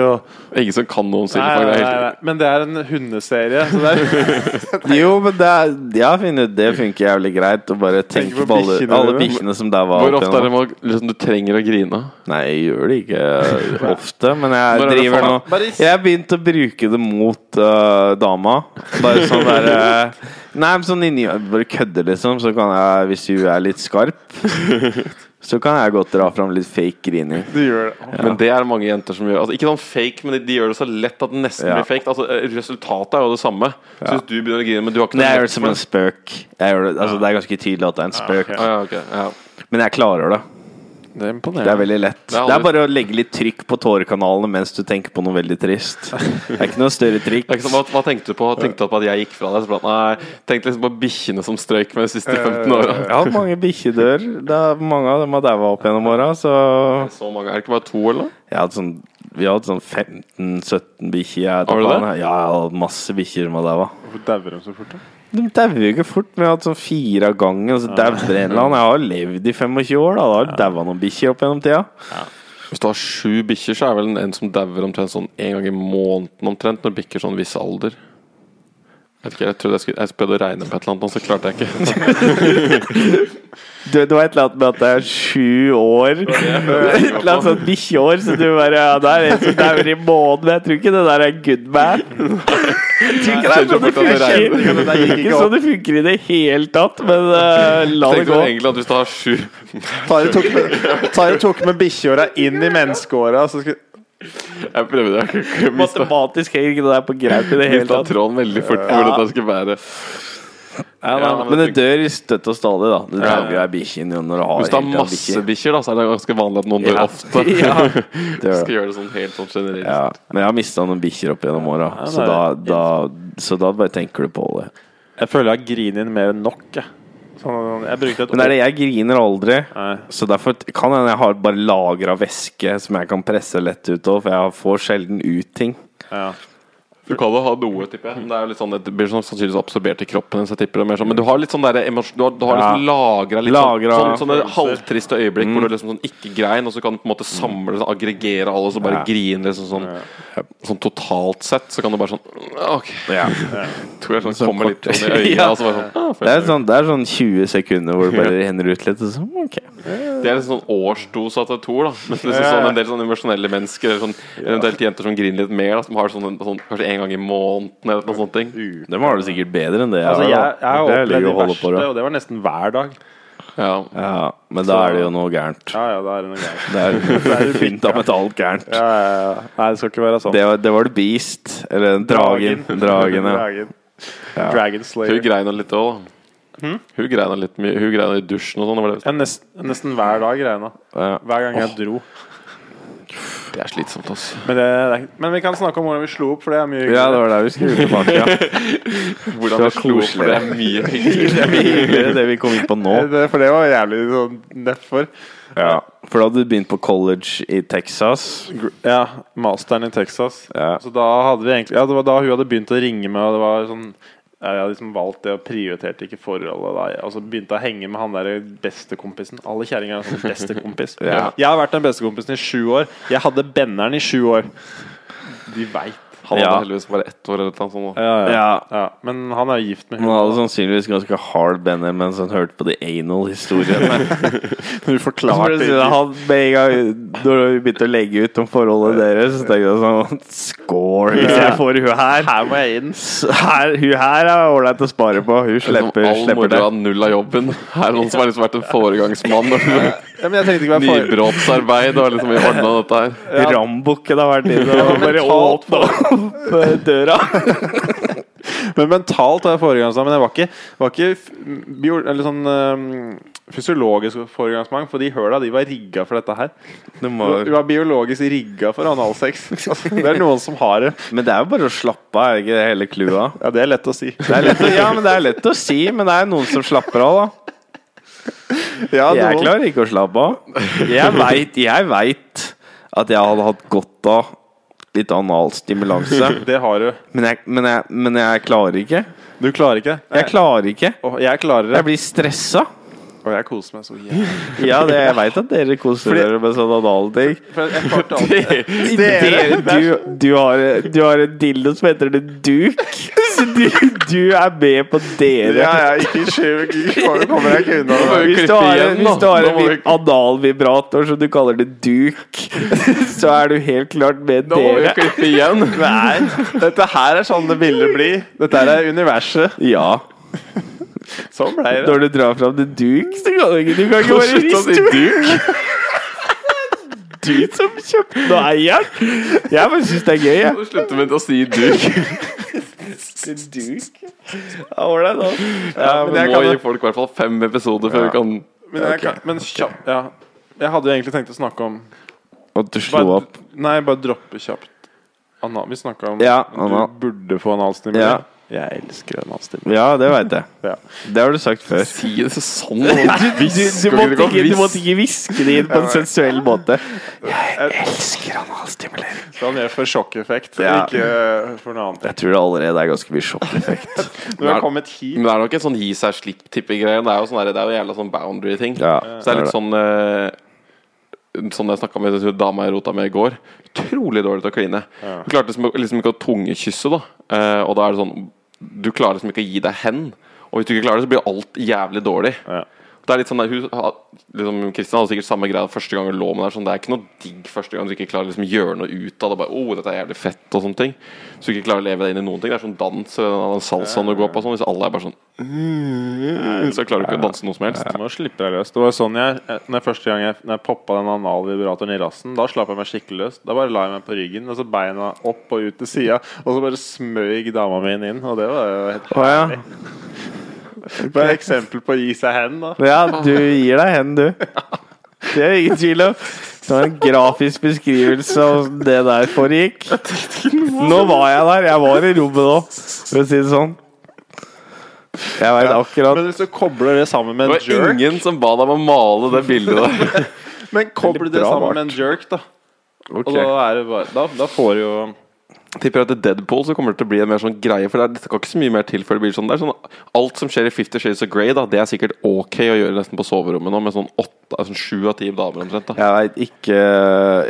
[SPEAKER 5] og
[SPEAKER 1] Ingen som kan noe om
[SPEAKER 5] nei,
[SPEAKER 1] silverfang.
[SPEAKER 5] nei,
[SPEAKER 1] Det er
[SPEAKER 5] nei,
[SPEAKER 1] helt
[SPEAKER 5] nei. Men det er en hundeserie. Så det er,
[SPEAKER 4] Jo, men det, er, jeg har funnet ut det funker jævlig greit. Å bare tenke
[SPEAKER 5] på
[SPEAKER 4] på alle,
[SPEAKER 5] bikkjene
[SPEAKER 4] alle
[SPEAKER 5] dine.
[SPEAKER 4] bikkjene som daua.
[SPEAKER 1] Hvor
[SPEAKER 4] opp
[SPEAKER 1] ofte
[SPEAKER 4] igjennom.
[SPEAKER 1] er det man, liksom, du trenger å grine?
[SPEAKER 4] Nei, jeg gjør det ikke ofte, men
[SPEAKER 1] Når
[SPEAKER 4] jeg
[SPEAKER 1] er det
[SPEAKER 4] driver
[SPEAKER 1] faen?
[SPEAKER 4] nå
[SPEAKER 5] Bare s-
[SPEAKER 4] Jeg har begynt å bruke det mot øh, dama. Bare sånn der øh, Nei, men sånn inni Bare kødder, liksom. Så kan jeg, hvis hun er litt skarp, så kan jeg godt dra fram litt fake grining.
[SPEAKER 5] du gjør det.
[SPEAKER 1] Men det er det mange jenter som gjør. Altså, ikke sånn fake, men de, de gjør det så lett at det nesten
[SPEAKER 4] Ja.
[SPEAKER 1] blir fake. Altså, eh, resultatet er jo det samme. Så hvis du begynner å grine, men du har ikke
[SPEAKER 4] Men jeg
[SPEAKER 1] noe
[SPEAKER 4] gjør det som en spøk. Jeg gjør det, altså, det er ganske tydelig at det er en spøk,
[SPEAKER 1] Ah, ja, ok, ja.
[SPEAKER 4] men jeg klarer det.
[SPEAKER 5] Det er
[SPEAKER 4] Det er
[SPEAKER 5] imponerende.
[SPEAKER 4] veldig lett.
[SPEAKER 1] er aldri-
[SPEAKER 4] Det er bare å legge litt trykk på tårekanalene mens du tenker på noe veldig trist. Det er ikke noe større
[SPEAKER 1] Det er ikke
[SPEAKER 4] trikk.
[SPEAKER 1] sånn, hva, hva tenkte du på? Tenkte du på at jeg gikk fra deg? Så ble det, nei, tenkte liksom på bikkjene som strøyk med de siste
[SPEAKER 4] Eh,
[SPEAKER 1] 15 åra.
[SPEAKER 4] Jeg har hatt mange bikkjedør. Det er- Mange av dem har daua opp gjennom åra, så
[SPEAKER 1] Så mange, Er det ikke bare to, eller?
[SPEAKER 4] jeg har hatt sånn, Vi har hatt sånn 15-17 bikkjer. jeg
[SPEAKER 1] Har
[SPEAKER 4] vet
[SPEAKER 1] du det?
[SPEAKER 4] ikke hva den er. Ja, jeg har hatt masse bikkjer som har daua.
[SPEAKER 5] Hvorfor dauer de så fort? da?
[SPEAKER 4] De dauer jo ikke fort, men jeg har hatt sånn fire av gangen. og Så dauer en eller annen. Jeg har levd i 25 år, da. Da har jeg daua noen bikkjer opp gjennom tida.
[SPEAKER 1] Hvis du har sju bikkjer, så er det vel en, en som dauer omtrent sånn en gang i måneden omtrent når bikkjer sånn viss alder. Jeg vet ikke, jeg trodde jeg skulle Jeg prøvde å regne på et eller annet, men så klarte jeg ikke.
[SPEAKER 4] Du, det var et eller annet med at det er sju år. Et eller annet sånn bikkjeår, så du bare ja, det er en som dauer i måneden. Men jeg tror ikke det der er good man. Jeg tror ikke det er sånn det funker. Det er ikke sånn det funker i det hele tatt, men eh, la det
[SPEAKER 1] Tenkte
[SPEAKER 4] gå.
[SPEAKER 1] vel egentlig at hvis du har sju
[SPEAKER 5] Tare tok med, Tare tok med bikkjeåra inn i menneskeåra. Så skulle,
[SPEAKER 1] Jeg prøvde, jeg kunne ikke miste
[SPEAKER 4] Matematisk henger ikke det der på greip i det hele
[SPEAKER 1] mista
[SPEAKER 4] tatt.
[SPEAKER 1] tråden veldig fort for hvordan det skulle være.
[SPEAKER 4] Ja,
[SPEAKER 1] Ja,
[SPEAKER 4] da,
[SPEAKER 1] men
[SPEAKER 4] men det
[SPEAKER 1] tenk-
[SPEAKER 4] dør i støtt og stadig, da. Du dauer jo ei bikkje når du har
[SPEAKER 1] Hvis du har
[SPEAKER 4] helt av bikkje.
[SPEAKER 1] masse bikkjer, da, så er det ganske vanlig at noen dør
[SPEAKER 4] Ja.
[SPEAKER 1] ofte.
[SPEAKER 4] Ja, det gjør
[SPEAKER 1] Skal
[SPEAKER 4] det.
[SPEAKER 1] gjøre det sånn helt sånn generelt.
[SPEAKER 4] Ja, men jeg har mista noen bikkjer opp gjennom åra, så, da, da, så da bare tenker du på det.
[SPEAKER 5] jeg føler jeg har grinet mer enn nok. Jeg. Sånn, jeg brukte et
[SPEAKER 4] Men det er det, jeg griner aldri,
[SPEAKER 5] Nei.
[SPEAKER 4] så derfor t- kan hende jeg har bare lagra væske som jeg kan presse lett ut av, for jeg får sjelden ut ting.
[SPEAKER 5] Ja.
[SPEAKER 1] Du kan jo ha noe, tipper jeg. Men det, er jo litt sånn, det blir sånn, sannsynligvis absorbert i kroppen. din, Så jeg tipper det er mer sånn. Men du har litt sånn der emosjon, du har, du har liksom lagra litt
[SPEAKER 4] Lagret Mm.
[SPEAKER 1] sånn, sånn, sånne halvtriste øyeblikk hvor du liksom sånn ikke grein, og så kan du på en måte samle sånn, aggregere alle og så bare
[SPEAKER 4] Ja.
[SPEAKER 1] grine liksom sånn, sånn totalt sett. Så kan du bare sånn OK. Tror jeg sånn,
[SPEAKER 4] Sånn
[SPEAKER 1] kommer litt
[SPEAKER 4] kort.
[SPEAKER 1] sånn i øynene.
[SPEAKER 4] Ja.
[SPEAKER 1] og så bare sånn, ah,
[SPEAKER 4] Det, er
[SPEAKER 1] føler jeg.
[SPEAKER 4] sånn, det er sånn 20 sekunder hvor det bare renner ut litt. Og så, mm, ok
[SPEAKER 1] det er liksom sånn årsdose av Tor. da. Men liksom sånn, en del sånne emosjonelle mennesker, eller sånn, eventuelt jenter som griner litt mer, da, som har sånn, en- sånn kanskje en gang i måneden eller noe sånt. ting.
[SPEAKER 4] Dem har det sikkert bedre enn det jeg
[SPEAKER 5] Altså, jeg,
[SPEAKER 4] har.
[SPEAKER 5] jeg
[SPEAKER 4] da.
[SPEAKER 5] har
[SPEAKER 4] Det er jo
[SPEAKER 5] opplevd de
[SPEAKER 4] å holde
[SPEAKER 5] verste,
[SPEAKER 4] på, da.
[SPEAKER 5] og det var nesten hver dag.
[SPEAKER 1] Ja.
[SPEAKER 4] Ja, men da er det jo noe gærent.
[SPEAKER 5] Ja, ja, det er noe gærent.
[SPEAKER 4] Det er fundamentalt gærent.
[SPEAKER 5] Ja, ja, ja. Nei, det skal ikke være sånn.
[SPEAKER 4] Det var det, var det Beast, eller Dragen. Dragen, ja.
[SPEAKER 5] Dragen. Dragon
[SPEAKER 1] Hun
[SPEAKER 5] Slayer.
[SPEAKER 1] greina litt òg, da.
[SPEAKER 4] Hm?
[SPEAKER 1] Hun greina litt mye. Hun greina i dusjen og sånn. det var det-
[SPEAKER 5] Ja, nesten, nesten hver dag greina.
[SPEAKER 4] Ja.
[SPEAKER 5] Hver gang jeg dro.
[SPEAKER 1] Det er slitsomt, ass.
[SPEAKER 5] Men, det, det er- men vi kan snakke om hvordan vi slo opp, for det er mye
[SPEAKER 4] Ja, det var der vi skulle tilbake. Ja.
[SPEAKER 1] Hvordan
[SPEAKER 4] Det var
[SPEAKER 1] det slo opp,
[SPEAKER 4] koselig.
[SPEAKER 1] for det er mye hyggeligere.
[SPEAKER 4] Det blir hyggeligere det vi kom inn på nå.
[SPEAKER 5] Det- For det var jævlig sånn nedfor.
[SPEAKER 4] Ja. For da hadde du begynt på college i Texas.
[SPEAKER 5] Ja, masteren i Texas.
[SPEAKER 4] Ja.
[SPEAKER 5] Så da hadde vi egentlig Ja, det var da hun hadde begynt å ringe meg, og det var sånn ja, Jeg hadde liksom valgt det og prioriterte ikke forholdet. Da. Og så begynte jeg å henge med han der bestekompisen. Alle kjerringer er sånn bestekompis.
[SPEAKER 4] Ja.
[SPEAKER 5] Jeg har vært den bestekompisen i sju år. Jeg hadde benneren i sju år. De veit.
[SPEAKER 1] Han hadde
[SPEAKER 4] Ja.
[SPEAKER 1] heldigvis bare ett år eller noe sånt. da.
[SPEAKER 5] Ja, ja.
[SPEAKER 4] Ja.
[SPEAKER 5] ja. Men han er jo gift med
[SPEAKER 4] Han
[SPEAKER 5] hun.
[SPEAKER 4] hadde sannsynligvis ganske hard bender mens han hørte på de anal-historiene.
[SPEAKER 5] Hun forklarte ikke.
[SPEAKER 4] Han med en gang Når vi begynte å legge ut om forholdet deres, så tenkte jeg sånn Score! Hvis jeg får hun her,
[SPEAKER 5] Her må jeg inn.
[SPEAKER 4] så her hun her er ålreit å spare på. Hun slipper,
[SPEAKER 1] Liksom, All
[SPEAKER 4] slipper
[SPEAKER 1] moro
[SPEAKER 4] det.
[SPEAKER 1] av null av jobben. Her er noen som har liksom vært en foregangsmann. og
[SPEAKER 5] Ja, men jeg tenkte ikke være for...
[SPEAKER 1] Nybrottsarbeid og liksom ordna dette her.
[SPEAKER 4] Rambukken har vært inne og bare
[SPEAKER 5] mentalt
[SPEAKER 4] åpna opp eh, døra.
[SPEAKER 5] Men mentalt var jeg foregangsmann, men jeg var ikke, var ikke f- bio, eller sånn øhm, fysiologisk foregangsmann, for de høla de var rigga for dette her.
[SPEAKER 4] Du må
[SPEAKER 5] Hun var biologisk rigga for analsex. Altså, det er noen som har det.
[SPEAKER 4] Men det er jo bare å slappe av, er det ikke det hele clouet?
[SPEAKER 5] Ja, det er lett å si.
[SPEAKER 4] Det er lett å, ja, men det er lett å si, men det er noen som slapper av, da.
[SPEAKER 5] Ja,
[SPEAKER 4] Jeg
[SPEAKER 5] noen-
[SPEAKER 4] klarer ikke å slappe av. Jeg veit, jeg vet at jeg hadde hatt godt av litt analstimulanse,
[SPEAKER 5] Det har du.
[SPEAKER 4] men jeg, men, jeg, men jeg klarer ikke.
[SPEAKER 5] Du klarer ikke det?
[SPEAKER 4] Jeg klarer ikke.
[SPEAKER 5] Åh, jeg klarer det.
[SPEAKER 4] Jeg blir stressa.
[SPEAKER 5] Og jeg koser meg så jævlig.
[SPEAKER 4] Ja, det, jeg veit at dere koser
[SPEAKER 5] Fordi-
[SPEAKER 4] dere med sånne analting.
[SPEAKER 5] For jeg klarte alltid
[SPEAKER 4] Dere, du, du, har, du har en dildo som heter det duk, så du, du er med på dere.
[SPEAKER 5] Ja, ja, ikke skjev Nå kommer jeg ikke unna det.
[SPEAKER 4] Hvis du
[SPEAKER 1] klippe
[SPEAKER 4] har en,
[SPEAKER 1] igjen, da.
[SPEAKER 4] hvis du har
[SPEAKER 1] Da
[SPEAKER 4] en
[SPEAKER 1] må
[SPEAKER 4] vi- analvibrator som du kaller det duk, så er du helt klart med
[SPEAKER 1] Nå må vi
[SPEAKER 4] dere.
[SPEAKER 1] klippe igjen.
[SPEAKER 5] Nei, dette her er sånn det ville bli. Dette her er universet.
[SPEAKER 4] Ja.
[SPEAKER 5] Sånn ble det.
[SPEAKER 4] Når du drar fram det duk, så kan du ikke, du kan ikke bare
[SPEAKER 1] Slutt å si
[SPEAKER 4] riste ut
[SPEAKER 1] duk.
[SPEAKER 4] du som kjøpte noe eieren. Jeg bare syns det er gøy, jeg.
[SPEAKER 1] Du slutter med å si duk.
[SPEAKER 4] Duk. Ja, Ålreit, da.
[SPEAKER 5] Ja,
[SPEAKER 1] Vi
[SPEAKER 5] men jeg
[SPEAKER 1] må
[SPEAKER 5] kan
[SPEAKER 1] gi folk i hvert fall fem episoder før vi kan
[SPEAKER 5] Men, jeg, kan- men kjapt ja. Jeg hadde jo egentlig tenkt å snakke om
[SPEAKER 4] Og du slo
[SPEAKER 5] bare,
[SPEAKER 4] opp.
[SPEAKER 5] Nei, bare droppe kjapt. Anna, vi snakka om
[SPEAKER 4] Ja,
[SPEAKER 5] du
[SPEAKER 4] anal.
[SPEAKER 5] burde få
[SPEAKER 4] Ja.
[SPEAKER 5] analstimulering. Jeg elsker analstimulering.
[SPEAKER 4] Ja, det veit jeg.
[SPEAKER 5] Ja.
[SPEAKER 4] Det har du sagt før.
[SPEAKER 1] si det sånn.
[SPEAKER 4] Du, du, du, måtte ikke, du måtte ikke hviske det inn på en sensuell måte. Jeg elsker analstimulering.
[SPEAKER 5] Så han gjør for sjokkeffekt,
[SPEAKER 4] Ja.
[SPEAKER 5] ikke for noe annet.
[SPEAKER 4] Jeg tror det allerede er ganske mye sjokkeffekt.
[SPEAKER 5] Du har kommet hit.
[SPEAKER 1] Men det er nok en sånn gi seg slipp-tippegreie. Det er jo sånn der- det er jo jævla sånn boundary-ting.
[SPEAKER 4] Ja,
[SPEAKER 1] så det er litt sånn eh, Sånn jeg snakka med den dama jeg rota med i går. Utrolig dårlig til å kline. Hun klarte liksom, liksom ikke å tungekysse, da. Eh, og da er det sånn Du klarer liksom ikke å gi deg hen. Og hvis du ikke klarer det, så blir alt jævlig dårlig. Det er litt sånn der, hun, ha- liksom, Kristian hadde sikkert samme greia første gang hun lå med deg. Sånn, det er ikke noe digg første gang du ikke klarer liksom, å gjøre noe ut av det. Bare, oh, dette er jævlig fett og sånne ting Så du ikke klarer å leve deg inn i noen ting. Det er sånn dans eller den salsaen du går på. og Sånn, hvis alle er bare sånn «Mm, Så klarer du ikke å danse noe som helst.
[SPEAKER 5] Du må slippe deg løs. Det var sånn jeg, når jeg første gang jeg, når jeg poppa den analvibratoren i rassen, da slapp jeg meg skikkelig løs. Da bare la jeg meg på ryggen, og så beina opp og ut til sida, og så bare smøg dama mi inn. Og det var jo helt
[SPEAKER 4] Å ja.
[SPEAKER 5] bare et eksempel på å gi seg hen, da.
[SPEAKER 4] ja, du gir deg hen, du. Det er ingen tvil om. Det var en grafisk beskrivelse av hvordan det der foregikk. Nå var jeg der. Jeg var i rommet nå, for å si det sånn. Jeg veit akkurat
[SPEAKER 5] Men hvis du kobler det sammen med
[SPEAKER 1] Det
[SPEAKER 5] en
[SPEAKER 1] var
[SPEAKER 5] jerk
[SPEAKER 1] ingen som ba deg om å male det bildet der.
[SPEAKER 5] Men kobler det
[SPEAKER 4] Bra
[SPEAKER 5] sammen
[SPEAKER 4] vart.
[SPEAKER 5] med en jerk, da. Og da, er det bare, da, da får du jo
[SPEAKER 1] Tipper at i Deadpool så kommer det til å bli en mer sånn greie. For det, er, det skal ikke så mye mer til før det blir sånn. Det er sånn alt som skjer i Fifty Shades of Grey, da, det er sikkert ok å gjøre nesten på soverommet nå, med sånn åtte, sånn sju av ti damer omtrent. da
[SPEAKER 4] Jeg veit ikke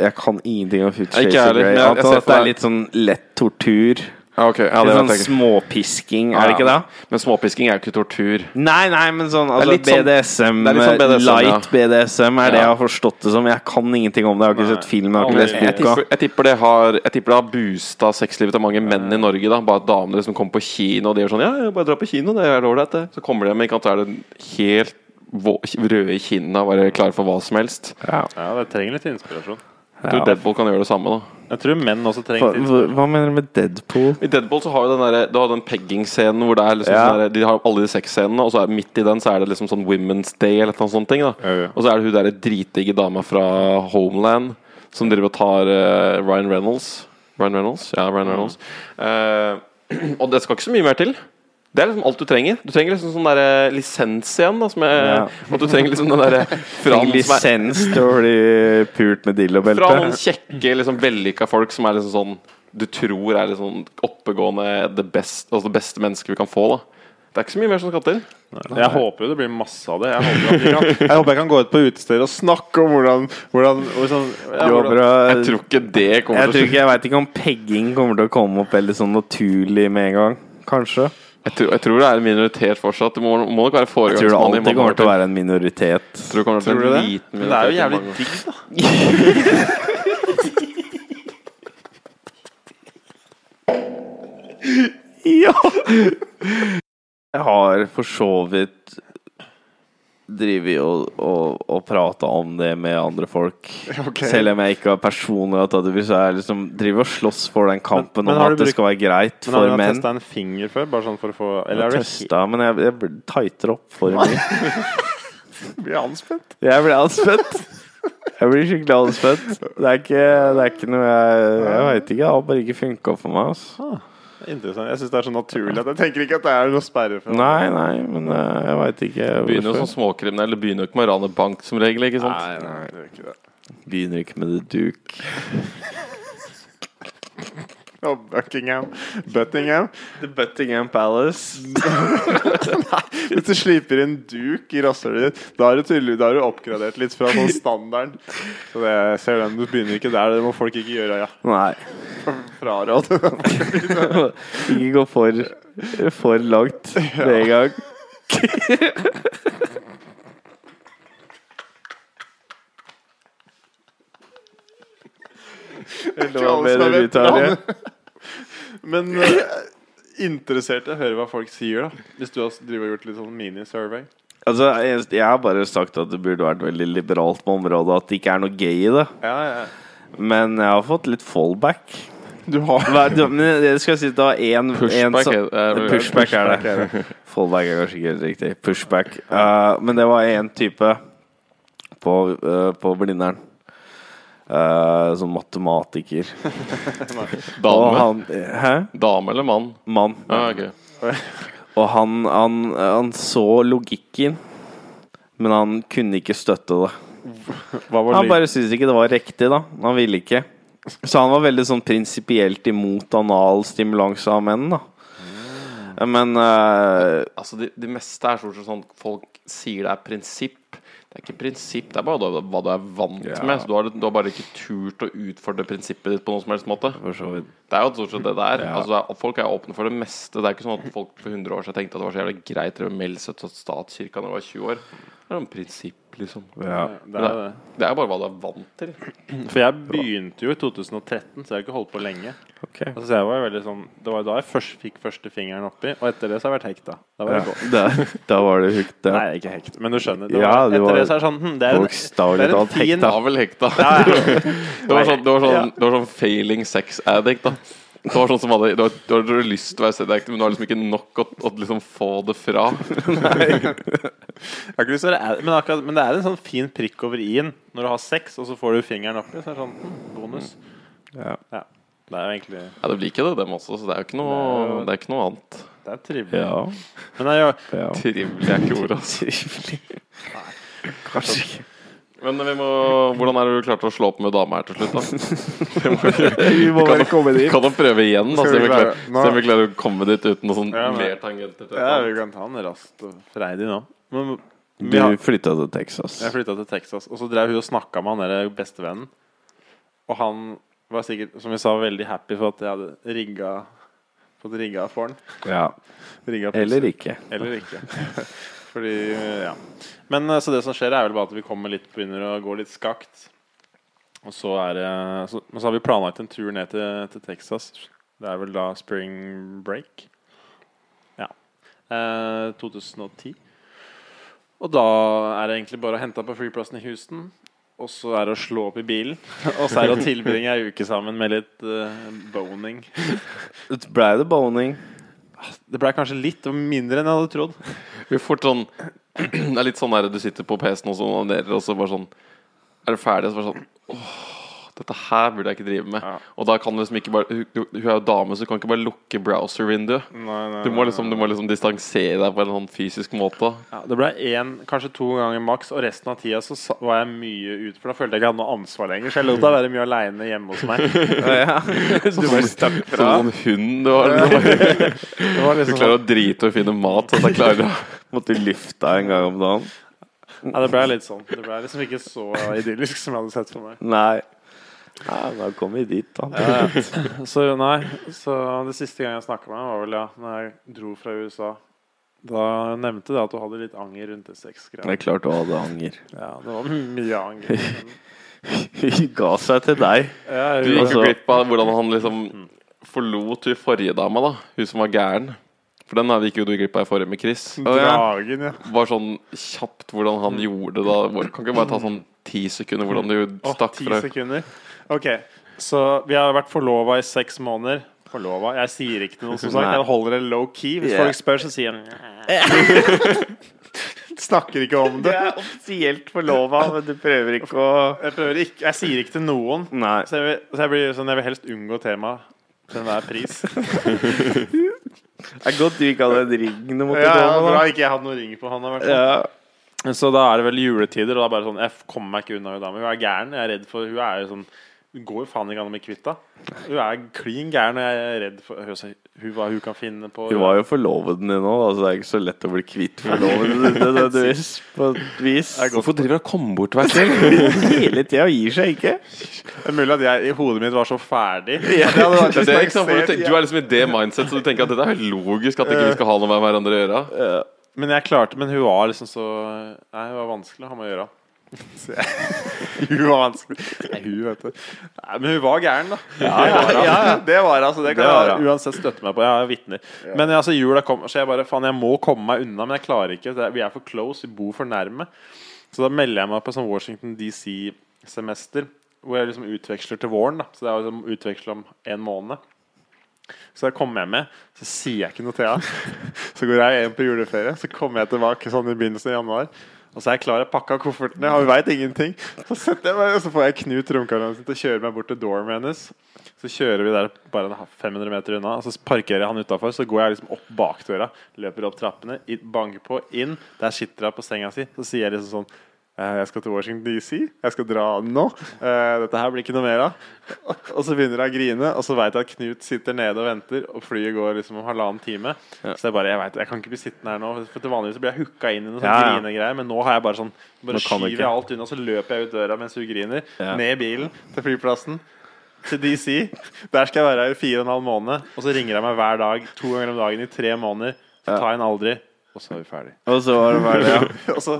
[SPEAKER 4] Jeg kan ingenting om Future
[SPEAKER 1] Ikke
[SPEAKER 4] Shades of
[SPEAKER 1] heller,
[SPEAKER 4] Grey.
[SPEAKER 1] men jeg- jeg
[SPEAKER 4] Annet enn
[SPEAKER 1] ser
[SPEAKER 4] at
[SPEAKER 1] for
[SPEAKER 4] det er
[SPEAKER 1] meg-
[SPEAKER 4] litt sånn lett tortur.
[SPEAKER 1] Ja, ok, ja,
[SPEAKER 4] Litt
[SPEAKER 1] det
[SPEAKER 4] sånn
[SPEAKER 1] vet jeg ikke.
[SPEAKER 4] småpisking, er det ikke det?
[SPEAKER 1] Men småpisking er jo ikke tortur.
[SPEAKER 4] Nei, nei, men sånn altså,
[SPEAKER 1] litt sånn-
[SPEAKER 4] BDSM,
[SPEAKER 1] det er litt sånn BDSM, ja.
[SPEAKER 4] Light BDSM er det
[SPEAKER 1] Ja.
[SPEAKER 4] jeg har forstått det som. Jeg kan ingenting om det. Jeg har ikke sett film, jeg har ikke
[SPEAKER 1] Jeg,
[SPEAKER 4] lest
[SPEAKER 1] jeg,
[SPEAKER 4] boka.
[SPEAKER 1] tipper, jeg, tipper det har, jeg tipper det har boosta sexlivet til mange menn i Norge. da Bare at damene liksom kommer på kino og de gjør sånn Ja, jeg bare drar på kino, det er ålreit, det. Så kommer de hjem, ikke sant, så er det helt vå- røde i kinnene og bare klare for hva som helst.
[SPEAKER 5] Ja, det trenger litt inspirasjon.
[SPEAKER 1] Jeg tror Deadpool kan gjøre det samme, da.
[SPEAKER 5] Jeg tror menn også
[SPEAKER 4] Hva,
[SPEAKER 5] trenger sånn- litt
[SPEAKER 4] hva- hva mener du med Deadpool?
[SPEAKER 1] I Deadpool så har jo den, der, du har den pegging-scenen hvor det er liksom
[SPEAKER 4] Ja.
[SPEAKER 1] sånn der, de har alle de sexscenene, og så er midt i den så er det liksom sånn Women's Day eller noe sånt. ting da
[SPEAKER 5] Ja, ja.
[SPEAKER 1] Og så er det hun derre dritdigge dama fra Homeland som driver og tar eh, Ryan Reynolds. Ryan Reynolds? Ja, Ryan Reynolds. Eh, og det skal ikke så mye mer til. Det er liksom alt du trenger. Du trenger liksom sånn der eh, lisens igjen. Da, som jeg,
[SPEAKER 4] Ja.
[SPEAKER 1] At du trenger liksom den derre fra
[SPEAKER 4] Trenger
[SPEAKER 1] noen som er-
[SPEAKER 4] lisens til å bli pult med
[SPEAKER 1] fra noen
[SPEAKER 4] dillobelte?
[SPEAKER 1] kjekke, liksom, vellykka folk som er liksom sånn du tror er litt sånn oppegående det beste, altså det beste mennesket vi kan få. da Det er ikke så mye mer som skal til.
[SPEAKER 5] Jeg håper jo det blir masse av det. Jeg håper at jeg kan, jeg, håper jeg kan gå ut på utesteder og snakke om hvordan, hvordan, hvordan, ja,
[SPEAKER 4] Du håper
[SPEAKER 5] hvordan
[SPEAKER 4] å-
[SPEAKER 1] Jeg tror ikke det
[SPEAKER 4] Jeg
[SPEAKER 1] kommer
[SPEAKER 4] tror
[SPEAKER 1] til å skje.
[SPEAKER 4] ikke, jeg veit ikke om pegging kommer til å komme opp veldig sånn naturlig med en gang. Kanskje.
[SPEAKER 1] Jeg, tror- jeg tror det er en minoritet fortsatt. Det må, må nok være
[SPEAKER 4] Jeg tror det
[SPEAKER 1] foregangsmann. i
[SPEAKER 4] alltid
[SPEAKER 1] mange år
[SPEAKER 4] kommer til å være en minoritet.
[SPEAKER 1] Tror det kommer til å
[SPEAKER 5] Tror
[SPEAKER 1] være
[SPEAKER 5] du
[SPEAKER 1] en
[SPEAKER 5] det?
[SPEAKER 1] liten
[SPEAKER 5] Men det er jo
[SPEAKER 1] minoritet i
[SPEAKER 5] jævlig
[SPEAKER 1] mange år.
[SPEAKER 5] digg, da.
[SPEAKER 4] Ja! Jeg har for så vidt drevet og, og, og prata om det med andre folk. Selv om jeg ikke har personlig hatt det, så er jeg liksom driver og slåss for den kampen
[SPEAKER 5] Men- men har
[SPEAKER 4] om at
[SPEAKER 5] du
[SPEAKER 4] det skal være greit
[SPEAKER 5] Men har
[SPEAKER 4] for
[SPEAKER 5] du
[SPEAKER 4] menn.
[SPEAKER 5] testa en finger før? Bare sånn for å få
[SPEAKER 4] Jeg
[SPEAKER 5] Eller
[SPEAKER 4] har
[SPEAKER 5] er du helt
[SPEAKER 4] testa, men jeg, jeg blir- tighter opp for mye.
[SPEAKER 5] blir anspent?
[SPEAKER 4] Jeg blir anspent. Jeg blir skikkelig anspent. Det er ikke, det er ikke noe jeg Jeg veit ikke. Det har bare ikke funka for meg.
[SPEAKER 5] Ah.
[SPEAKER 4] Altså.
[SPEAKER 5] Interessant. Jeg syns det er så naturlig at jeg tenker ikke at det er noe sperre for
[SPEAKER 4] Nei, nei, men eh, jeg veit ikke.
[SPEAKER 1] Begynner sånn jo
[SPEAKER 4] hvorfor.
[SPEAKER 1] som småkriminell. Du begynner jo ikke med å rane bank som regel. ikke sant?
[SPEAKER 5] Nei, nei, det er ikke det.
[SPEAKER 4] Begynner ikke med det duk.
[SPEAKER 5] Og Buckingham. Buttingham.
[SPEAKER 4] The Buttingham Palace.
[SPEAKER 5] Hvis du sliper inn duk i rasshølet ditt, da har du tydelig- da har du oppgradert litt fra sånn standarden. Så det, ser den, du begynner ikke der. Det må folk ikke gjøre. Ja.
[SPEAKER 4] Nei.
[SPEAKER 5] Fraråd.
[SPEAKER 4] Ikke gå for, for langt med en gang. Hva
[SPEAKER 5] alle som
[SPEAKER 4] mener
[SPEAKER 5] er
[SPEAKER 4] du, Tarjei?
[SPEAKER 5] Men eh, interessert i å høre hva folk sier, da. Hvis du har driver og gjort litt sånn mini-survey.
[SPEAKER 4] Altså, jeg, jeg har bare sagt at det burde vært veldig liberalt på området, at det ikke er noe gay i det.
[SPEAKER 5] Ja, ja.
[SPEAKER 4] Men jeg har fått litt fallback.
[SPEAKER 5] Du har
[SPEAKER 4] Hva, du, men det skal jeg si, det var én
[SPEAKER 1] Pushback
[SPEAKER 4] som-
[SPEAKER 1] er- er-
[SPEAKER 4] Pushback, er det. Fallback er kanskje ikke helt riktig. Pushback. Eh, men det var én type på, eh, på Blindern. Eh, som matematiker. Og
[SPEAKER 1] Dame,
[SPEAKER 4] han Hæ?
[SPEAKER 1] dame eller mann?
[SPEAKER 4] Mann.
[SPEAKER 1] Ja, ok.
[SPEAKER 4] Og han, han, han så logikken, men han kunne ikke støtte det.
[SPEAKER 5] Hva var
[SPEAKER 4] Han bare syntes ikke det var riktig, da. Han ville ikke. Så han var veldig sånn prinsipielt imot anal stimulanse av menn, da. Men eh,
[SPEAKER 1] Altså, det de meste er stort sett sånn folk sier det er prinsipp. Det Det er ikke prinsipp, det er bare hva du- hva du er vant med. Så du, har, du har bare ikke turt å utfordre prinsippet ditt på noen som helst måte.
[SPEAKER 4] For så vidt.
[SPEAKER 1] Det er jo stort sett det der. Altså, det er- folk er åpne for det meste. Det er ikke sånn at folk for 100 år siden tenkte at det var så jævlig greit å drive med Melset og statskirka når du var 20 år. Det er jo en prinsipp, liksom.
[SPEAKER 4] Ja.
[SPEAKER 5] Det er det.
[SPEAKER 1] Det er jo bare hva du er vant til.
[SPEAKER 5] For jeg begynte jo i 2013, så jeg har ikke holdt på lenge.
[SPEAKER 4] Ok.
[SPEAKER 5] Altså, jeg var jo veldig sånn Det var jo da jeg først fikk første fingeren oppi, og etter det så har jeg vært hekta. Da var
[SPEAKER 4] Ja.
[SPEAKER 5] det godt.
[SPEAKER 4] Da, da var det hooked.
[SPEAKER 5] Nei,
[SPEAKER 4] Ja.
[SPEAKER 5] jeg er ikke hekt, men du skjønner. Det
[SPEAKER 4] Ja,
[SPEAKER 5] var,
[SPEAKER 4] det var-
[SPEAKER 5] etter det så er det sånn hm, Det er en,
[SPEAKER 4] Folk
[SPEAKER 5] det
[SPEAKER 4] stavlig
[SPEAKER 5] er en
[SPEAKER 4] talt
[SPEAKER 5] fin
[SPEAKER 4] hekta.
[SPEAKER 1] Da vel hekta.
[SPEAKER 5] Ja, ja.
[SPEAKER 1] Det var sånn, det var sånn, det var sånn failing sex addict, da. Det var sånn som hadde, du, har, du har lyst til å være sex addict, men du har liksom ikke nok å, å liksom få det fra.
[SPEAKER 5] Jeg har ikke lyst til å være ad- men, akkurat, men det er en sånn fin prikk over i-en når du har sex, og så får du fingeren oppi. Så er det sånn hm, bonus.
[SPEAKER 4] Ja.
[SPEAKER 5] Ja. Det er jo egentlig
[SPEAKER 1] Ja, det blir ikke det, dem også, så det er jo ikke noe, det er ikke noe annet.
[SPEAKER 5] Det er trivelig.
[SPEAKER 4] Ja.
[SPEAKER 5] Men jeg, gjør-
[SPEAKER 4] ja.
[SPEAKER 1] Trivelig er ikke ordet, altså.
[SPEAKER 4] Trivelig. Kanskje ikke.
[SPEAKER 1] Men vi må, hvordan er det du klarte å slå opp med dama her til slutt, da? Det må vi gjøre.
[SPEAKER 3] Vi må bare komme dit.
[SPEAKER 1] Kan du prøve igjen, da? Se om
[SPEAKER 3] Skal vi
[SPEAKER 1] vi klarer,
[SPEAKER 3] klare- Nå-
[SPEAKER 1] se om vi klarer å komme dit uten noe sånn
[SPEAKER 5] Ja, men-
[SPEAKER 1] mer tangenter. til
[SPEAKER 5] ja,
[SPEAKER 1] dette.
[SPEAKER 5] vi kan ta den raskt og freidig nå. Men
[SPEAKER 4] Du
[SPEAKER 5] vi har,
[SPEAKER 4] flytta til Texas.
[SPEAKER 5] jeg flytta til Texas, og så drev hun og snakka med han der bestevennen. Og han var sikkert, som vi sa, veldig happy for at jeg hadde rigga fått rigga for han.
[SPEAKER 4] Ja.
[SPEAKER 5] Rigga pussy.
[SPEAKER 4] Eller ikke.
[SPEAKER 5] Eller ikke. Fordi, ja. Men eh, så det som skjer, er vel bare at vi kommer litt begynner å gå litt skakt. Og så er det så, Men så har vi planlagt en tur ned til, til Texas. Det er vel da spring break. Ja. Eh, 2010. Og da er det egentlig bare å hente opp på flyplassen i Houston. Og så er det å slå opp i bilen. Og så er det å tilbringe ei uke sammen med litt eh, boning.
[SPEAKER 4] Blei det boning?
[SPEAKER 5] Det ble kanskje litt mindre enn jeg hadde trodd.
[SPEAKER 1] Vi får sånn Det er litt sånn der du sitter på PC-en og så onanerer, og så bare sånn Er du ferdig? Og så bare sånn Åh, dette her burde jeg ikke drive med. Og da kan du liksom ikke bare Hun, hun er jo dame, så du kan ikke bare lukke browser-vinduet. Du må liksom, du må liksom distansere deg på en sånn fysisk måte.
[SPEAKER 5] Ja, det ble én, kanskje to ganger maks, og resten av tida så sa- var jeg mye ute. For da følte jeg ikke jeg hadde noe ansvar lenger, så jeg lot deg være mye aleine hjemme hos meg.
[SPEAKER 4] Ja. Du bare stakk
[SPEAKER 1] Som
[SPEAKER 4] fra?
[SPEAKER 1] en hund du har. Du, bare, du
[SPEAKER 5] liksom
[SPEAKER 1] klarer å drite og finne mat, så da klarer du
[SPEAKER 4] Måtte lufta en gang om dagen?
[SPEAKER 5] Ja, det ble litt sånn. Det ble liksom ikke så idyllisk som jeg hadde sett for meg.
[SPEAKER 4] Nei. Ja, da kom vi dit, da.
[SPEAKER 5] Så nei, så det siste gang jeg snakka med deg, var vel ja, når jeg dro fra USA. Da nevnte du at du hadde litt anger rundt det
[SPEAKER 4] Det er
[SPEAKER 5] sexgreiene.
[SPEAKER 4] klart du hadde anger.
[SPEAKER 5] Ja, det var mye anger. men-
[SPEAKER 4] Hun ga seg til deg.
[SPEAKER 5] Ja,
[SPEAKER 1] Du gikk jo
[SPEAKER 4] Altså-
[SPEAKER 1] glipp av hvordan han liksom forlot hun forrige dama, da. Hun som var gæren. For den her gikk jo du glipp av i forrige med Chris.
[SPEAKER 5] Dragen, ja. Mm.
[SPEAKER 1] var sånn kjapt hvordan han gjorde det. da Hvor- Kan ikke bare ta sånn ti sekunder hvordan du
[SPEAKER 5] Åh,
[SPEAKER 1] stakk
[SPEAKER 5] ti
[SPEAKER 1] fra
[SPEAKER 5] sekunder. Ok, så vi har vært forlova i seks måneder. Forlova? Jeg sier ikke til noen, som sagt.
[SPEAKER 4] Nei.
[SPEAKER 5] Jeg holder det low key. Hvis
[SPEAKER 4] Yeah.
[SPEAKER 5] folk spør, så sier jeg Snakker ikke om det.
[SPEAKER 4] er offisielt forlova, men du prøver ikke å
[SPEAKER 5] Jeg, prøver ikke, jeg sier ikke til noen.
[SPEAKER 4] Nei.
[SPEAKER 5] Så jeg vil, så jeg blir, sånn, jeg vil helst unngå temaet til enhver pris.
[SPEAKER 4] Det er godt du ikke hadde en ring du måtte
[SPEAKER 5] Ja,
[SPEAKER 4] gå med.
[SPEAKER 5] bra
[SPEAKER 4] da.
[SPEAKER 5] ikke jeg hadde noen ringer på han. i hvert fall.
[SPEAKER 4] Ja.
[SPEAKER 5] Så da er det vel juletider, og da er det bare sånn Jeg f- kommer meg ikke unna hun dama. Hun er gæren. Jeg er redd for Hun er jo sånn Hun går jo faen ikke an å bli kvitt henne. Hun er klin gæren, og jeg er redd for hun, så- hun, hva hun kan finne på.
[SPEAKER 4] Hun var jo forloveden din nå, da, så det er ikke så lett å bli kvitt forloveden din nødvendigvis. På et vis.
[SPEAKER 1] Hvorfor driver han og kommer bort hver selv?
[SPEAKER 4] Hele tida gir seg ikke.
[SPEAKER 5] Det er mulig at jeg i hodet mitt var så ferdig.
[SPEAKER 1] Det er, ikke sant, for du, tenker, du er liksom i det mindset, så du tenker at det er helt logisk at ikke vi skal ha noe med hverandre å gjøre.
[SPEAKER 5] Men jeg klarte Men hun var liksom så Nei, hun var vanskelig å ha med å gjøre. Så jeg- Hun var vanskelig. Nei, hun, vet du. Nei, men hun var gæren, da.
[SPEAKER 3] Det var altså det.
[SPEAKER 5] Det kan jeg uansett støtte meg på. Jeg er vitner. Men altså, jula kom, så jeg bare faen, jeg må komme meg unna, men jeg klarer ikke. Det er- Vi er for close, vi bor for nærme. Så da melder jeg meg på sånn Washington DC-semester, hvor jeg liksom utveksler til våren. da Så det er liksom utveksler om en måned. Så da kommer jeg med, så sier jeg ikke noe til henne. Så går jeg hjem på juleferie, så kommer jeg tilbake sånn i begynnelsen av januar. Og så er jeg klar, jeg pakka koffertene, og hun veit ingenting. Så setter jeg meg, og så får jeg Knut romkaren sin til å kjøre meg bort til dormen hennes. Så kjører vi der bare en halv- 500 meter unna, og så parkerer jeg han utafor. Så går jeg liksom opp bakdøra, løper opp trappene, i- banker på, inn. Der sitter hun på senga si. Så sier jeg liksom sånn eh, Jeg skal til Washington DC. Jeg skal dra nå. Eh, Dette her blir ikke noe mer av. Og så begynner jeg å grine, og så veit jeg at Knut sitter nede og venter, og flyet går liksom om halvannen time. Så jeg bare Jeg vet, jeg kan ikke bli sittende her nå, for til vanligvis så blir jeg hooka inn i noen sånne
[SPEAKER 4] Ja, ja.
[SPEAKER 5] grinegreier, men nå har jeg bare sånn Bare
[SPEAKER 4] Nå kan du
[SPEAKER 5] skyver
[SPEAKER 4] ikke.
[SPEAKER 5] jeg alt unna, så løper jeg ut døra mens hun griner,
[SPEAKER 4] Ja.
[SPEAKER 5] ned i bilen til flyplassen. Til DC. Der skal jeg være her i fire og en halv måned. Og så ringer jeg meg hver dag, to ganger om dagen i tre måneder. Så tar jeg en aldri, og så er vi ferdig.
[SPEAKER 4] Og så var det bare det, ja.
[SPEAKER 5] Og så,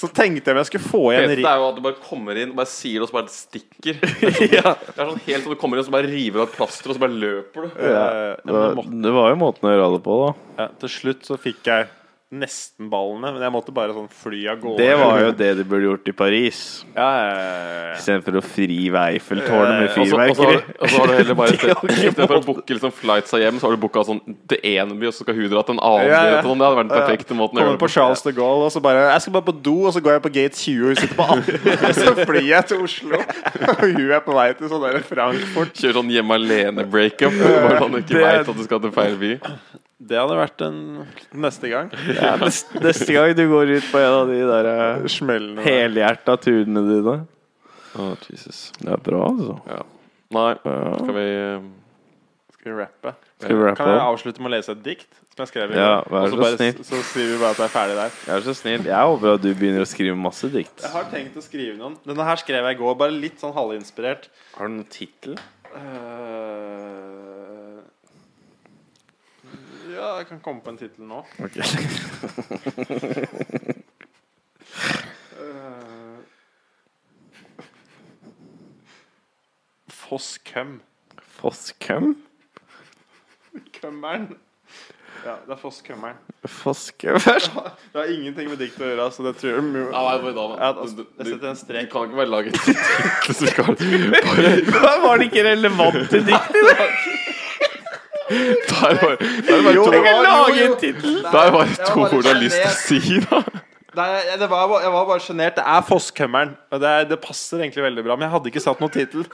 [SPEAKER 5] så tenkte jeg om jeg skulle få igjen
[SPEAKER 1] Det
[SPEAKER 5] ri-
[SPEAKER 1] er jo at du bare kommer inn og bare sier det, og så bare stikker. Det er sånn, det er sånn helt sånn du kommer inn og så bare river av et plaster, og så bare løper du.
[SPEAKER 5] Eh,
[SPEAKER 4] Det var, det var jo måten å gjøre det på, da.
[SPEAKER 5] ja, Til slutt så fikk jeg nesten ballene, men jeg måtte bare sånn fly av gårde.
[SPEAKER 4] Det var jo det de burde gjort i Paris.
[SPEAKER 5] ja, ja, ja,
[SPEAKER 4] Istedenfor å fri Eiffeltårnet med
[SPEAKER 1] Eh, Og så- og så har
[SPEAKER 4] fyrverkeri.
[SPEAKER 1] du- og så har du heller bare i sted- I stedet for å booke liksom flights av hjem, så har du booka sånn til én by, og så skal hun dra til en annen
[SPEAKER 5] Ja, ja.
[SPEAKER 1] by. Sånn, det hadde vært den
[SPEAKER 5] Ja, ja.
[SPEAKER 1] perfekte måten å
[SPEAKER 5] Kommer
[SPEAKER 1] gjøre det
[SPEAKER 5] på
[SPEAKER 1] på.
[SPEAKER 5] Charles de Gaulle og så bare Jeg skal bare på do, og så går jeg på gate 20, og hun sitter på 18. Så flyr jeg til Oslo, og hun er på vei til sånn der Frankfurt.
[SPEAKER 1] Kjøre sånn hjemme alene-breakup. Bare sånn du ikke veit at du skal til feil by.
[SPEAKER 5] Det hadde vært en neste gang.
[SPEAKER 4] Ja, neste, neste gang du går ut på en av de der eh,
[SPEAKER 5] Smellende.
[SPEAKER 4] helhjerta turene dine. Å, Jesus. Det er bra, altså.
[SPEAKER 1] Nei,
[SPEAKER 4] Ja.
[SPEAKER 1] skal vi eh,
[SPEAKER 5] Skal vi rappe?
[SPEAKER 4] Skal vi
[SPEAKER 5] Kan
[SPEAKER 4] rappe
[SPEAKER 5] jeg
[SPEAKER 4] opp?
[SPEAKER 5] avslutte med å lese et dikt? Som jeg skrev i
[SPEAKER 4] Ja,
[SPEAKER 5] går?
[SPEAKER 4] vær
[SPEAKER 5] Og
[SPEAKER 4] så
[SPEAKER 5] bare-
[SPEAKER 4] snill.
[SPEAKER 5] Så skriver vi bare at jeg er ferdig der.
[SPEAKER 4] Jeg er så snill. Jeg håper at du begynner å skrive masse dikt.
[SPEAKER 5] Jeg har tenkt å skrive noen. Denne her skrev jeg i går, bare litt sånn halvinspirert.
[SPEAKER 4] Har du noen tittel?
[SPEAKER 5] Eh, Ja, jeg kan komme på en tittel nå. Eh, Foss køm.
[SPEAKER 4] Foss hvem?
[SPEAKER 5] Kømmeren. Ja, det er Foss kømmeren.
[SPEAKER 4] Foss hvem? Vær så-
[SPEAKER 5] Det har ingenting med dikt å gjøre, så det tror jeg er mu-
[SPEAKER 1] Ja, nei, men da,
[SPEAKER 5] Ja, altså,
[SPEAKER 1] du, du,
[SPEAKER 5] jeg setter en
[SPEAKER 1] du
[SPEAKER 5] strek.
[SPEAKER 1] kan ikke bare lage et tittel som ikke har Bare
[SPEAKER 4] Var det ikke relevant til dikt?
[SPEAKER 1] Der var der var
[SPEAKER 5] Jo,
[SPEAKER 1] to,
[SPEAKER 5] det var-
[SPEAKER 4] Lage
[SPEAKER 5] jo,
[SPEAKER 4] en
[SPEAKER 5] jo.
[SPEAKER 4] tittel!
[SPEAKER 1] der var
[SPEAKER 5] Jeg var
[SPEAKER 1] to
[SPEAKER 5] bare
[SPEAKER 1] ord du har lyst til å
[SPEAKER 5] sjenert.
[SPEAKER 1] si, da.
[SPEAKER 5] Nei, jeg- det var, jeg var bare sjenert. Det er Fosskømmeren. Og det, er- det passer egentlig veldig bra, men jeg hadde ikke satt noen tittel.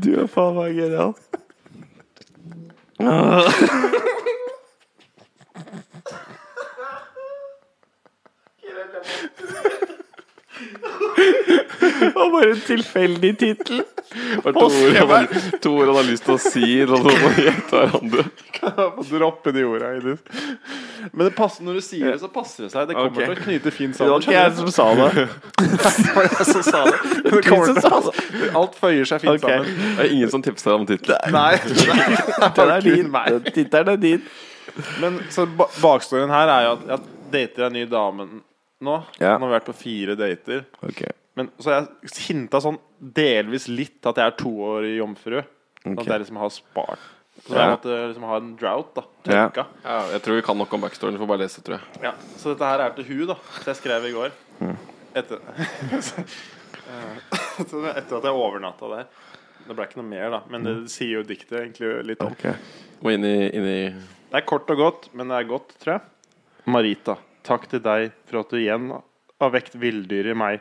[SPEAKER 4] Du er faen meg genial. Og bare en tilfeldig tittel.
[SPEAKER 1] Bare to ord han har, to ord han har lyst til å si. Da, så må vi gjette hverandre.
[SPEAKER 5] Få droppe de orda. Idris. Men det passer, når du sier det, så passer det seg. Det
[SPEAKER 4] Ok.
[SPEAKER 5] kommer til å knyte fint
[SPEAKER 4] Det
[SPEAKER 5] sammen.
[SPEAKER 4] var ikke jeg som sa det.
[SPEAKER 5] som sa det.
[SPEAKER 4] Det var du som sa det.
[SPEAKER 5] Alt føyer seg fint
[SPEAKER 4] Ok.
[SPEAKER 5] sammen.
[SPEAKER 1] Det er ingen som tipser deg om tittelen.
[SPEAKER 5] Nei,
[SPEAKER 4] Den er din. Den Tittelen er din.
[SPEAKER 5] Men så ba bakstorien her er jo at jeg dater en ny dame nå.
[SPEAKER 4] Ja.
[SPEAKER 5] Nå har vi vært på fire dater. Men så har jeg hinta sånn delvis litt at jeg er toårig jomfru. Sånn
[SPEAKER 4] Ok.
[SPEAKER 5] At jeg liksom har spart. Så jeg
[SPEAKER 4] Ja.
[SPEAKER 5] måtte liksom ha en drought, da.
[SPEAKER 4] Ja.
[SPEAKER 5] Tørka.
[SPEAKER 1] Ja, jeg tror vi kan nok om backstoryen. Vi får bare lese, tror jeg.
[SPEAKER 5] Ja, så dette her er til hun da Så jeg skrev i går
[SPEAKER 4] Mm.
[SPEAKER 5] Etter Så det er Etter at jeg overnatta der Det ble ikke noe mer da Men
[SPEAKER 4] Mm.
[SPEAKER 5] det sier jo diktet egentlig litt om
[SPEAKER 4] Ok.
[SPEAKER 1] Må inn i, inn i
[SPEAKER 5] Det er kort og godt, men det er godt, tror jeg Marita, takk til deg for at du igjen har vekt vilddyr i meg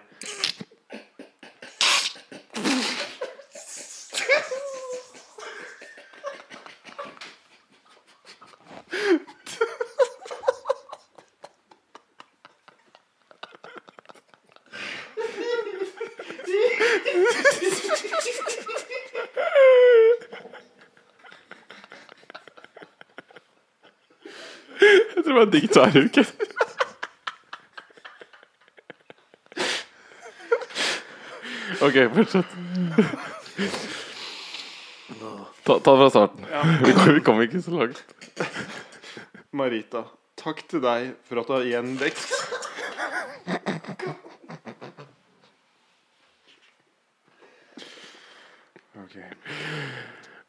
[SPEAKER 1] Jeg tror det var en digg tverruke. OK, fortsett. Ta, ta fra starten. Vi kom- Vi kom ikke så langt.
[SPEAKER 5] Marita, takk til deg for at du har igjen vekt Ok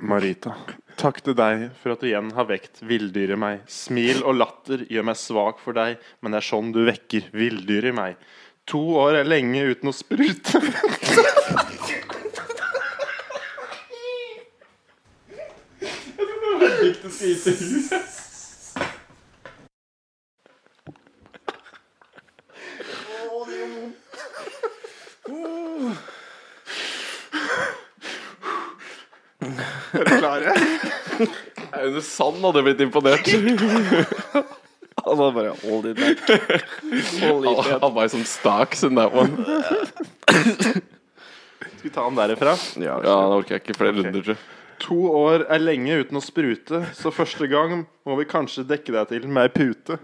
[SPEAKER 5] Marita, takk til deg for at du igjen har vekt villdyr i meg. Smil og latter gjør meg svak for deg, men det er sånn du vekker villdyr i meg. To år er lenge uten å sprute.
[SPEAKER 1] Aune Sand hadde blitt imponert.
[SPEAKER 4] Og så bare Hold it back. Hold it back.
[SPEAKER 1] Han var som stocks in that one.
[SPEAKER 5] Skal vi ta den derifra?
[SPEAKER 4] Ja,
[SPEAKER 1] Ja, Da orker jeg ikke flere runder, tror jeg.
[SPEAKER 5] To år er lenge uten å sprute, så første gang må vi kanskje dekke deg til med ei pute.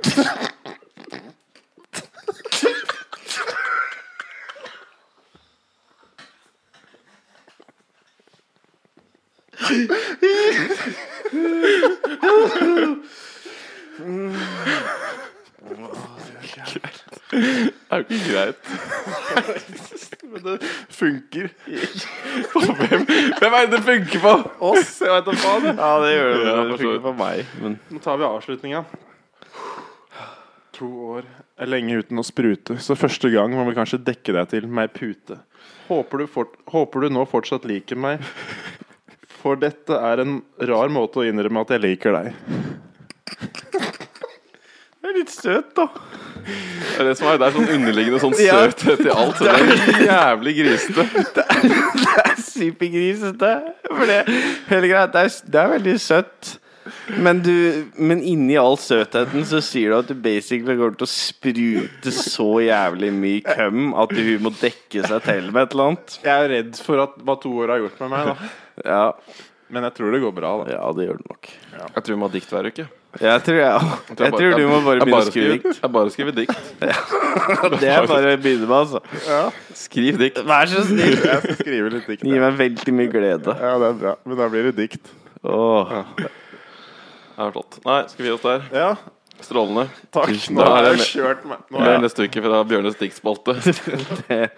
[SPEAKER 1] Det er jo ikke greit.
[SPEAKER 5] Men det funker.
[SPEAKER 1] Hvem er det det funker på?
[SPEAKER 5] Oss, jeg veit da faen. jeg.
[SPEAKER 4] ja det gjør det.
[SPEAKER 1] Ja, for
[SPEAKER 4] det
[SPEAKER 1] så
[SPEAKER 4] funker
[SPEAKER 1] vidt.
[SPEAKER 4] for meg. Men
[SPEAKER 5] Nå tar vi avslutninga. To år er lenge uten å sprute, så første gang må vi kanskje dekke deg til med ei pute. Håper du, fort, håper du nå fortsatt liker meg, for dette er en rar måte å innrømme at jeg liker deg.
[SPEAKER 4] det er litt søt, da.
[SPEAKER 1] Det er det som er, det er sånn underliggende sånn søthet i alt. Så det er jævlig grisete.
[SPEAKER 4] Supergrisete. For det, hele greia, det, er, det er veldig søtt. Men, du, men inni all søtheten så sier du at du basically går til å sprute så jævlig mye køm at hun må dekke seg til med et eller annet.
[SPEAKER 5] Jeg er redd for at, hva to år har gjort med meg, da.
[SPEAKER 4] Ja,
[SPEAKER 5] Men jeg tror det går bra, da.
[SPEAKER 4] ja det gjør det nok.
[SPEAKER 1] Jeg tror vi må ha dikt hver uke.
[SPEAKER 4] Jeg tror, jeg, jeg tror du må bare
[SPEAKER 1] jeg
[SPEAKER 4] begynne å skrive dikt.
[SPEAKER 1] Jeg bare skriver dikt.
[SPEAKER 4] Det er bare å begynne med, altså.
[SPEAKER 1] Skriv dikt.
[SPEAKER 4] Vær så snill.
[SPEAKER 5] Jeg skal skrive litt dikt.
[SPEAKER 4] Gi
[SPEAKER 5] jeg.
[SPEAKER 4] meg veldig mye glede.
[SPEAKER 5] Ja, det er bra. Men da blir det dikt.
[SPEAKER 4] Åh.
[SPEAKER 1] Det er flott. Nei, skal vi gi oss der?
[SPEAKER 5] Ja,
[SPEAKER 1] Strålende.
[SPEAKER 5] takk.
[SPEAKER 1] Da
[SPEAKER 5] Nå har
[SPEAKER 1] er
[SPEAKER 5] jeg
[SPEAKER 1] det-
[SPEAKER 5] kjørt meg. Nå
[SPEAKER 1] Det
[SPEAKER 5] er
[SPEAKER 1] blir neste uke fra Bjørnes diktspalte.
[SPEAKER 4] Det,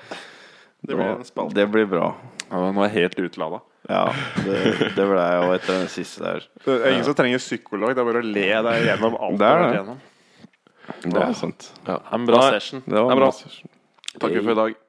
[SPEAKER 5] det blir en spalte.
[SPEAKER 4] det blir bra.
[SPEAKER 5] nå er jeg helt utlada.
[SPEAKER 4] Ja, det, det ble jeg jo etter den siste der.
[SPEAKER 5] Det er ingen som trenger psykolog. Det er bare å le deg gjennom alt.
[SPEAKER 4] Det er
[SPEAKER 5] du har vært
[SPEAKER 4] det.
[SPEAKER 5] gjennom.
[SPEAKER 4] Det er sant.
[SPEAKER 1] Ja.
[SPEAKER 5] En bra
[SPEAKER 1] Nei,
[SPEAKER 5] session.
[SPEAKER 4] Det var
[SPEAKER 1] er bra.
[SPEAKER 4] masse-
[SPEAKER 1] Takk for i dag.